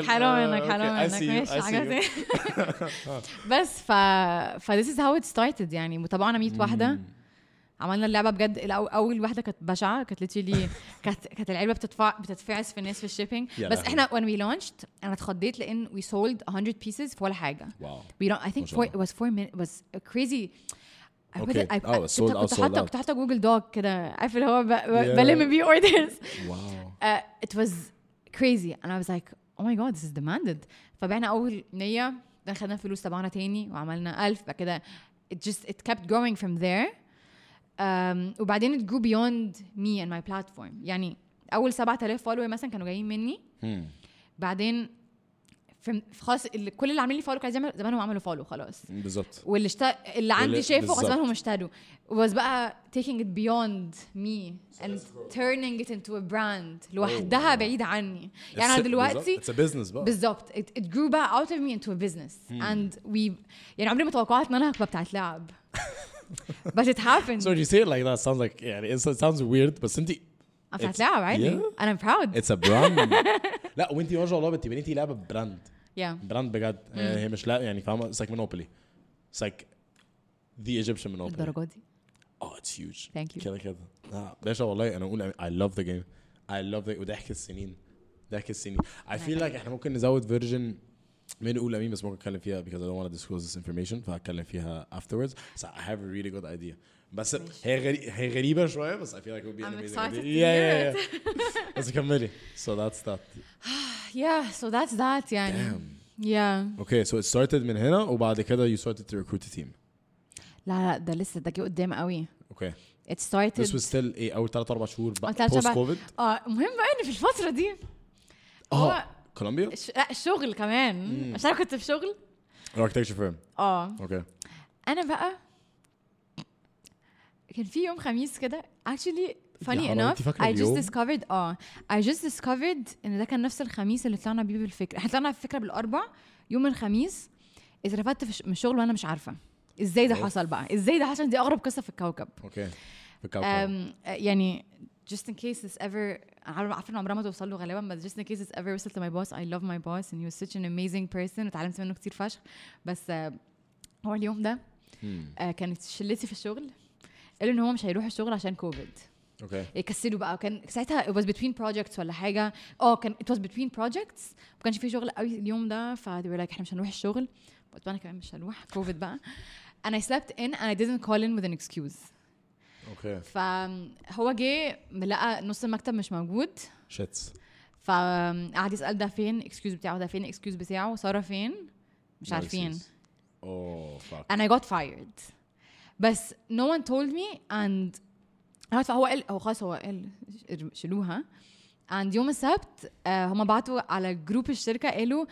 Speaker 1: حلو آه، منك
Speaker 2: circle.
Speaker 1: حلو
Speaker 2: آه،
Speaker 1: منك
Speaker 2: okay,
Speaker 1: حلو منك
Speaker 2: I see you,
Speaker 1: ماشي
Speaker 2: I see
Speaker 1: حاجه
Speaker 2: you.
Speaker 1: تانية. بس ف ف this is how it started يعني وطبعنا 100 واحده عملنا اللعبه بجد الأو- اول واحده كانت بشعه كانت ليتشلي كانت كانت العلبه بتدفع بتتفعس في الناس في الشيبنج
Speaker 2: يا
Speaker 1: بس
Speaker 2: لهوي.
Speaker 1: احنا when we launched انا اتخضيت لان we sold 100 pieces في ولا حاجه
Speaker 2: واو
Speaker 1: we don't I think
Speaker 2: ما شاء
Speaker 1: four,
Speaker 2: الله.
Speaker 1: it was four minutes was a crazy I put
Speaker 2: Okay.
Speaker 1: it, I,
Speaker 2: Oh, it's sold
Speaker 1: كنت-
Speaker 2: out,
Speaker 1: كنت
Speaker 2: sold
Speaker 1: حاطه
Speaker 2: out.
Speaker 1: كنت حاطه جوجل دوج كده عارف اللي هو ب- ب-
Speaker 2: Yeah.
Speaker 1: بلم بيه اوردرز
Speaker 2: واو
Speaker 1: uh, it was crazy and I was like oh my god this is demanded فبعنا أول نية بعدين خدنا الفلوس تبعنا تاني وعملنا ألف بعد كده it just it kept growing from there um, وبعدين it grew beyond me and my platform يعني أول 7000 فولوور مثلا كانوا جايين مني
Speaker 2: Hmm.
Speaker 1: بعدين from- خلاص اللي- كل اللي عاملين لي فولو كانوا زمان- زمانهم عملوا فولو خلاص
Speaker 2: بالظبط
Speaker 1: واللي اشت... اللي عندي
Speaker 2: واللي-
Speaker 1: شافه
Speaker 2: بالظبط.
Speaker 1: غصبهم اشتروا was بقى taking it beyond me and turning it into a
Speaker 2: Oh.
Speaker 1: brand لوحدها بعيد عني يعني انا دلوقتي
Speaker 2: اتس بزنس بقى
Speaker 1: بالظبط it, it grew بقى out of me into a business
Speaker 2: Hmm.
Speaker 1: and we يعني عمري ما توقعت ان انا هبقى بتاعت لعب but it
Speaker 2: So
Speaker 1: happened
Speaker 2: when you say it like that, it sounds like يعني it sounds weird بس انت
Speaker 1: I'm بتاعت
Speaker 2: it's-
Speaker 1: لعب عادي
Speaker 2: yeah.
Speaker 1: and I'm proud
Speaker 2: اتس ا براند لا وانت ما شاء الله بنتي بنتي لعبه براند
Speaker 1: yeah
Speaker 2: براند بجد يعني هي مش لا يعني فاهمه اتس لايك مونوبولي اتس لايك ذا ايجيبشن مونوبولي
Speaker 1: الدرجة دي
Speaker 2: اه اتس هيوج
Speaker 1: Thank you.
Speaker 2: كده كده آه، باشا والله انا بقول اي لاف ذا جيم اي لاف ذا وضحك السنين ضحك السنين اي فيل لايك احنا ممكن نزود فيرجن من اولى مين بس ممكن اتكلم فيها because I don't want to disclose this information فهتكلم فيها afterwards so I have a really good idea بس هي غري... هي غريبة شوية بس I feel like it would be an
Speaker 1: I'm
Speaker 2: amazing
Speaker 1: excited
Speaker 2: idea.
Speaker 1: to
Speaker 2: yeah,
Speaker 1: hear
Speaker 2: yeah, yeah. بس كملي so that's that
Speaker 1: yeah so that's that يعني yeah
Speaker 2: okay so it started من هنا وبعد كده you started to recruit a team
Speaker 1: لا لا ده لسه ده جه قدام قوي
Speaker 2: okay
Speaker 1: it started
Speaker 2: this was still ايه اول 3 4 شهور
Speaker 1: آه،
Speaker 2: بقى
Speaker 1: تلات
Speaker 2: post
Speaker 1: أربع-
Speaker 2: covid
Speaker 1: اه المهم بقى ان في الفتره دي
Speaker 2: اه
Speaker 1: هو-
Speaker 2: كولومبيا
Speaker 1: ش- لا الشغل كمان مش انا كنت في شغل
Speaker 2: architecture firm
Speaker 1: اه
Speaker 2: اوكي
Speaker 1: انا بقى كان في يوم خميس كده actually funny
Speaker 2: حرام،
Speaker 1: enough
Speaker 2: أنت فاكرة
Speaker 1: I
Speaker 2: اليوم؟
Speaker 1: just discovered اه I just discovered ان ده كان نفس الخميس اللي طلعنا بيه بالفكره احنا طلعنا بالفكره بالاربع يوم الخميس اترفدت في ش- من الشغل وانا مش عارفه ازاي ده
Speaker 2: أوف.
Speaker 1: حصل بقى ازاي ده حصل دي اغرب قصه في الكوكب
Speaker 2: اوكي في الكوكب
Speaker 1: أم، يعني just in case this ever عارف- عارفه إن عمرها ما توصل له غالبا بس just in case this ever وصلت to my boss I love my boss and he was such an amazing person وتعلمت منه كتير فشخ بس آه، هو اليوم ده آه، كانت شلتي في الشغل قالوا ان هو مش هيروح الشغل عشان كوفيد
Speaker 2: اوكي
Speaker 1: يكسلوا بقى وكان ساعتها it was between projects ولا حاجه اه كان it was between projects ما كانش في شغل قوي اليوم ده ف they were like احنا مش هنروح الشغل قلت انا كمان مش هروح كوفيد بقى and I slept in and I didn't call in with an excuse
Speaker 2: اوكي
Speaker 1: فهو جه لقى نص المكتب مش موجود
Speaker 2: شيتس
Speaker 1: فقعد يسال ده فين اكسكيوز بتاعه ده فين اكسكيوز بتاعه ساره فين مش عارفين
Speaker 2: اوه فاك
Speaker 1: and I got fired بس no one told me and عارفه هو قال هو خلاص هو قال ش- شيلوها and يوم السبت آه هما بعتوا على جروب الشركه قالوا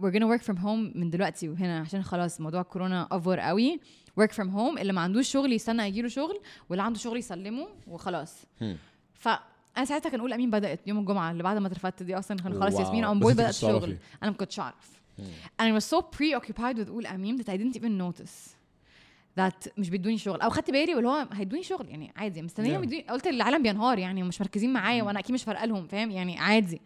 Speaker 1: we're gonna work from home من دلوقتي وهنا عشان خلاص موضوع كورونا افور قوي work from home اللي ما عندوش شغل يستنى يجيله شغل واللي عنده شغل يسلمه وخلاص فانا ساعتها كان اقول امين بدات يوم الجمعه اللي بعد ما اترفدت دي اصلا كان خلاص
Speaker 2: واو.
Speaker 1: ياسمين اون
Speaker 2: بس
Speaker 1: بوي
Speaker 2: أنت
Speaker 1: بدات
Speaker 2: كنتش تعرفي.
Speaker 1: شغل انا ما كنتش اعرف and I was so preoccupied with قول امين that I didn't even notice that مش بيدوني شغل او خدت بالي واللي هو هيدوني شغل يعني عادي مستنيه
Speaker 2: Yeah. Mm.
Speaker 1: yeah. قلت العالم بينهار يعني ومش مركزين معايا وانا اكيد مش فارقه لهم فاهم يعني عادي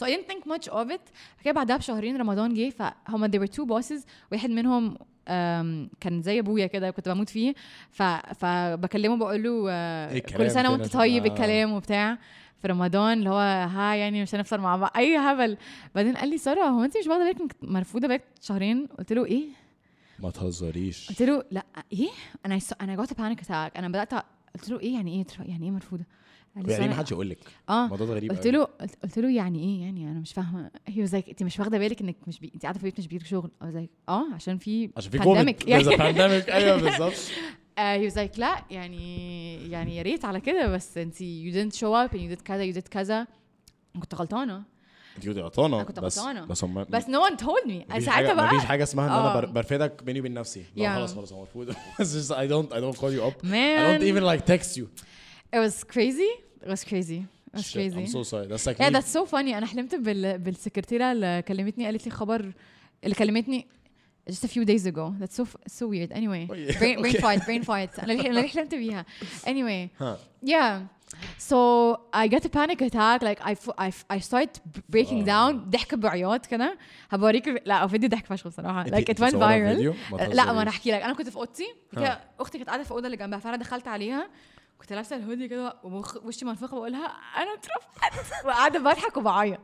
Speaker 1: so I didn't think much of it كده بعدها بشهرين رمضان جه فهم they were two bosses واحد منهم أم، كان زي ابويا كده كنت بموت فيه ف... فبكلمه بقول له آه،
Speaker 2: إيه
Speaker 1: كل
Speaker 2: الكلام
Speaker 1: سنه
Speaker 2: كده
Speaker 1: وانت
Speaker 2: عشان-
Speaker 1: طيب
Speaker 2: آه.
Speaker 1: الكلام وبتاع في رمضان اللي هو ها يعني مش هنفطر مع بعض اي هبل بعدين قال لي ساره هو انت مش واخده بالك إنك مرفوضه بقالك شهرين قلت له ايه
Speaker 2: ما تهزريش
Speaker 1: إيه؟" قلت له لا ايه انا س- انا جوت بانيك اتاك انا بدات قلت له ايه يعني ايه تر- يعني ايه مرفوضه قال لي
Speaker 2: يعني ما
Speaker 1: "سوري."
Speaker 2: حدش يقول لك
Speaker 1: اه
Speaker 2: الموضوع ده غريب
Speaker 1: قلت
Speaker 2: أوي.
Speaker 1: له قلت قلت له يعني ايه يعني انا مش فاهمه هي زيك انت مش واخده بالك انك مش بي... انت قاعده في البيت مش بيجيلك شغل او زيك اه عشان في
Speaker 2: عشان في
Speaker 1: pandemic
Speaker 2: كوفيد يعني بانديميك ايوه بالظبط
Speaker 1: هي was like لا يعني يعني يا ريت على كده بس انت you didn't show up and you did كذا you did كذا كنت غلطانه
Speaker 2: انت كنت غلطانه
Speaker 1: أنا كنت
Speaker 2: بس
Speaker 1: غلطانة.
Speaker 2: بس هم
Speaker 1: بس no one told me
Speaker 2: مفيش
Speaker 1: ساعتها
Speaker 2: حاجه
Speaker 1: بقى
Speaker 2: مفيش حاجه اسمها ان انا
Speaker 1: آه.
Speaker 2: بر- برفدك بيني وبين نفسي لا
Speaker 1: Yeah.
Speaker 2: خلاص خلاص هو المفروض It's just I don't I don't call you up I
Speaker 1: man
Speaker 2: don't even like text you
Speaker 1: it was crazy it was crazy it was
Speaker 2: Shit, I'm
Speaker 1: crazy
Speaker 2: so sorry that's like
Speaker 1: yeah
Speaker 2: me.
Speaker 1: that's so funny انا حلمت بال... بالسكرتيره اللي كلمتني قالت لي خبر اللي كلمتni just a few days ago that's so f- so weird anyway
Speaker 2: Oh, yeah.
Speaker 1: brain, brain
Speaker 2: Okay.
Speaker 1: fight brain fight انا اللي- انا اللي حلمت بيها anyway
Speaker 2: Huh.
Speaker 1: Yeah. So I get a panic attack like I f- I, f- I start b- breaking
Speaker 2: آه.
Speaker 1: down ضحك بعياط كده هبوريك ال- لا فيديو ضحك فشخ بصراحه
Speaker 2: انت-
Speaker 1: like it
Speaker 2: انت
Speaker 1: went
Speaker 2: مصورة
Speaker 1: viral
Speaker 2: فيديو؟ ما
Speaker 1: أه، لا ما انا
Speaker 2: تهزريش.
Speaker 1: احكي لك انا كنت في اوضتي بعد كده
Speaker 2: ها.
Speaker 1: اختي كانت قاعده في الاوضه اللي جنبها فانا دخلت عليها كنت لابسه الهودي كده ومخ- وشي منفخه بقول لها انا اترفضت وقاعده بضحك وبعيط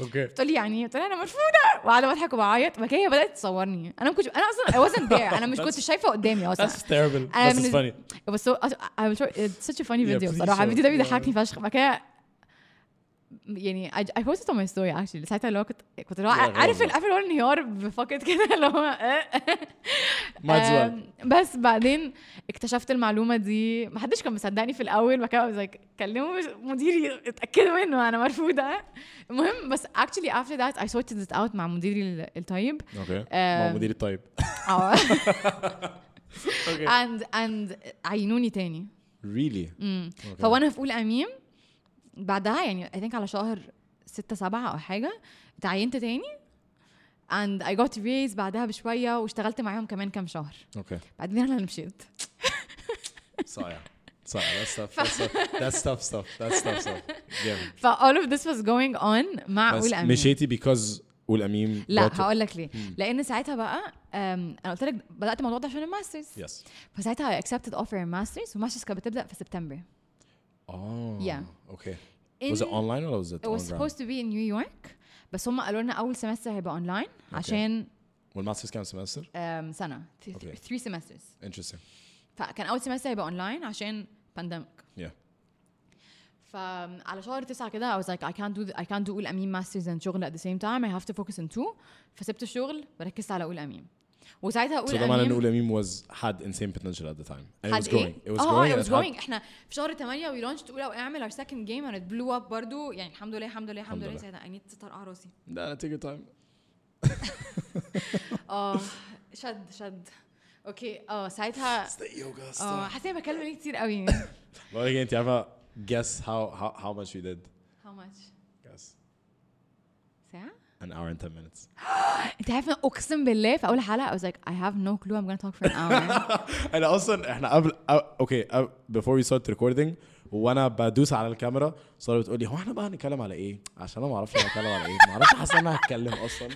Speaker 2: اوكي
Speaker 1: بتقول لي يعني إيه؟ قلت لها انا مرفوضه وقاعده بضحك وبعيط بعد كده هي بدات تصورني انا ما كنتش انا اصلا I wasn't there انا مش كنت شايفه قدامي اصلا
Speaker 2: That's terrible
Speaker 1: أنا
Speaker 2: بس it's
Speaker 1: بالنسبة-
Speaker 2: funny
Speaker 1: بس so, I was sure it's such a funny
Speaker 2: Yeah,
Speaker 1: video
Speaker 2: please
Speaker 1: صراحة
Speaker 2: show
Speaker 1: الفيديو ده
Speaker 2: it.
Speaker 1: بيضحكني فشخ بعد كده يعني I, I posted on my story actually ساعتها اللي هو كنت كنت اللي هو
Speaker 2: Yeah,
Speaker 1: عارف عارف
Speaker 2: غلط.
Speaker 1: ال- عارف اللي هو انهيار بفكت كده اللي هو آه.
Speaker 2: might as well
Speaker 1: آم، بس بعدين اكتشفت المعلومة دي ما حدش كان مصدقني في الأول بعد كده I was like كلموا مديري اتأكدوا منه أنا مرفوضة المهم بس actually after that I sorted it out مع مديري ال- الطيب
Speaker 2: اوكي مع
Speaker 1: آم،
Speaker 2: مديري الطيب
Speaker 1: آه.
Speaker 2: اوكي
Speaker 1: and and عينوني تاني
Speaker 2: really
Speaker 1: امم
Speaker 2: Okay.
Speaker 1: فوانا في اولى اميم بعدها يعني I think على شهر ستة سبعة أو حاجة اتعينت تاني and I got raise بعدها بشوية واشتغلت معاهم كمان كام شهر
Speaker 2: اوكي
Speaker 1: بعدين أنا اللي مشيت
Speaker 2: صايع صايع that's tough that's tough that's tough stuff that's tough stuff جامد
Speaker 1: ف all of this was going on مع
Speaker 2: بس
Speaker 1: أولى أميم
Speaker 2: مشيتي because والاميم
Speaker 1: لا هقول لك ليه لأن ساعتها بقى أم، أنا قلت لك بدأت الموضوع ده عشان الماسترز
Speaker 2: يس
Speaker 1: فساعتها I accepted offer in masters والماسترز كانت بتبدأ في سبتمبر
Speaker 2: اه
Speaker 1: Yeah.
Speaker 2: اوكي
Speaker 1: In-
Speaker 2: Oh, was it online or was it
Speaker 1: It was
Speaker 2: on ground
Speaker 1: supposed to be in New York بس هم قالوا لنا أول سمستر هيبقى أونلاين عشان
Speaker 2: والماسترز كام سمستر
Speaker 1: um, سنه
Speaker 2: Okay.
Speaker 1: 3 سيمسترز
Speaker 2: interesting
Speaker 1: فكان اول سيمستر هيبقى اونلاين عشان بانديميك
Speaker 2: yeah
Speaker 1: فعلى شهر تسعة كده I was like I can't do I can't do أول أمين masters and شغل at the same time I have to focus on two فسبت الشغل ركزت على أول أمين وساعتها أول
Speaker 2: So the man in
Speaker 1: أمين
Speaker 2: Ulamim was had insane potential at the time. And it
Speaker 1: had
Speaker 2: was growing.
Speaker 1: eight-
Speaker 2: It was
Speaker 1: آه،
Speaker 2: growing.
Speaker 1: it
Speaker 2: and
Speaker 1: was
Speaker 2: it had-
Speaker 1: growing احنا في شهر 8 وي لونشت أولى وأعمل our second game and it blew up برضو يعني الحمد لله الحمد لله الحمد
Speaker 2: الحمد
Speaker 1: لله
Speaker 2: لله.
Speaker 1: ساعتها I need to طرقع راسي
Speaker 2: No, no, take your time.
Speaker 1: اه شد شد اوكي اه ساعتها
Speaker 2: It's the yoga
Speaker 1: اه
Speaker 2: stuff.
Speaker 1: حاسه اني بكلم ليه كتير قوي
Speaker 2: But again, Tiafa, guess how, how, how much we did.
Speaker 1: how much
Speaker 2: Guess.
Speaker 1: ساعة
Speaker 2: An hour and 10 minutes.
Speaker 1: انت عارف أنا اقسم بالله في اول حلقه I was like I have no clue I'm gonna talk for an hour
Speaker 2: انا اصلا احنا قبل أ- اوكي أ- before we start recording وانا بدوس على الكاميرا ساره بتقول لي هو احنا بقى هنتكلم على ايه؟ عشان انا ما اعرفش انا هتكلم على ايه، ما اعرفش حاسس ان انا هتكلم اصلا.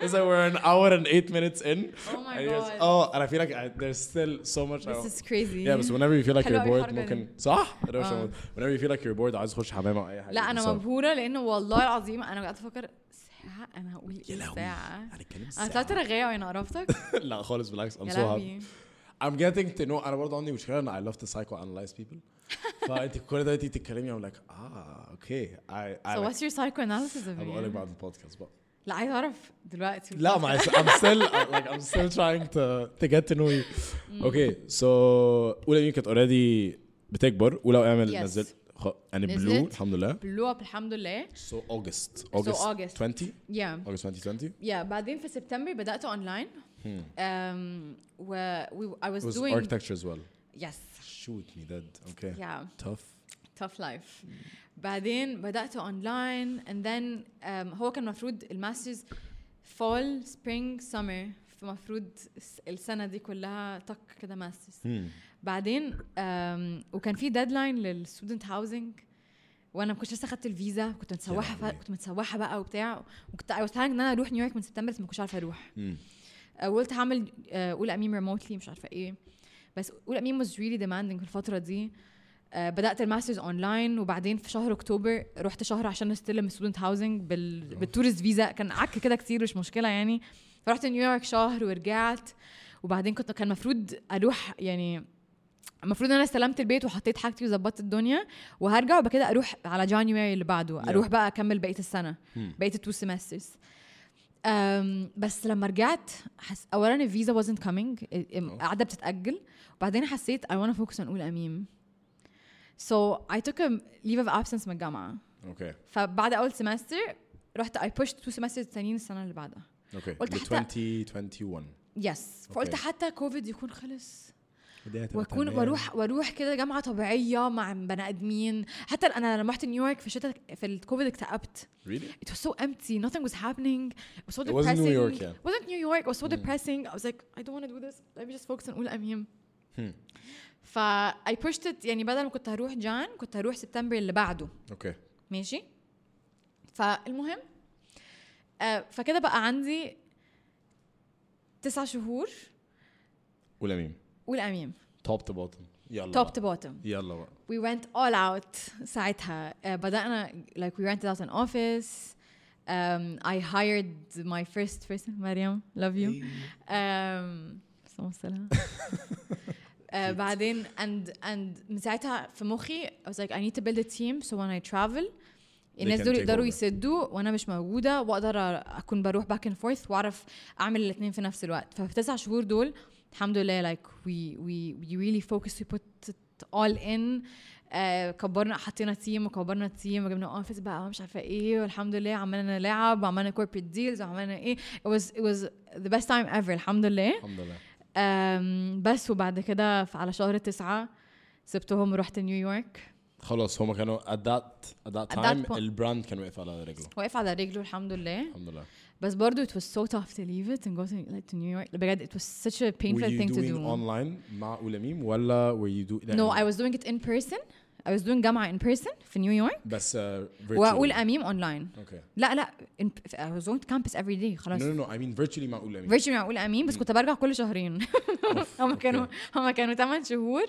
Speaker 2: It's like we're an hour and eight minutes in.
Speaker 1: Oh my
Speaker 2: and he goes,
Speaker 1: God.
Speaker 2: Oh, and I feel like I, there's still so much. I-
Speaker 1: this is crazy
Speaker 2: Yeah, بس whenever you feel like
Speaker 1: حلوة
Speaker 2: you're
Speaker 1: أوي
Speaker 2: bored
Speaker 1: الحركة دي.
Speaker 2: ممكن صح؟ I don't
Speaker 1: آه.
Speaker 2: know. whenever you feel like you're bored عايز تخش حمام او اي حاجه
Speaker 1: لا انا
Speaker 2: بس-
Speaker 1: مبهوره لانه والله العظيم انا قاعده افكر ساعه انا هقول
Speaker 2: يا
Speaker 1: ايه
Speaker 2: لهوي
Speaker 1: ساعه
Speaker 2: هنتكلم
Speaker 1: انا طلعت
Speaker 2: ساعة.
Speaker 1: رغايه وانا قرفتك
Speaker 2: لا خالص بالعكس I'm
Speaker 1: يا
Speaker 2: so happy
Speaker 1: لهوي
Speaker 2: I'm getting to know انا برضه عندي مشكله ان I love to psychoanalyze people فانت كل ده انت بتتكلمي I'm like اه اوكي I
Speaker 1: so
Speaker 2: I
Speaker 1: what's your psychoanalysis of
Speaker 2: هبقول لك
Speaker 1: me
Speaker 2: بعد البودكاست بقى
Speaker 1: لا عايز اعرف دلوقتي
Speaker 2: لا ما I- I'm still uh, like I'm still trying to to get to know you
Speaker 1: Mm.
Speaker 2: اوكي so اولى يمكن كانت already بتكبر ولو اعمل
Speaker 1: Yes.
Speaker 2: نزلت خ- يعني بلو
Speaker 1: نزلت.
Speaker 2: الحمد لله
Speaker 1: بلو اب الحمد لله
Speaker 2: so August August
Speaker 1: August.
Speaker 2: 20
Speaker 1: yeah
Speaker 2: August 2020
Speaker 1: yeah بعدين في سبتمبر بدات اونلاين um, و we, I was,
Speaker 2: Hmm. It was
Speaker 1: doing
Speaker 2: architecture as well.
Speaker 1: yes
Speaker 2: Shoot me dead. Okay.
Speaker 1: yeah
Speaker 2: Tough.
Speaker 1: tough life بعدين بدأت اونلاين and then um, هو كان المفروض الماسترز فول سبرينج سمر المفروض السنة دي كلها طق كده ماسترز
Speaker 2: Hmm.
Speaker 1: بعدين um, وكان في ديدلاين للستودنت هاوزنج وانا ما كنتش لسه خدت الفيزا كنت متسوحه ف...
Speaker 2: لهوي.
Speaker 1: كنت متسوحه بقى وبتاع وكنت اي ان انا اروح نيويورك من سبتمبر بس ما كنتش عارفه اروح
Speaker 2: Hmm.
Speaker 1: آه، وقلت هعمل آه، اولى اميم ريموتلي مش عارفه ايه بس اولى اميم was really demanding في الفتره دي آه، بدات الماسترز اونلاين وبعدين في شهر اكتوبر رحت شهر عشان استلم ستودنت هاوزنج بال... بالتورست فيزا كان عك كده كتير مش مشكله يعني فرحت نيويورك شهر ورجعت وبعدين كنت كان المفروض اروح يعني المفروض ان انا استلمت البيت وحطيت حاجتي وظبطت الدنيا وهرجع وبعد كده اروح على جانيوري اللي بعده
Speaker 2: Yeah.
Speaker 1: اروح بقى اكمل بقيه السنه
Speaker 2: مم.
Speaker 1: بقيه التو سيمسترز أم بس لما رجعت حس... اولا الفيزا wasn't coming ال- ام-
Speaker 2: Oh.
Speaker 1: قاعده بتتاجل وبعدين حسيت I want to focus on اولى اميم so I took a leave of absence من الجامعه
Speaker 2: اوكي
Speaker 1: فبعد اول سمستر رحت I pushed two semesters تانيين السنه اللي بعدها
Speaker 2: اوكي
Speaker 1: قلت
Speaker 2: ل
Speaker 1: حتى-
Speaker 2: 2021
Speaker 1: يس فقلت حتى كوفيد يكون خلص
Speaker 2: الدنيا هتبقى
Speaker 1: واكون
Speaker 2: تمام.
Speaker 1: واروح واروح كده جامعه طبيعيه مع بني ادمين حتى انا لما رحت نيويورك في الشتاء في الكوفيد اكتئبت
Speaker 2: really
Speaker 1: it was so empty nothing was happening it was so
Speaker 2: It
Speaker 1: depressing
Speaker 2: wasn't New York, Hmm. yeah.
Speaker 1: wasn't New York it was so depressing I was like I don't want to do this let me just focus on اولى اميم
Speaker 2: Hmm.
Speaker 1: ف I pushed it يعني بدل ما كنت هروح جان كنت هروح سبتمبر اللي بعده
Speaker 2: اوكي
Speaker 1: ماشي فالمهم آه فكده بقى عندي تسع شهور
Speaker 2: قول مين
Speaker 1: والاميم
Speaker 2: توب تو بوتم يلا
Speaker 1: توب
Speaker 2: بقى.
Speaker 1: تو بوتوم
Speaker 2: يلا بقى
Speaker 1: we went all out ساعتها uh, بدأنا like we rented out an office um, I hired my first person مريم love you um, اللهم صل على- Uh, بعدين and and من ساعتها في مخي I was like I need to build a team so when I travel الناس
Speaker 2: can
Speaker 1: دول
Speaker 2: take
Speaker 1: يقدروا
Speaker 2: over.
Speaker 1: يسدوا وانا مش موجوده واقدر اكون بروح باك اند فورث واعرف اعمل الاثنين في نفس الوقت ففي تسع شهور دول الحمد لله like we we we really focused we put it all in آه كبرنا حطينا تيم وكبرنا تيم وجبنا اوفيس بقى مش عارفه ايه والحمد لله عملنا لعب وعملنا corporate ديلز وعملنا ايه it was it was the best time ever الحمد لله
Speaker 2: الحمد لله
Speaker 1: أم، بس وبعد كده ف- على شهر تسعة سبتهم ورحت نيويورك
Speaker 2: خلاص هما كانوا at that at that
Speaker 1: At that
Speaker 2: time
Speaker 1: point.
Speaker 2: البراند كان واقف على رجله
Speaker 1: واقف على رجله الحمد لله
Speaker 2: الحمد لله
Speaker 1: بس برضه it was so tough to leave it and go to, like, to New York بجد it was such a
Speaker 2: were
Speaker 1: painful
Speaker 2: you
Speaker 1: thing to
Speaker 2: doing
Speaker 1: do
Speaker 2: online مع أولى ميم ولا were you doing
Speaker 1: no I was doing it in person I was doing جامعة in person في نيويورك
Speaker 2: بس uh, virtually
Speaker 1: وأقول أميم online
Speaker 2: okay
Speaker 1: لا لا in, I was going to campus every day
Speaker 2: no
Speaker 1: خلاص
Speaker 2: no no I mean virtually مع أولى ميم
Speaker 1: فيرتشوال مع اولى امين بس كنت برجع كل شهرين هم كانوا هم كانوا 8 شهور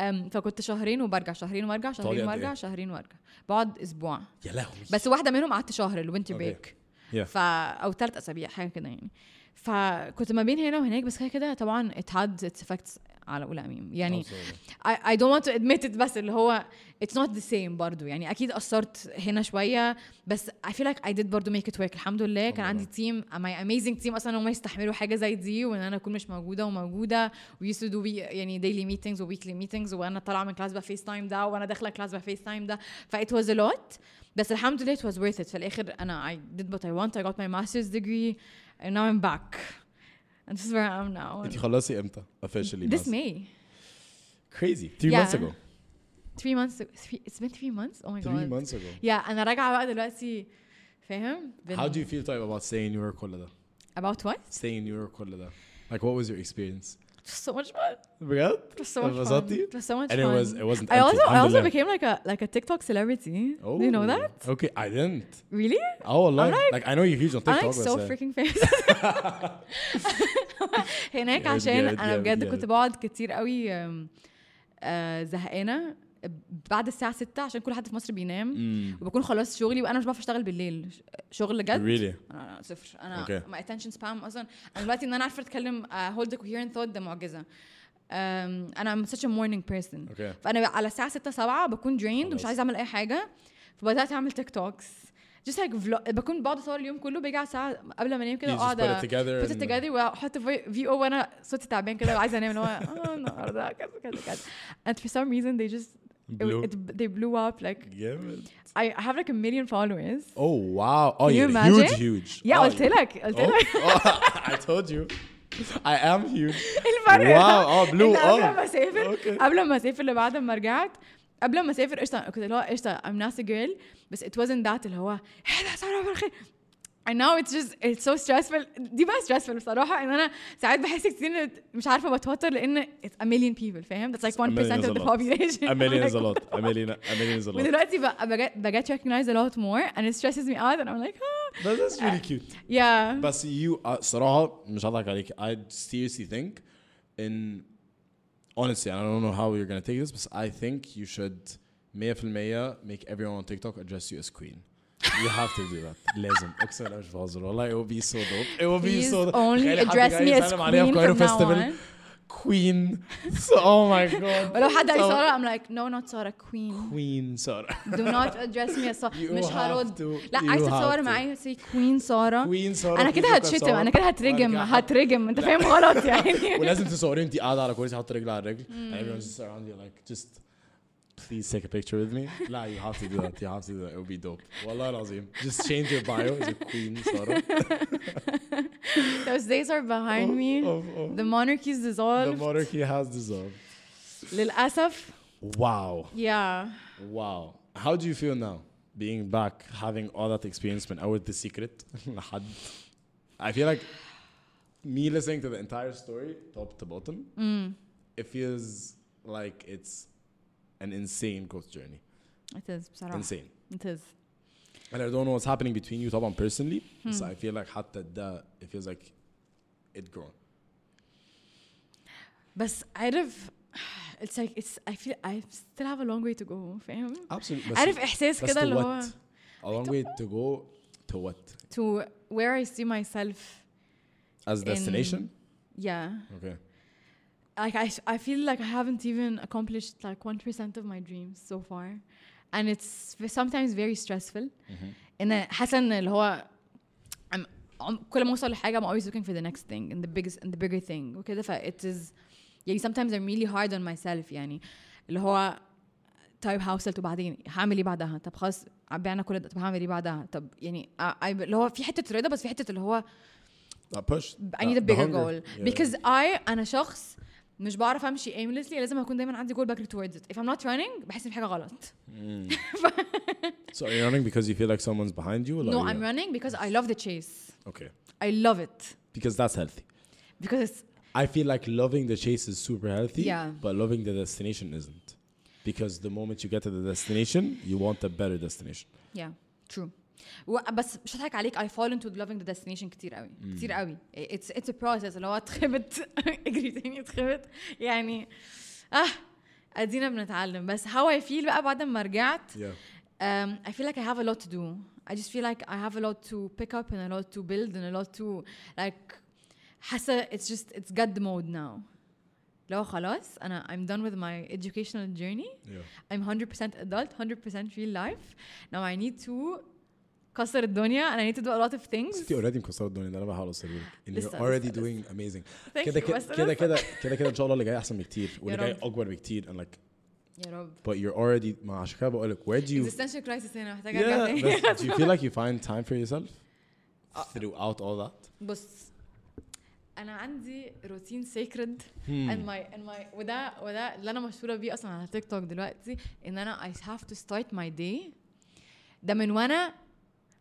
Speaker 1: أم، فكنت شهرين وبرجع شهرين وبرجع
Speaker 2: قد
Speaker 1: شهرين
Speaker 2: إيه؟
Speaker 1: وارجع شهرين وارجع بقعد اسبوع
Speaker 2: يا لهوي
Speaker 1: بس واحده منهم قعدت شهر الوينتر
Speaker 2: أوكي.
Speaker 1: بريك
Speaker 2: Yeah.
Speaker 1: ف او ثلاث اسابيع حاجه كده يعني فكنت ما بين هنا وهناك بس كده كده طبعا it had its effects على اولى امين
Speaker 2: Oh,
Speaker 1: يعني
Speaker 2: Absolutely.
Speaker 1: I, I don't want to admit it بس اللي هو it's not the same برضو يعني أكيد قصرت هنا شوية بس I feel like I did برضو make it work الحمد لله كان عندي تيم my amazing team أصلا هم يستحملوا حاجة زي دي وإن أنا أكون مش موجودة وموجودة we used to do we, يعني daily meetings و weekly meetings وأنا طالعة من كلاس بفيس تايم ده وأنا داخلة كلاس بفيس تايم ده ف it was a lot بس الحمد لله it was worth it في الآخر أنا I did what I want I got my master's degree and now I'm back and this is where I am now
Speaker 2: انت خلصتي امتى e officially
Speaker 1: Oh. this
Speaker 2: بس.
Speaker 1: May
Speaker 2: crazy 3
Speaker 1: Yeah.
Speaker 2: months ago
Speaker 1: three months three, it's been three months oh my
Speaker 2: 3
Speaker 1: god
Speaker 2: months ago
Speaker 1: yeah انا راجعه بقى دلوقتي فاهم بن-
Speaker 2: how do you feel طيب about staying in New York كل ده
Speaker 1: about what
Speaker 2: staying in New York كل ده like what was your experience
Speaker 1: it was so much fun
Speaker 2: بجد
Speaker 1: it was so much fun
Speaker 2: انبسطتي
Speaker 1: it was so much
Speaker 2: and it
Speaker 1: fun
Speaker 2: was it wasn't
Speaker 1: I
Speaker 2: empty.
Speaker 1: also I
Speaker 2: الحمد
Speaker 1: also
Speaker 2: لله.
Speaker 1: became like a like a TikTok celebrity. Do you know
Speaker 2: Oh,
Speaker 1: that?
Speaker 2: okay I didn't
Speaker 1: Really?
Speaker 2: اه والله
Speaker 1: I'm
Speaker 2: like,
Speaker 1: like-
Speaker 2: I know you're huge on
Speaker 1: I'm
Speaker 2: TikTok
Speaker 1: like so
Speaker 2: بس
Speaker 1: freaking famous. هناك
Speaker 2: جامد،
Speaker 1: عشان
Speaker 2: جامد،
Speaker 1: انا
Speaker 2: جامد،
Speaker 1: بجد
Speaker 2: جامد.
Speaker 1: كنت بقعد كتير قوي أم، آه، زهقانه بعد الساعه 6 عشان كل حد في مصر بينام
Speaker 2: مم.
Speaker 1: وبكون خلاص شغلي وانا مش بعرف اشتغل بالليل ش- شغل جد
Speaker 2: really
Speaker 1: انا أنا آه، صفر انا
Speaker 2: أوكي.
Speaker 1: my attention span اصلا انا دلوقتي ان انا عارفه اتكلم آه، hold a coherent thought ده معجزه أم، انا I'm such a morning person
Speaker 2: اوكي
Speaker 1: فانا على الساعه 6 7 بكون drained
Speaker 2: خلاص.
Speaker 1: ومش عايزه اعمل اي حاجه فبدات اعمل تيك توكس just like vlog بكون بقعد اصور اليوم كله بيجي على الساعه قبل ما انام كده
Speaker 2: You just
Speaker 1: اقعد
Speaker 2: put it together
Speaker 1: put it
Speaker 2: and-
Speaker 1: together واحط في او وانا صوتي تعبان كده وعايزه انام اللي هو اه النهارده كذا كذا كذا and for some reason they just
Speaker 2: blue
Speaker 1: It, they blew up like
Speaker 2: جامد
Speaker 1: I, I have like a million followers
Speaker 2: اوه واو اه
Speaker 1: Can you
Speaker 2: يعني Oh, huge
Speaker 1: imagine?
Speaker 2: huge
Speaker 1: yeah
Speaker 2: آه،
Speaker 1: قلت لك قلت لك
Speaker 2: Oh, oh, I told you. I am huge.
Speaker 1: الفرق
Speaker 2: واو، آه، blue،
Speaker 1: إن
Speaker 2: آه.
Speaker 1: قبل ما اسافر
Speaker 2: أوكي.
Speaker 1: قبل ما اسافر اللي بعد ما رجعت قبل ما اسافر قشطه كنت اللي هو قشطه I'm not a girl بس it wasn't that اللي هو ايه ده ساره بالخير And now it's just it's so stressful دي بقى stressful بصراحة ان انا ساعات بحس كتير إن مش عارفة بتوتر لان it's a million people فاهم that's like 1%
Speaker 2: million is
Speaker 1: of
Speaker 2: a
Speaker 1: the
Speaker 2: lot.
Speaker 1: population
Speaker 2: A million is a
Speaker 1: Like,
Speaker 2: lot. A million, a million is a lot.
Speaker 1: ودلوقتي بقى بجد بجد recognize a lot more and it stresses me out and I'm like ah.
Speaker 2: But that's really cute.
Speaker 1: yeah
Speaker 2: بس you uh, صراحة مش هضحك عليك. I seriously think in honestly, I don't know how you're gonna take this, but I think you should 100% make everyone on TikTok address you as queen. You have to do that. لازم. اقسم بالله مش بهزر والله it will be so dope. It will be
Speaker 1: please
Speaker 2: so dope.
Speaker 1: only
Speaker 2: تخيلي حد
Speaker 1: address
Speaker 2: جاي
Speaker 1: me as
Speaker 2: يسلم عليها
Speaker 1: queen
Speaker 2: في Cairo
Speaker 1: from now
Speaker 2: Festival.
Speaker 1: on
Speaker 2: queen so oh my god
Speaker 1: ولو حد قال لي
Speaker 2: So-
Speaker 1: ساره I'm like no not ساره queen
Speaker 2: queen ساره
Speaker 1: do not address me as ساره
Speaker 2: You
Speaker 1: مش
Speaker 2: have
Speaker 1: هرد
Speaker 2: to-
Speaker 1: لا
Speaker 2: you
Speaker 1: عايز
Speaker 2: have
Speaker 1: اتصور
Speaker 2: to.
Speaker 1: معايا سي queen ساره
Speaker 2: queen ساره
Speaker 1: انا كده
Speaker 2: كوكا
Speaker 1: هتشتم
Speaker 2: سارة.
Speaker 1: انا كده هترجم
Speaker 2: وأرجع أحط-
Speaker 1: هترجم انت فاهم غلط يعني
Speaker 2: ولازم تصوري انت قاعده على كرسي حاطه رجل على رجل and everyone's just around you like just please take a picture with me لا you have to do that you have to do that it would be dope والله العظيم just change your bio as a queen ساره
Speaker 1: those days are behind me
Speaker 2: Oh, oh, oh.
Speaker 1: the monarchies
Speaker 2: the
Speaker 1: dissolved
Speaker 2: monarchy has dissolved
Speaker 1: للاسف
Speaker 2: wow
Speaker 1: yeah
Speaker 2: wow how do you feel now being back having all that experience من اول the secret لحد I feel like me listening to the entire story top to bottom it feels like it's an insane growth journey
Speaker 1: it is بصراحه
Speaker 2: insane
Speaker 1: it is
Speaker 2: and I don't know what's happening between you طبعا personally
Speaker 1: Hmm.
Speaker 2: so I feel like حتى ده it feels like it grown
Speaker 1: بس عارف it's like it's I feel I still have a long way to go فاهم
Speaker 2: absolutely
Speaker 1: عارف إحساس كده اللي هو-
Speaker 2: a long way to go to what
Speaker 1: to where I see myself
Speaker 2: as destination
Speaker 1: yeah
Speaker 2: okay
Speaker 1: like I, I feel like I haven't even accomplished like 1% of my dreams so far and it's v- sometimes very stressful ان حاسه ان اللي هو I'm, عم- كل ما اوصل لحاجه I'm always looking for the next thing and the biggest and the bigger thing وكده ف it is يعني sometimes I'm really hard on myself يعني اللي هو طيب هوصل طب بعدين هعمل ايه بعدها طب خلاص بعنا كل ده طب هعمل ايه بعدها طب يعني I- I- اللي هو في حته رضا بس في حته اللي هو
Speaker 2: I push
Speaker 1: I need
Speaker 2: the-
Speaker 1: a
Speaker 2: the
Speaker 1: bigger
Speaker 2: hunger.
Speaker 1: goal
Speaker 2: Yeah.
Speaker 1: because I انا شخص مش بعرف امشي aimlessly لازم اكون دايما عندي goal back towards it if I'm not running بحس ان في حاجه غلط
Speaker 2: so you're running because you feel like someone's behind you or
Speaker 1: no
Speaker 2: you-
Speaker 1: I'm running because I love the chase
Speaker 2: okay
Speaker 1: I love it
Speaker 2: because that's healthy
Speaker 1: because it's
Speaker 2: I feel like loving the chase is super healthy
Speaker 1: Yeah.
Speaker 2: but loving the destination isn't because the moment you get to the destination you want a better destination
Speaker 1: yeah true و- بس مش هضحك عليك I fall into loving the destination كتير قوي كتير قوي it's it's a process اللي هو اتخبت اجري تاني اتخبت يعني اه ادينا بنتعلم بس how I feel بقى بعد ما رجعت
Speaker 2: yeah
Speaker 1: um, I feel like I have a lot to do. I just feel like I have a lot to pick up and a lot to build and a lot to like حاسة it's just it's God mode now. لو خلاص أنا I'm done with my educational journey.
Speaker 2: yeah
Speaker 1: I'm 100% adult, 100% real life. Now I need to كسر الدنيا and I need to do a lot of things.
Speaker 2: انت already مكسره الدنيا ده انا بحاول اوصل لك and
Speaker 1: لسه-
Speaker 2: you're already
Speaker 1: لسه-
Speaker 2: doing amazing
Speaker 1: Thank
Speaker 2: كده
Speaker 1: you،
Speaker 2: كده
Speaker 1: بس
Speaker 2: كده
Speaker 1: لسه.
Speaker 2: كده كده كده ان شاء الله اللي جاي احسن بكتير واللي جاي
Speaker 1: رب.
Speaker 2: اكبر بكتير and like
Speaker 1: يا رب.
Speaker 2: but you're already ما عشان كده بقول لك oh, where do you
Speaker 1: Existential crisis هنا محتاجة أرجع
Speaker 2: yeah
Speaker 1: تاني.
Speaker 2: that's- do you feel like you find time for yourself
Speaker 1: Uh,
Speaker 2: throughout all that
Speaker 1: بص انا عندي روتين سيكريد and
Speaker 2: Hmm.
Speaker 1: my and my وده وده اللي انا مشهوره بيه اصلا على تيك توك دلوقتي ان انا I have to start my day ده من وانا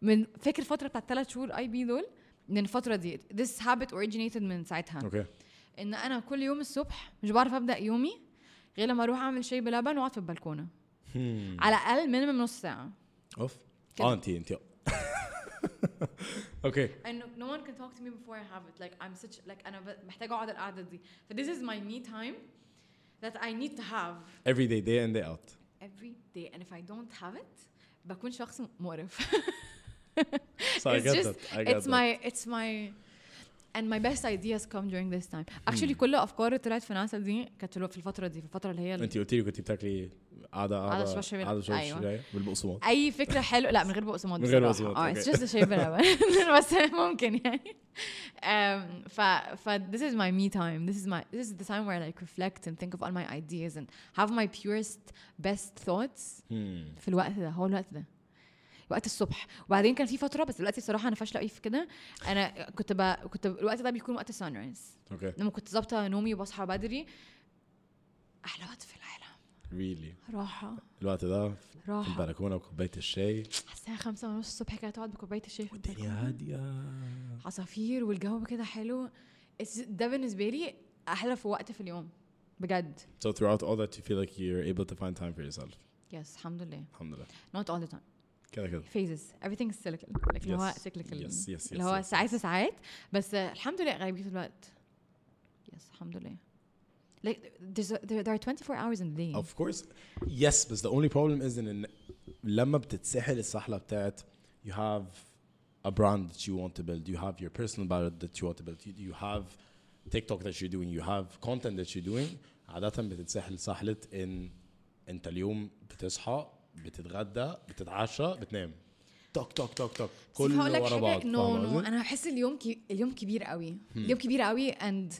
Speaker 1: من فاكر الفتره بتاعت ثلاث شهور اي بي دول من الفتره دي this habit originated من ساعتها
Speaker 2: okay
Speaker 1: ان انا كل يوم الصبح مش بعرف ابدا يومي غير لما اروح اعمل شاي بلبن واقعد في البلكونه
Speaker 2: Hmm.
Speaker 1: على الاقل مينيمم نص ساعه
Speaker 2: اوف
Speaker 1: كده.
Speaker 2: اه انت انت اوكي
Speaker 1: and no- no one can talk to me before I have it like I'm such like أنا ب- محتاجة أقعد القعدة دي so this is my me time that I need to have
Speaker 2: every day day in day out
Speaker 1: every day and if I don't have it بكون شخص مقرف
Speaker 2: so I
Speaker 1: It's
Speaker 2: get
Speaker 1: just-
Speaker 2: that I get
Speaker 1: it's
Speaker 2: that
Speaker 1: my it's my and my best ideas come during this time
Speaker 2: Hmm.
Speaker 1: actually كل أفكاري طلعت في ناسا دي كانت في الفترة دي في الفترة اللي هي
Speaker 2: انت قلت لي كنت بتاكلي قاعده قاعده
Speaker 1: شباب شوية.
Speaker 2: قاعده شويه
Speaker 1: أيوة.
Speaker 2: شوية بالبقسماط
Speaker 1: اي فكره حلوه لا من غير بقسماط
Speaker 2: من غير
Speaker 1: بصراحة.
Speaker 2: بقسماط،
Speaker 1: اه
Speaker 2: أوكي.
Speaker 1: اتس جاست شاي بلبن بس ممكن يعني um, ف ف this is my me time this is my this is the time where I like reflect and think of all my ideas and have my purest best thoughts
Speaker 2: Hmm.
Speaker 1: في الوقت ده هو الوقت ده وقت الصبح وبعدين كان في فتره بس دلوقتي الصراحه انا فاشله قوي في كده انا كنت ب... كنت ب- الوقت ده بيكون وقت السان رايز
Speaker 2: okay
Speaker 1: لما كنت ظابطه نومي وبصحى بدري احلى وقت في العالم
Speaker 2: really
Speaker 1: راحه
Speaker 2: الوقت ده في
Speaker 1: راحه
Speaker 2: البلكونه وكوبايه الشاي
Speaker 1: الساعة خمسة ونص الصبح كده تقعد بكوباية الشاي في
Speaker 2: الدنيا
Speaker 1: البلكونة.
Speaker 2: هاديه
Speaker 1: عصافير والجو كده حلو It's- ده بالنسبة لي أحلى في وقت في اليوم بجد
Speaker 2: so throughout all that you feel like you're able to find time for yourself
Speaker 1: يس الحمد لله
Speaker 2: الحمد لله
Speaker 1: not all the time
Speaker 2: كده كده
Speaker 1: phases everything is cyclical like اللي هو
Speaker 2: Yes.
Speaker 1: cyclical
Speaker 2: Yes, yes,
Speaker 1: اللي
Speaker 2: yes,
Speaker 1: هو
Speaker 2: yes,
Speaker 1: ساعات
Speaker 2: yes.
Speaker 1: ساعات بس آه، الحمد لله غالبية الوقت يس الحمد لله like there's a, there, there are 24 hours in the day
Speaker 2: Of course. Yes, but the only problem is in ان لما بتتسحل السحلة بتاعت you have a brand that you want to build, you have your personal brand that you want to build, you, you have تيك توك that you're doing you have content that you're doing عادة بتتسحل سحلة ان انت اليوم بتصحى بتتغدى بتتعشى بتنام توك توك توك توك كله
Speaker 1: هقول لك
Speaker 2: ورا بعض
Speaker 1: حاجه نو
Speaker 2: فاهم
Speaker 1: نو
Speaker 2: قصدي؟ Hmm.
Speaker 1: انا بحس اليوم كي... اليوم كبير قوي اليوم كبير قوي اند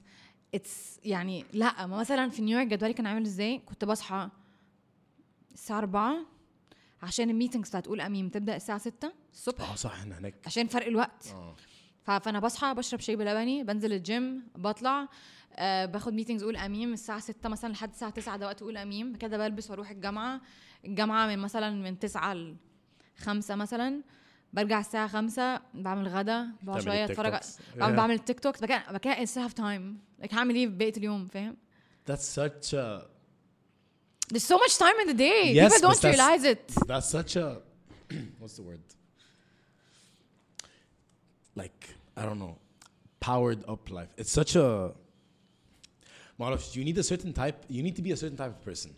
Speaker 1: اتس يعني لا ما مثلا في نيويورك جدولي كان عامل ازاي كنت بصحى الساعه 4 عشان الميتنجز بتاعت قول امين تبدا الساعه 6 الصبح
Speaker 2: اه صح احنا هناك
Speaker 1: عشان فرق الوقت
Speaker 2: اه
Speaker 1: ف- فانا بصحى بشرب شاي بلبني بنزل الجيم بطلع آه باخد ميتنجز اقول اميم الساعه 6 مثلا لحد الساعه 9 ده وقت اقول اميم بعد كده بلبس واروح الجامعه الجامعه من مثلا من 9 ل 5 مثلا برجع الساعه 5 بعمل غدا بقعد
Speaker 2: بتعمل
Speaker 1: شويه
Speaker 2: التيك
Speaker 1: اتفرج
Speaker 2: توكس.
Speaker 1: بعمل
Speaker 2: Yeah.
Speaker 1: بعمل التيك توك بعد كده- بعد كده اتس هاف تايم هعمل ايه في بقيه اليوم فاهم
Speaker 2: that's such a
Speaker 1: There's so much time in the day
Speaker 2: Yes,
Speaker 1: people
Speaker 2: بس
Speaker 1: don't
Speaker 2: that's-
Speaker 1: realize it
Speaker 2: that's such a what's the word like I don't know powered up life it's such a ما اعرفش you need a certain type you need to be a certain type of person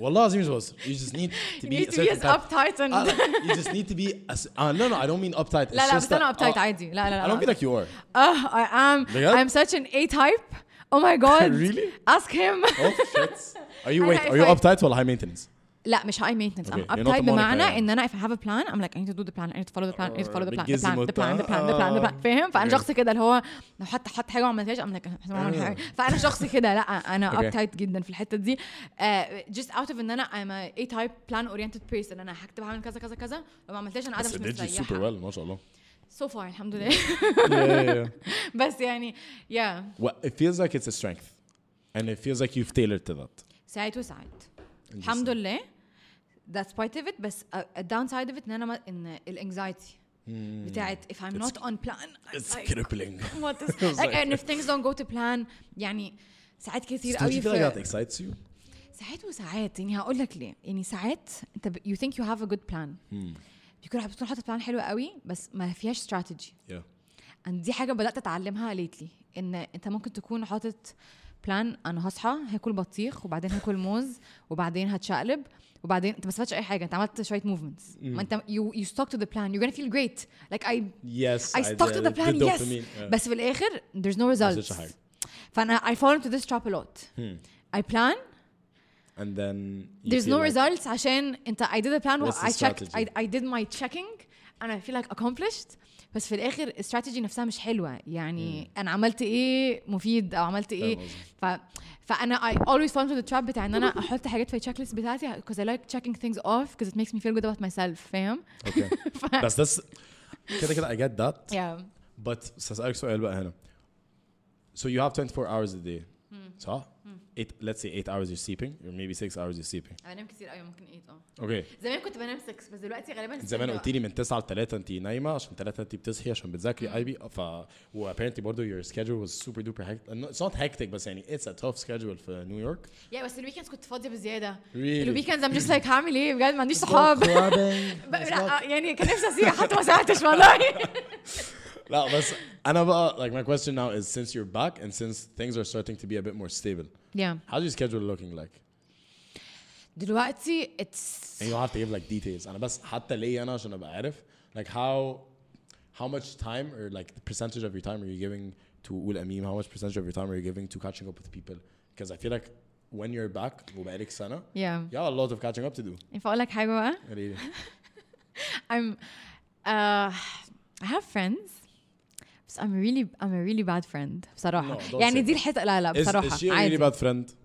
Speaker 2: والله العظيم مش بهزر you just need to
Speaker 1: You
Speaker 2: be
Speaker 1: need
Speaker 2: a
Speaker 1: to be as
Speaker 2: certain type
Speaker 1: uptight and
Speaker 2: Ah, like, you just need to be a s- uh, no no I don't mean uptight
Speaker 1: لا لا
Speaker 2: it's just
Speaker 1: بس انا
Speaker 2: that-
Speaker 1: uptight
Speaker 2: uh,
Speaker 1: عادي لا لا لا
Speaker 2: I don't feel like you are
Speaker 1: Oh, I am.
Speaker 2: بجد؟
Speaker 1: I'm such an A type. Oh my god.
Speaker 2: Really?
Speaker 1: Ask him.
Speaker 2: oh shit are you
Speaker 1: I
Speaker 2: wait
Speaker 1: know,
Speaker 2: are
Speaker 1: if
Speaker 2: you
Speaker 1: I-
Speaker 2: uptight ولا high maintenance
Speaker 1: لا مش high maintenance.
Speaker 2: Okay,
Speaker 1: I'm
Speaker 2: you're not
Speaker 1: uptight
Speaker 2: a Monica
Speaker 1: بمعنى
Speaker 2: يعني.
Speaker 1: ان انا if I have a plan I'm like I need to do the plan I need to follow the plan I need to follow the plan the
Speaker 2: بتجزي
Speaker 1: plan the
Speaker 2: مت-
Speaker 1: plan the plan the plan the plan
Speaker 2: آه.
Speaker 1: فاهم؟ فانا
Speaker 2: Okay. آه.
Speaker 1: شخص كده اللي هو لو حتى حط حاجه وما عملتهاش I'm like أنا ما عملت حاجة. فانا شخص كده لا انا
Speaker 2: Okay.
Speaker 1: uptight جدا في الحته دي. آه، just out of ان انا I'm a A type plan oriented person انا هكتب هعمل كذا كذا كذا لو ما عملتهاش انا قاعده مش
Speaker 2: بس did you super
Speaker 1: مستريحه.
Speaker 2: well ما شاء الله
Speaker 1: So far الحمد لله
Speaker 2: yeah
Speaker 1: بس يعني yeah
Speaker 2: Well, it feels like it's a strength, and it feels like you've tailored to that.
Speaker 1: ساعات وساعات الحمد لله that's part of it بس a, a downside of it ان انا ما- ان الانكزايتي بتاعت if I'm
Speaker 2: It's-
Speaker 1: not on plan I'm
Speaker 2: It's
Speaker 1: like,
Speaker 2: crippling.
Speaker 1: what is like, and if things don't go to plan يعني ساعات كتير
Speaker 2: Do
Speaker 1: قوي
Speaker 2: you feel like
Speaker 1: في
Speaker 2: that excites you?
Speaker 1: ساعات وساعات يعني هقول لك ليه يعني ساعات انت ب- you think you have a good plan بيكون بتكون حاطط بلان حلو قوي بس ما فيهاش strategy
Speaker 2: Yeah.
Speaker 1: and دي حاجه بدات اتعلمها ليتلي ان انت ممكن تكون حاطط بلان انا هصحى هاكل بطيخ وبعدين هاكل موز وبعدين هتشقلب وبعدين انت ما استفدتش اي حاجه انت عملت شويه موفمنتس ما انت you, you stuck to the plan you're gonna feel great like I
Speaker 2: Yes.
Speaker 1: I stuck to the
Speaker 2: did.
Speaker 1: plan
Speaker 2: Good
Speaker 1: yes
Speaker 2: dopamine. Yeah.
Speaker 1: بس في الاخر there's no
Speaker 2: That's such a
Speaker 1: results
Speaker 2: Hmm. hack.
Speaker 1: فانا I fall into this trap a lot I plan
Speaker 2: And then you
Speaker 1: there's
Speaker 2: feel
Speaker 1: no
Speaker 2: like-
Speaker 1: results عشان انت I did a plan
Speaker 2: What's
Speaker 1: I
Speaker 2: the
Speaker 1: checked I,
Speaker 2: strategy?
Speaker 1: I did my checking and I feel like accomplished بس في الاخر الاستراتيجي نفسها مش حلوه يعني انا عملت ايه مفيد او عملت ايه
Speaker 2: قصدي.
Speaker 1: ف فانا I always fall into the trap بتاع ان انا احط حاجات في التشيك ليست بتاعتي because I like checking things off because it makes me feel good about myself فاهم؟
Speaker 2: Okay.
Speaker 1: ف-
Speaker 2: That's that's. كده كده I get that.
Speaker 1: yeah
Speaker 2: But سأسألك سؤال بقى هنا. So you have 24 hours a day. صح? Eight, let's say eight hours you're sleeping, or maybe six hours you're sleeping.
Speaker 1: أنا بنام كتير قوي ممكن ايه اه
Speaker 2: Okay.
Speaker 1: زمان كنت بنام 6 بس دلوقتي غالبا
Speaker 2: زمان
Speaker 1: الساعة
Speaker 2: قلت لي من 9 ل 3 انت نايمه عشان 3 انت بتصحي عشان بتذاكري اي بي ف و apparently برضه your schedule was super duper hectic no, it's not hectic بس يعني it's a tough schedule في نيويورك
Speaker 1: يا بس الويكندز كنت فاضيه بزياده
Speaker 2: Really?
Speaker 1: الويكندز ام جاست لايك هعمل ايه بجد ما عنديش صحاب ب- لا يعني كان نفسي اسيح حتى ما ساعدتش والله
Speaker 2: لا بس انا بقى like my question now is since you're back and since things are starting to be a bit more stable
Speaker 1: yeah.
Speaker 2: how's your schedule looking like
Speaker 1: دلوقتي اتس
Speaker 2: and you have to give like details انا بس حتى ليا انا عشان ابقى عارف like how how much time or like the percentage of your time are you giving to قول اميم how much percentage of your time are you giving to catching up with people because I feel like when you're back وبقالك سنه
Speaker 1: yeah.
Speaker 2: you have a lot of catching up to do
Speaker 1: if اقول لك حاجه بقى
Speaker 2: really
Speaker 1: I'm uh, I have friends بس I'm really I'm a really bad friend بصراحة
Speaker 2: No, don't
Speaker 1: يعني
Speaker 2: say
Speaker 1: دي
Speaker 2: that.
Speaker 1: الحتة لا لا
Speaker 2: is,
Speaker 1: بصراحة
Speaker 2: is she a
Speaker 1: عادي
Speaker 2: really bad friend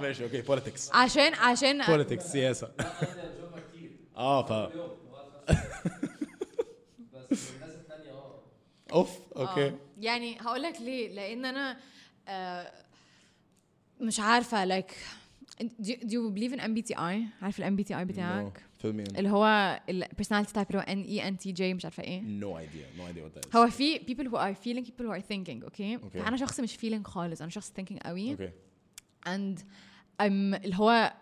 Speaker 2: ماشي اوكي politics
Speaker 1: عشان عشان
Speaker 2: politics سياسه اه ف
Speaker 3: بس الناس التانية اه
Speaker 2: اوف
Speaker 1: آه.
Speaker 2: اوكي
Speaker 1: يعني هقول لك ليه لأن أنا آه، مش عارفة like do, do you believe in MBTI عارف ال MBTI بتاعك
Speaker 2: fill me in
Speaker 1: اللي هو ال personality type اللي هو E NENTJ مش عارفة ايه
Speaker 2: no idea no idea what that is
Speaker 1: هو في people who are feeling people who are thinking اوكي okay.
Speaker 2: أوكي.
Speaker 1: فانا شخص مش feeling خالص انا شخص thinking قوي
Speaker 2: okay
Speaker 1: اند ام اللي هو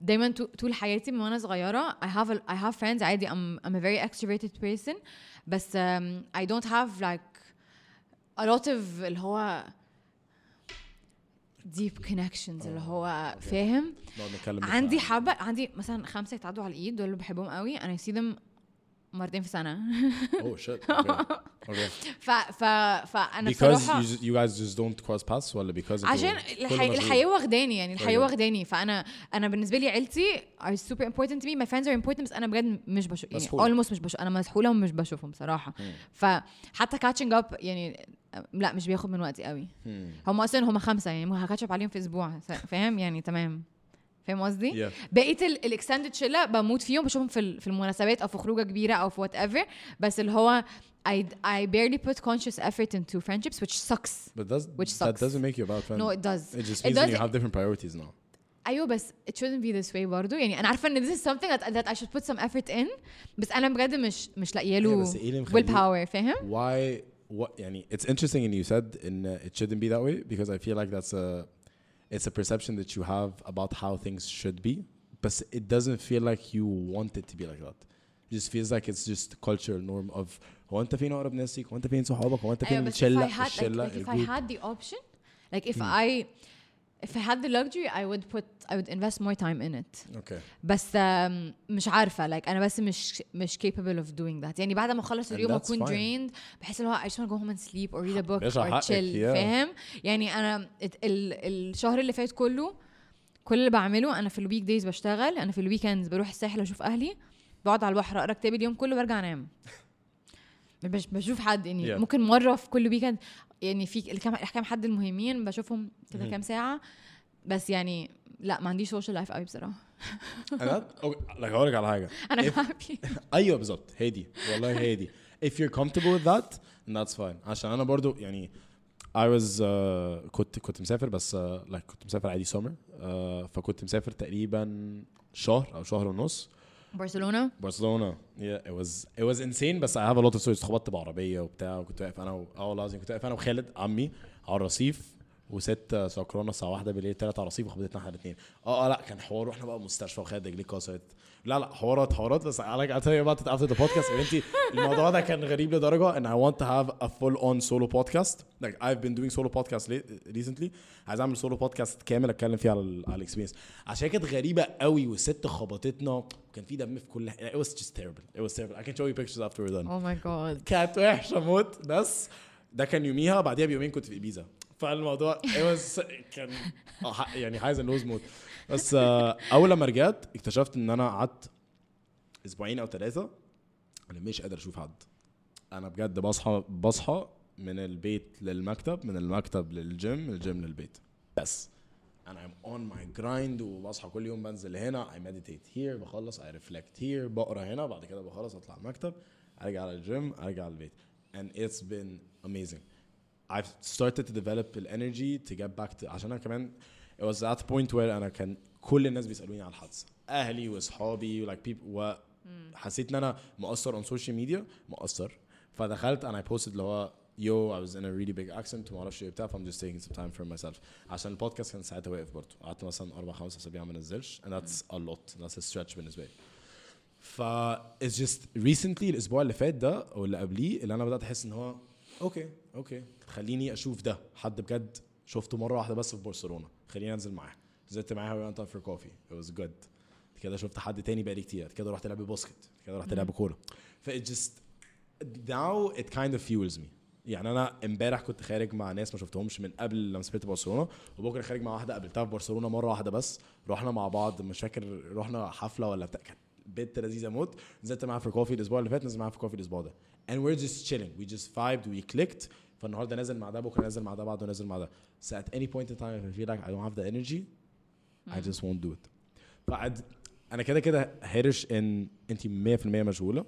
Speaker 1: دايما تو- طول حياتي من وانا صغيره I have a, I have friends عادي I'm I'm a very extroverted person بس um, I don't have like a lot of اللي هو deep connections اللي هو
Speaker 2: Oh, okay.
Speaker 1: فاهم
Speaker 2: نقعد نتكلم
Speaker 1: عندي
Speaker 2: بالساعة.
Speaker 1: حبه عندي مثلا خمسه يتعدوا على الايد دول اللي بحبهم قوي انا سي ذم مرتين في سنه
Speaker 2: Oh shit. Okay. okay.
Speaker 1: ف ف فانا
Speaker 2: Because
Speaker 1: بصراحه
Speaker 2: you, ju- you guys just don't cross paths ولا because انتوا
Speaker 1: عشان
Speaker 2: كل
Speaker 1: الحي...
Speaker 2: مشغول؟
Speaker 1: الحياه واخداني يعني الحياه
Speaker 2: طيب.
Speaker 1: واخداني فانا انا بالنسبه لي عيلتي are super important to me my friends are important بس انا بجد مش بشوف يعني
Speaker 2: مسحول.
Speaker 1: almost مش بشوف انا مسحوله ومش بشوفهم صراحه فحتى catching up يعني لا مش بياخد من وقتي قوي
Speaker 2: مم.
Speaker 1: هم اصلا هم خمسه يعني هكاتش اب عليهم في اسبوع س- فاهم يعني تمام فاهم قصدي؟
Speaker 2: Yeah.
Speaker 1: بقيه الاكستندد شله بموت فيهم بشوفهم في ال- في المناسبات او في خروجه كبيره او في وات ايفر بس اللي هو I, I barely put conscious effort into friendships which sucks
Speaker 2: But that's,
Speaker 1: Which
Speaker 2: that
Speaker 1: sucks.
Speaker 2: doesn't make you a bad friend.
Speaker 1: no it does
Speaker 2: It just
Speaker 1: it
Speaker 2: means that you
Speaker 1: does
Speaker 2: have different priorities now.
Speaker 1: ايوه بس it shouldn't be this way برضه يعني انا عارفه ان this is something that, that I should put some effort in بس انا بجد مش مش لاقيه
Speaker 2: أيوة،
Speaker 1: له
Speaker 2: بس إيه اللي
Speaker 1: will
Speaker 2: مخليه-
Speaker 1: power فاهم؟
Speaker 2: Why? What? يعني it's interesting and you said in uh, it shouldn't be that way because I feel like that's a it's a perception that you have about how things should be, but it doesn't feel like you want it to be like that. It just feels like it's just the cultural norm of هو انت فين اقرب ناسك؟ هو انت فين صحابك؟ هو انت فين
Speaker 1: ايوه بس if I
Speaker 2: الشله؟
Speaker 1: had like,
Speaker 2: الشله
Speaker 1: like if I
Speaker 2: الجروب؟
Speaker 1: had the option like if I if I had the luxury I would put I would invest more time in it
Speaker 2: Okay.
Speaker 1: بس um, مش عارفه like انا بس مش مش capable of doing that يعني بعد ما اخلص
Speaker 2: And
Speaker 1: اليوم
Speaker 2: that's
Speaker 1: اكون
Speaker 2: fine.
Speaker 1: drained بحس اللي هو I just wanna go home and sleep or read a book
Speaker 2: باشا
Speaker 1: or
Speaker 2: حقك،
Speaker 1: chill
Speaker 2: yeah.
Speaker 1: فاهم يعني انا ات- ال, الشهر اللي فات كله كل اللي بعمله انا في الويك دايز بشتغل انا في الويكندز بروح الساحل اشوف اهلي بقعد على البحر اقرا كتابي اليوم كله وارجع انام مش بشوف حد يعني
Speaker 2: Yeah.
Speaker 1: ممكن مره في كل ويكند يعني في الكام كام حد المهمين بشوفهم كده كام ساعه بس يعني لا ما عنديش سوشيال لايف قوي بصراحه
Speaker 2: And that- okay, like هقول لك على حاجه
Speaker 1: انا
Speaker 2: If-
Speaker 1: هابي
Speaker 2: ايوه بالظبط هي دي والله هي دي if you're comfortable with that then that's fine عشان انا برضو يعني I was uh, كنت كنت مسافر بس uh, like كنت مسافر عادي summer uh, فكنت مسافر تقريبا شهر او شهر ونص
Speaker 1: برشلونه
Speaker 2: برشلونه yeah it was it was insane بس I have a lot of stories اتخبطت بعربيه وبتاع وكنت واقف انا و... اه والله العظيم كنت واقف انا وخالد عمي على الرصيف وست سكرانه الساعه واحدة بالليل طلعت على الرصيف وخبطتنا احنا الاثنين اه اه لا كان حوار واحنا بقى مستشفى وخالد رجليه اتكسرت لا لا حوارات حوارات بس like I'll tell you about it after the podcast يا بنتي الموضوع ده كان غريب لدرجه and I want to have a full on solo podcast like I've been doing solo podcast li- recently عايز اعمل solo podcast كامل اتكلم فيه على ال على الاكسبيرينس عشان كانت غريبه قوي والست خبطتنا وكان في دم في كل حاجه it was just terrible it was terrible I can show you pictures after we're done
Speaker 1: اوه ماي جاد
Speaker 2: كانت وحشه موت بس ده كان يوميها بعديها بيومين كنت في ابيزا فالموضوع it was كان آه، ح- يعني عايز اللوز موت بس آه، اول لما رجعت اكتشفت ان انا قعدت اسبوعين او ثلاثه انا مش قادر اشوف حد انا بجد بصحى بصحى من البيت للمكتب من المكتب للجيم من الجيم للبيت بس انا I'm on my grind وبصحى كل يوم بنزل هنا I meditate here بخلص I reflect here بقرا هنا بعد كده بخلص اطلع المكتب ارجع على الجيم ارجع على البيت and it's been amazing I've started to develop the energy to get back to عشان انا كمان it was at the point where انا كان كل الناس بيسالوني على الحادثه اهلي واصحابي like people وحسيت ان انا مقصر on social media مقصر فدخلت and I posted اللي هو yo I was in a really big accident وما اعرفش ايه بتاع فام just taking some time for myself عشان البودكاست كان ساعتها واقف برضه قعدت مثلا اربع خمس اسابيع ما نزلش and that's a lot that's a stretch بالنسبه لي ف it's just recently الاسبوع اللي فات ده او اللي قبليه اللي انا بدات احس ان هو اوكي اوكي خليني اشوف ده حد بجد شفته مره واحده بس في برشلونه خليني انزل معاه نزلت معاه we went out for coffee it was good بعد كده شفت حد تاني بقالي كتير بعد كده رحت العب باسكت بعد كده رحت العب كوره ف it just now it kind of fuels me يعني انا امبارح كنت خارج مع ناس ما شفتهمش من قبل لما سافرت برشلونه وبكره خارج مع واحده قابلتها في برشلونه مره واحده بس رحنا مع بعض مش فاكر رحنا حفله ولا بتاع كانت بنت لذيذه موت نزلت معاها في كوفي الاسبوع اللي فات نزلت معاها في كوفي الاسبوع ده and we're just chilling we just vibed we clicked فالنهارده نازل مع ده بكره نازل مع ده بعده نازل مع ده so at any point in time if I feel like I don't have the energy
Speaker 1: Mm.
Speaker 2: I just won't do it فقعد انا كده كده هرش ان انت 100% مشغوله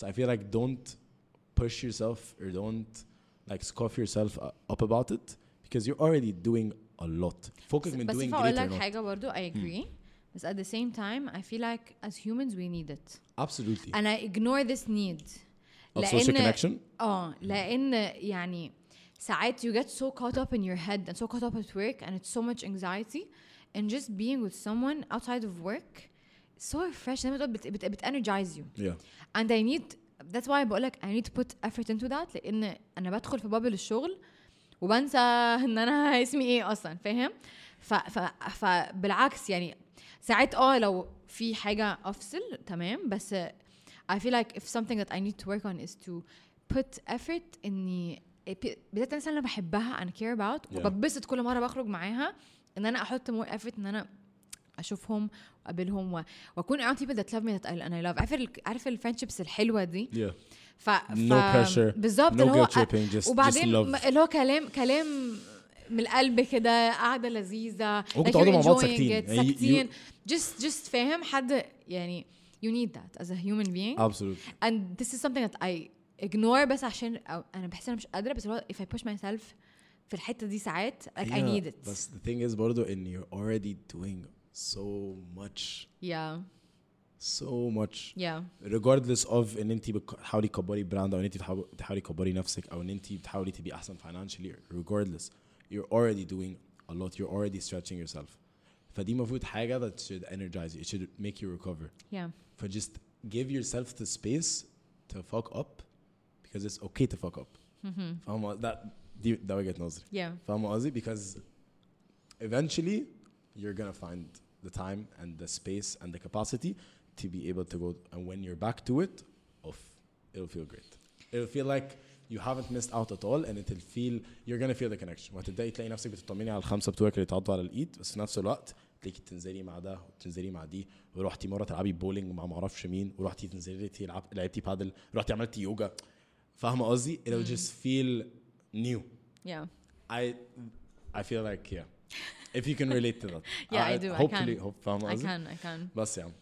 Speaker 2: so I feel like don't push yourself or don't like scoff yourself up about it because you're already doing a lot فوقك من
Speaker 1: بس
Speaker 2: doing
Speaker 1: ينفع اقول
Speaker 2: great
Speaker 1: لك
Speaker 2: or not
Speaker 1: حاجه برضه I
Speaker 2: Hmm.
Speaker 1: agree بس at the same time I feel like as humans we need it
Speaker 2: absolutely
Speaker 1: and I ignore this need
Speaker 2: of social
Speaker 1: لأن
Speaker 2: connection Hmm.
Speaker 1: اه لان يعني ساعات you get so caught up in your head and so caught up at work and it's so much anxiety and just being with someone outside of work so fresh زي ما تقول بت, بت, بت energize you
Speaker 2: yeah
Speaker 1: and I need that's why بقول لك I need to put effort into that لان انا بدخل في بابل الشغل وبنسى ان انا اسمي ايه اصلا فاهم ف ف آه، فبالعكس يعني ساعات اه لو في حاجه افصل تمام بس I feel like if something that I need to work on is to put effort اني بدايه الناس اللي انا بحبها and care about
Speaker 2: Yeah.
Speaker 1: وببسط كل مره بخرج معاها ان انا احط more effort ان انا اشوفهم واقابلهم و- واكون around people that love me that I, and I love عارف ال- عارف الفريندشيبس الحلوه دي
Speaker 2: yeah
Speaker 1: ف, ف
Speaker 2: No pressure,
Speaker 1: بالظبط
Speaker 2: no
Speaker 1: اللي هو
Speaker 2: guilt tripping just, just
Speaker 1: وبعدين
Speaker 2: love
Speaker 1: م- اللي هو كلام كلام من القلب كده قاعده لذيذه
Speaker 2: ممكن
Speaker 1: like
Speaker 2: تقعدوا
Speaker 1: you're
Speaker 2: مع بعض
Speaker 1: enjoying
Speaker 2: ساكتين.
Speaker 1: it،
Speaker 2: يعني
Speaker 1: ساكتين
Speaker 2: you-
Speaker 1: just just فاهم حد يعني you need that as a human being
Speaker 2: absolutely
Speaker 1: and this is something that I ignore بس عشان أو انا بحس انا مش قادره بس اللي هو if I push myself في الحته دي ساعات like I
Speaker 2: Yeah,
Speaker 1: need it
Speaker 2: بس the thing is برضه ان you're already doing so much
Speaker 1: yeah
Speaker 2: so much
Speaker 1: yeah
Speaker 2: regardless of ان انت بتحاولي تكبري براند او ان انت بتحاول- بتحاولي تكبري نفسك او ان انت بتحاولي تبقي احسن financially regardless you're already doing a lot you're already stretching yourself فدي المفروض حاجه that should energize you it should make you recover
Speaker 1: yeah
Speaker 2: فجست give yourself the space to fuck up because it's okay to fuck up فاهم قصدي؟ ده دي ده وجهه نظري
Speaker 1: yeah
Speaker 2: فاهم قصدي because eventually you're gonna find the time and the space and the capacity to be able to go and when you're back to it off it'll feel great it'll feel like you haven't missed out at all and it'll feel you're gonna feel the connection وهتبداي تلاقي نفسك بتطمني على الخمسه بتوعك اللي اتعضوا على الايد بس في نفس الوقت تلاقيكي بتنزلي مع ده وبتنزلي مع دي ورحتي مره تلعبي بولينج مع معرفش مين ورحتي تنزلي تلعب لعبتي بادل رحتي عملتي يوجا فاهمه قصدي؟ it'll just feel new
Speaker 1: yeah
Speaker 2: I I feel like yeah. If you can relate to that.
Speaker 1: Yeah, I do, I
Speaker 2: Hopefully,
Speaker 1: can.
Speaker 2: hope فاهم
Speaker 1: I
Speaker 2: قصدي؟
Speaker 1: can I can
Speaker 2: بس يعني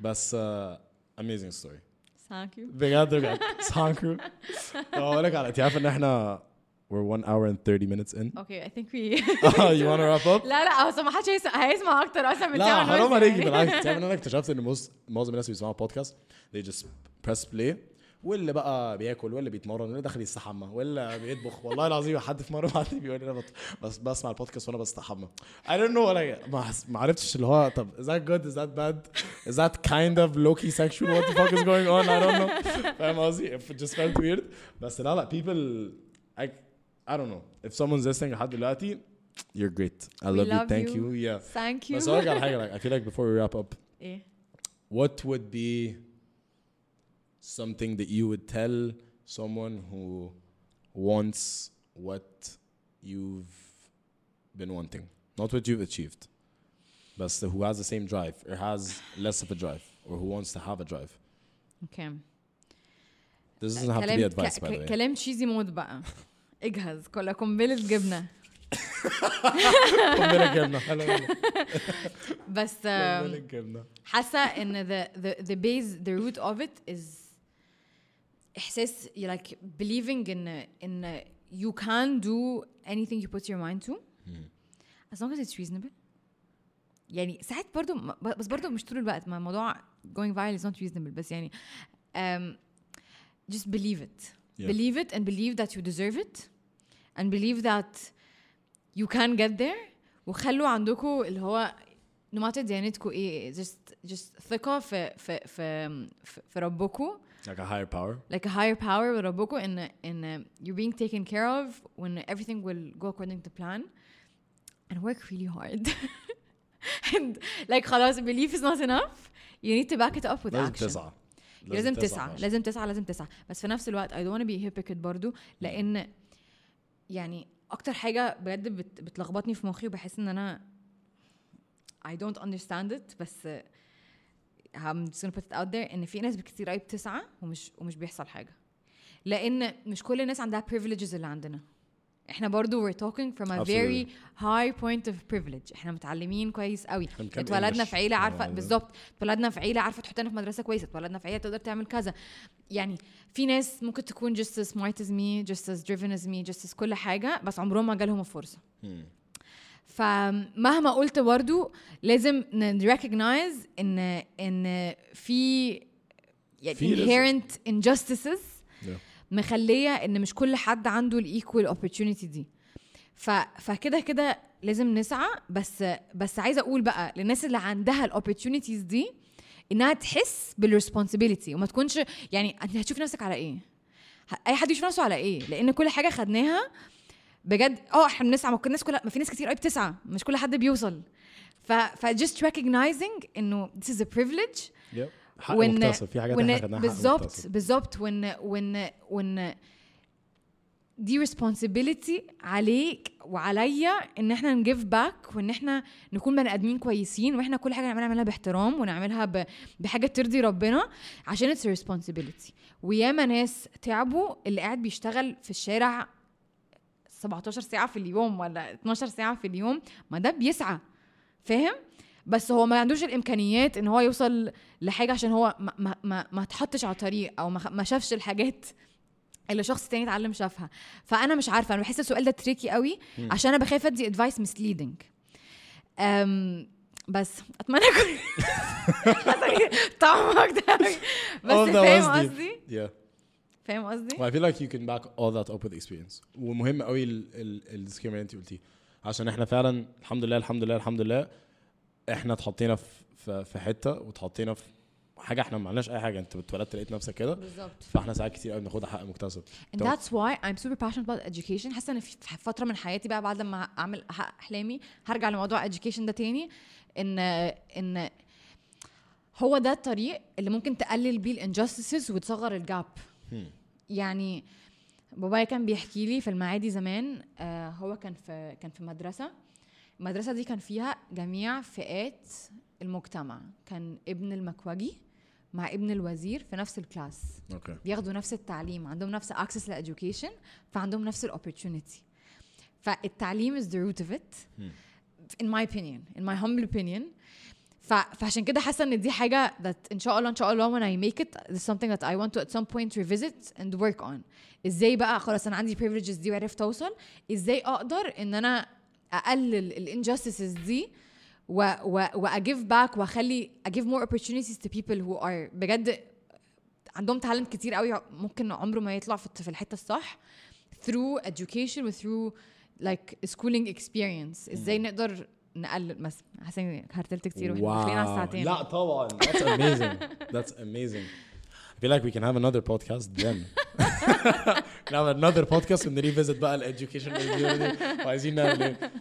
Speaker 2: بس uh, amazing story.
Speaker 1: thank you
Speaker 2: بجد بجد سانكرو بقول لك على انت عارف ان احنا we're 1 hour and 30 minutes in.
Speaker 1: okay I think we
Speaker 2: Oh, you want to wrap up?
Speaker 1: لا لا هو أصل ما حدش هيس- هيسمع اكتر اصلا من
Speaker 2: لا
Speaker 1: ساعة ونص
Speaker 2: حرام عليك
Speaker 1: يعني.
Speaker 2: بالعكس تعرف ان انا اكتشفت ان most- معظم الناس اللي بيسمعوا بودكاست they just press play واللي بقى بياكل واللي بيتمرن واللي داخل يستحمى واللي بيطبخ والله العظيم حد في مره بعت لي بيقول لي انا بط- بس بسمع البودكاست وانا بستحمى I don't know ولا ما حس- ما عرفتش اللي هو طب is that good is that bad is that kind of low key sexual what the fuck is going on I don't know فاهم قصدي it just felt weird بس لا لا people I I don't know if someone's listening لحد دلوقتي you're great
Speaker 1: We
Speaker 2: I love, you
Speaker 1: love
Speaker 2: thank
Speaker 1: you.
Speaker 2: you, yeah
Speaker 1: thank you
Speaker 2: بس هقول لك على حاجه like, I feel like before we wrap up
Speaker 1: ايه
Speaker 2: what would be something that you would tell someone who wants what you've been wanting not what you've achieved but who has the same drive or has less of a drive or who wants to have a drive
Speaker 1: اوكي
Speaker 2: this doesn't have to be advice by the way
Speaker 1: كلام تشيزي مود بقى اجهز كلها قنبله جبنه
Speaker 2: قنبلة جبنة، حلو أوي.
Speaker 1: بس
Speaker 2: قنبلة
Speaker 1: آم،
Speaker 2: جبنة.
Speaker 1: حاسه ان the the the base the root of it is احساس you like believing in in you can do anything you put your mind to as long as it's reasonable يعني ساعات برضو م- بس برضو مش طول الوقت ما موضوع going viral is not reasonable بس يعني um, just believe it
Speaker 2: Yeah.
Speaker 1: believe it and believe that you deserve it and believe that you can get there وخلوا عندكم اللي هو نمط ديانتكم ايه just just ثقه في في في في, في ربكم
Speaker 2: like a higher power
Speaker 1: like a higher power with Raboko and and uh, you're being taken care of when everything will go according to plan and work really hard and like خلاص belief is not enough you need to back it up with
Speaker 2: لازم
Speaker 1: action لازم
Speaker 2: تسعى
Speaker 1: تسعى
Speaker 2: عشان-
Speaker 1: لازم تسعى لازم تسعى بس في نفس الوقت I don't want to be a hypocrite برضو لأن يعني أكتر حاجة بجد بت- بتلخبطني في مخي وبحس إن أنا I don't understand it بس I'm just gonna put it out there إن في ناس كتير قوي بتسعى ومش ومش بيحصل حاجة لأن مش كل الناس عندها privileges اللي عندنا احنا برضو we're talking from a very high point of privilege احنا متعلمين كويس قوي
Speaker 2: كان كام
Speaker 1: اتولدنا
Speaker 2: English؟
Speaker 1: في عيله عارفه
Speaker 2: آه.
Speaker 1: بالظبط اتولدنا في عيله عارفه تحطنا في مدرسه كويسه اتولدنا في عيله تقدر تعمل كذا يعني في ناس ممكن تكون just as smart as me just as driven as me just as كل حاجه بس عمرهم ما جالهم الفرصه فمهما قلت برضو لازم نريكوجنايز ان ان في
Speaker 2: في
Speaker 1: يعني
Speaker 2: رزق.
Speaker 1: inherent injustices
Speaker 2: Yeah.
Speaker 1: مخليه ان مش كل حد عنده الايكوال اوبورتيونيتي دي ف فكده كده لازم نسعى بس بس عايزه اقول بقى للناس اللي عندها الاوبورتيونيتيز دي انها تحس بالريسبونسبيلتي وما تكونش يعني انت هتشوف نفسك على ايه ه- اي حد يشوف نفسه على ايه لان كل حاجه خدناها بجد اه احنا بنسعى ما كل- الناس كلها ما في ناس كتير قوي بتسعى مش كل حد بيوصل ف ف just recognizing انه this is a privilege
Speaker 2: Yep. حق مكتسب في حاجات احنا خدناها حق
Speaker 1: بالظبط
Speaker 2: مكتسب.
Speaker 1: بالظبط وان وان وان دي responsibility عليك وعليا ان احنا نجيف باك وان احنا نكون بني ادمين كويسين واحنا كل حاجه نعملها نعملها باحترام ونعملها ب- بحاجه ترضي ربنا عشان اتس responsibility وياما ناس تعبوا اللي قاعد بيشتغل في الشارع 17 ساعه في اليوم ولا 12 ساعه في اليوم ما ده بيسعى فاهم بس هو ما عندوش الامكانيات ان هو يوصل لحاجه عشان هو ما ما ما, ما اتحطش على طريق او ما, خ- ما شافش الحاجات اللي شخص تاني اتعلم شافها فانا مش عارفه انا بحس السؤال ده تريكي قوي عشان انا بخاف ادي ادفايس مسليدنج بس اتمنى اكون طعمك ده أوي.
Speaker 2: All
Speaker 1: بس
Speaker 2: that
Speaker 1: فاهم
Speaker 2: was deep.
Speaker 1: قصدي
Speaker 2: Yeah.
Speaker 1: فاهم قصدي
Speaker 2: Well, I feel like you can back all that up with experience. ومهم قوي ال- ال- الديسكليمر اللي انت قلتيه عشان احنا فعلا الحمد لله الحمد لله الحمد لله احنا اتحطينا في في- في حته واتحطينا في حاجه احنا ما عملناش اي حاجه انت اتولدت لقيت نفسك كده
Speaker 1: بالظبط
Speaker 2: فاحنا ساعات كتير قوي بناخدها حق مكتسب
Speaker 1: And
Speaker 2: طب-
Speaker 1: that's why I'm super passionate about education حاسه ان في في فتره من حياتي بقى بعد لما اعمل احقق احلامي هرجع لموضوع education ده تاني ان ان هو ده الطريق اللي ممكن تقلل بيه الانجاستسز وتصغر الجاب يعني بابايا كان بيحكي لي في المعادي زمان آه هو كان في كان في مدرسه المدرسه دي كان فيها جميع فئات المجتمع كان ابن المكوجي مع ابن الوزير في نفس الكلاس
Speaker 2: اوكي
Speaker 1: بياخدوا نفس التعليم عندهم نفس الاكسس للاديوكيشن فعندهم نفس الاوبورتيونيتي فالتعليم از ذا روت اوف ات in my opinion in my humble opinion ف... فعشان كده حاسه ان دي حاجه that ان شاء الله ان شاء الله when I make it is something that I want to at some point revisit and work on ازاي بقى خلاص انا عندي privileges دي وعرفت اوصل ازاي اقدر ان انا اقلل الانجستسز دي و و واجيف باك واخلي اجيف مور opportunities to people who are بجد عندهم تالنت كتير قوي ممكن عمره ما يطلع في في الحته الصح through education و through like schooling experience ازاي نقدر نقلل مثلا حسين هرتلت كتير واحنا داخلين على الساعتين
Speaker 2: لا طبعا that's amazing that's amazing I feel like we can have another podcast then can have another podcast and revisit بقى ال education review دي وعايزين نعمل ايه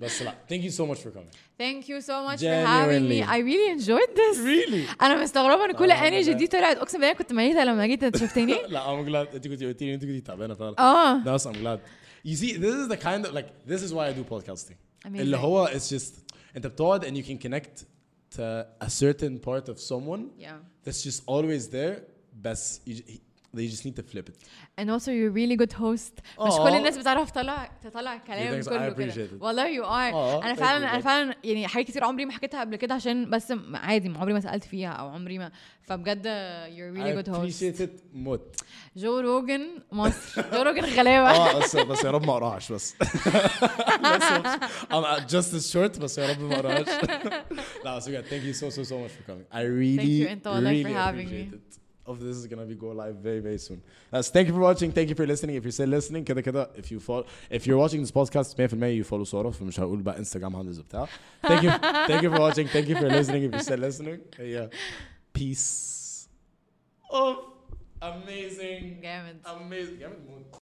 Speaker 2: بس لا thank you so much for coming
Speaker 1: thank you so much for having me
Speaker 2: Genuinely.
Speaker 1: I really enjoyed this
Speaker 2: really
Speaker 1: انا مستغربه ان كل
Speaker 2: آه،
Speaker 1: انرجي
Speaker 2: لا.
Speaker 1: دي طلعت اقسم بالله كنت ميته لما جيت انت شفتني
Speaker 2: لا I'm glad انت كنت قلتي لي انت كنت تعبانه فعلا
Speaker 1: اه
Speaker 2: No, so I'm glad. You see, this is the kind of like this is why I do podcasting.
Speaker 1: Amazing.
Speaker 2: اللي هو it's just انت بتقعد and you can connect to a certain part of someone
Speaker 1: yeah
Speaker 2: that's just always there بس you, j- he- they just need to flip it.
Speaker 1: and also you're a really good host مش
Speaker 2: آه.
Speaker 1: كل الناس بتعرف تطلع تطلع كلام
Speaker 2: thanks, I
Speaker 1: كله
Speaker 2: appreciate
Speaker 1: كده
Speaker 2: it.
Speaker 1: والله you are
Speaker 2: آه،
Speaker 1: انا
Speaker 2: thank
Speaker 1: فعلا
Speaker 2: you,
Speaker 1: انا
Speaker 2: thank you.
Speaker 1: فعلا يعني حاجات كتير عمري ما حكيتها قبل كده عشان بس م- عادي ما عمري ما سالت فيها او عمري ما فبجد you're
Speaker 2: I
Speaker 1: really good host
Speaker 2: appreciate it موت.
Speaker 1: جو روجن مصر جو روجن غلابه
Speaker 2: اه بس بس يا رب ما اقراهاش بس. بس I'm er just as short بس يا رب ما اقراهاش. لا بس بجد thank you so so so much for coming. I really
Speaker 1: you انت والله for
Speaker 2: really
Speaker 1: having
Speaker 2: appreciate
Speaker 1: me.
Speaker 2: it. Of this is gonna be go live very very soon. That's thank you for watching, thank you for listening. If you're still listening, كده كده if you follow if you're watching this podcast 100% you follow سارة فمش هقول بقى انستجرام هاندلز بتاع. Thank you thank you for watching, thank you for listening. If you're still listening, yeah. Peace. Of amazing
Speaker 1: جامد
Speaker 2: amazing. جامد موت.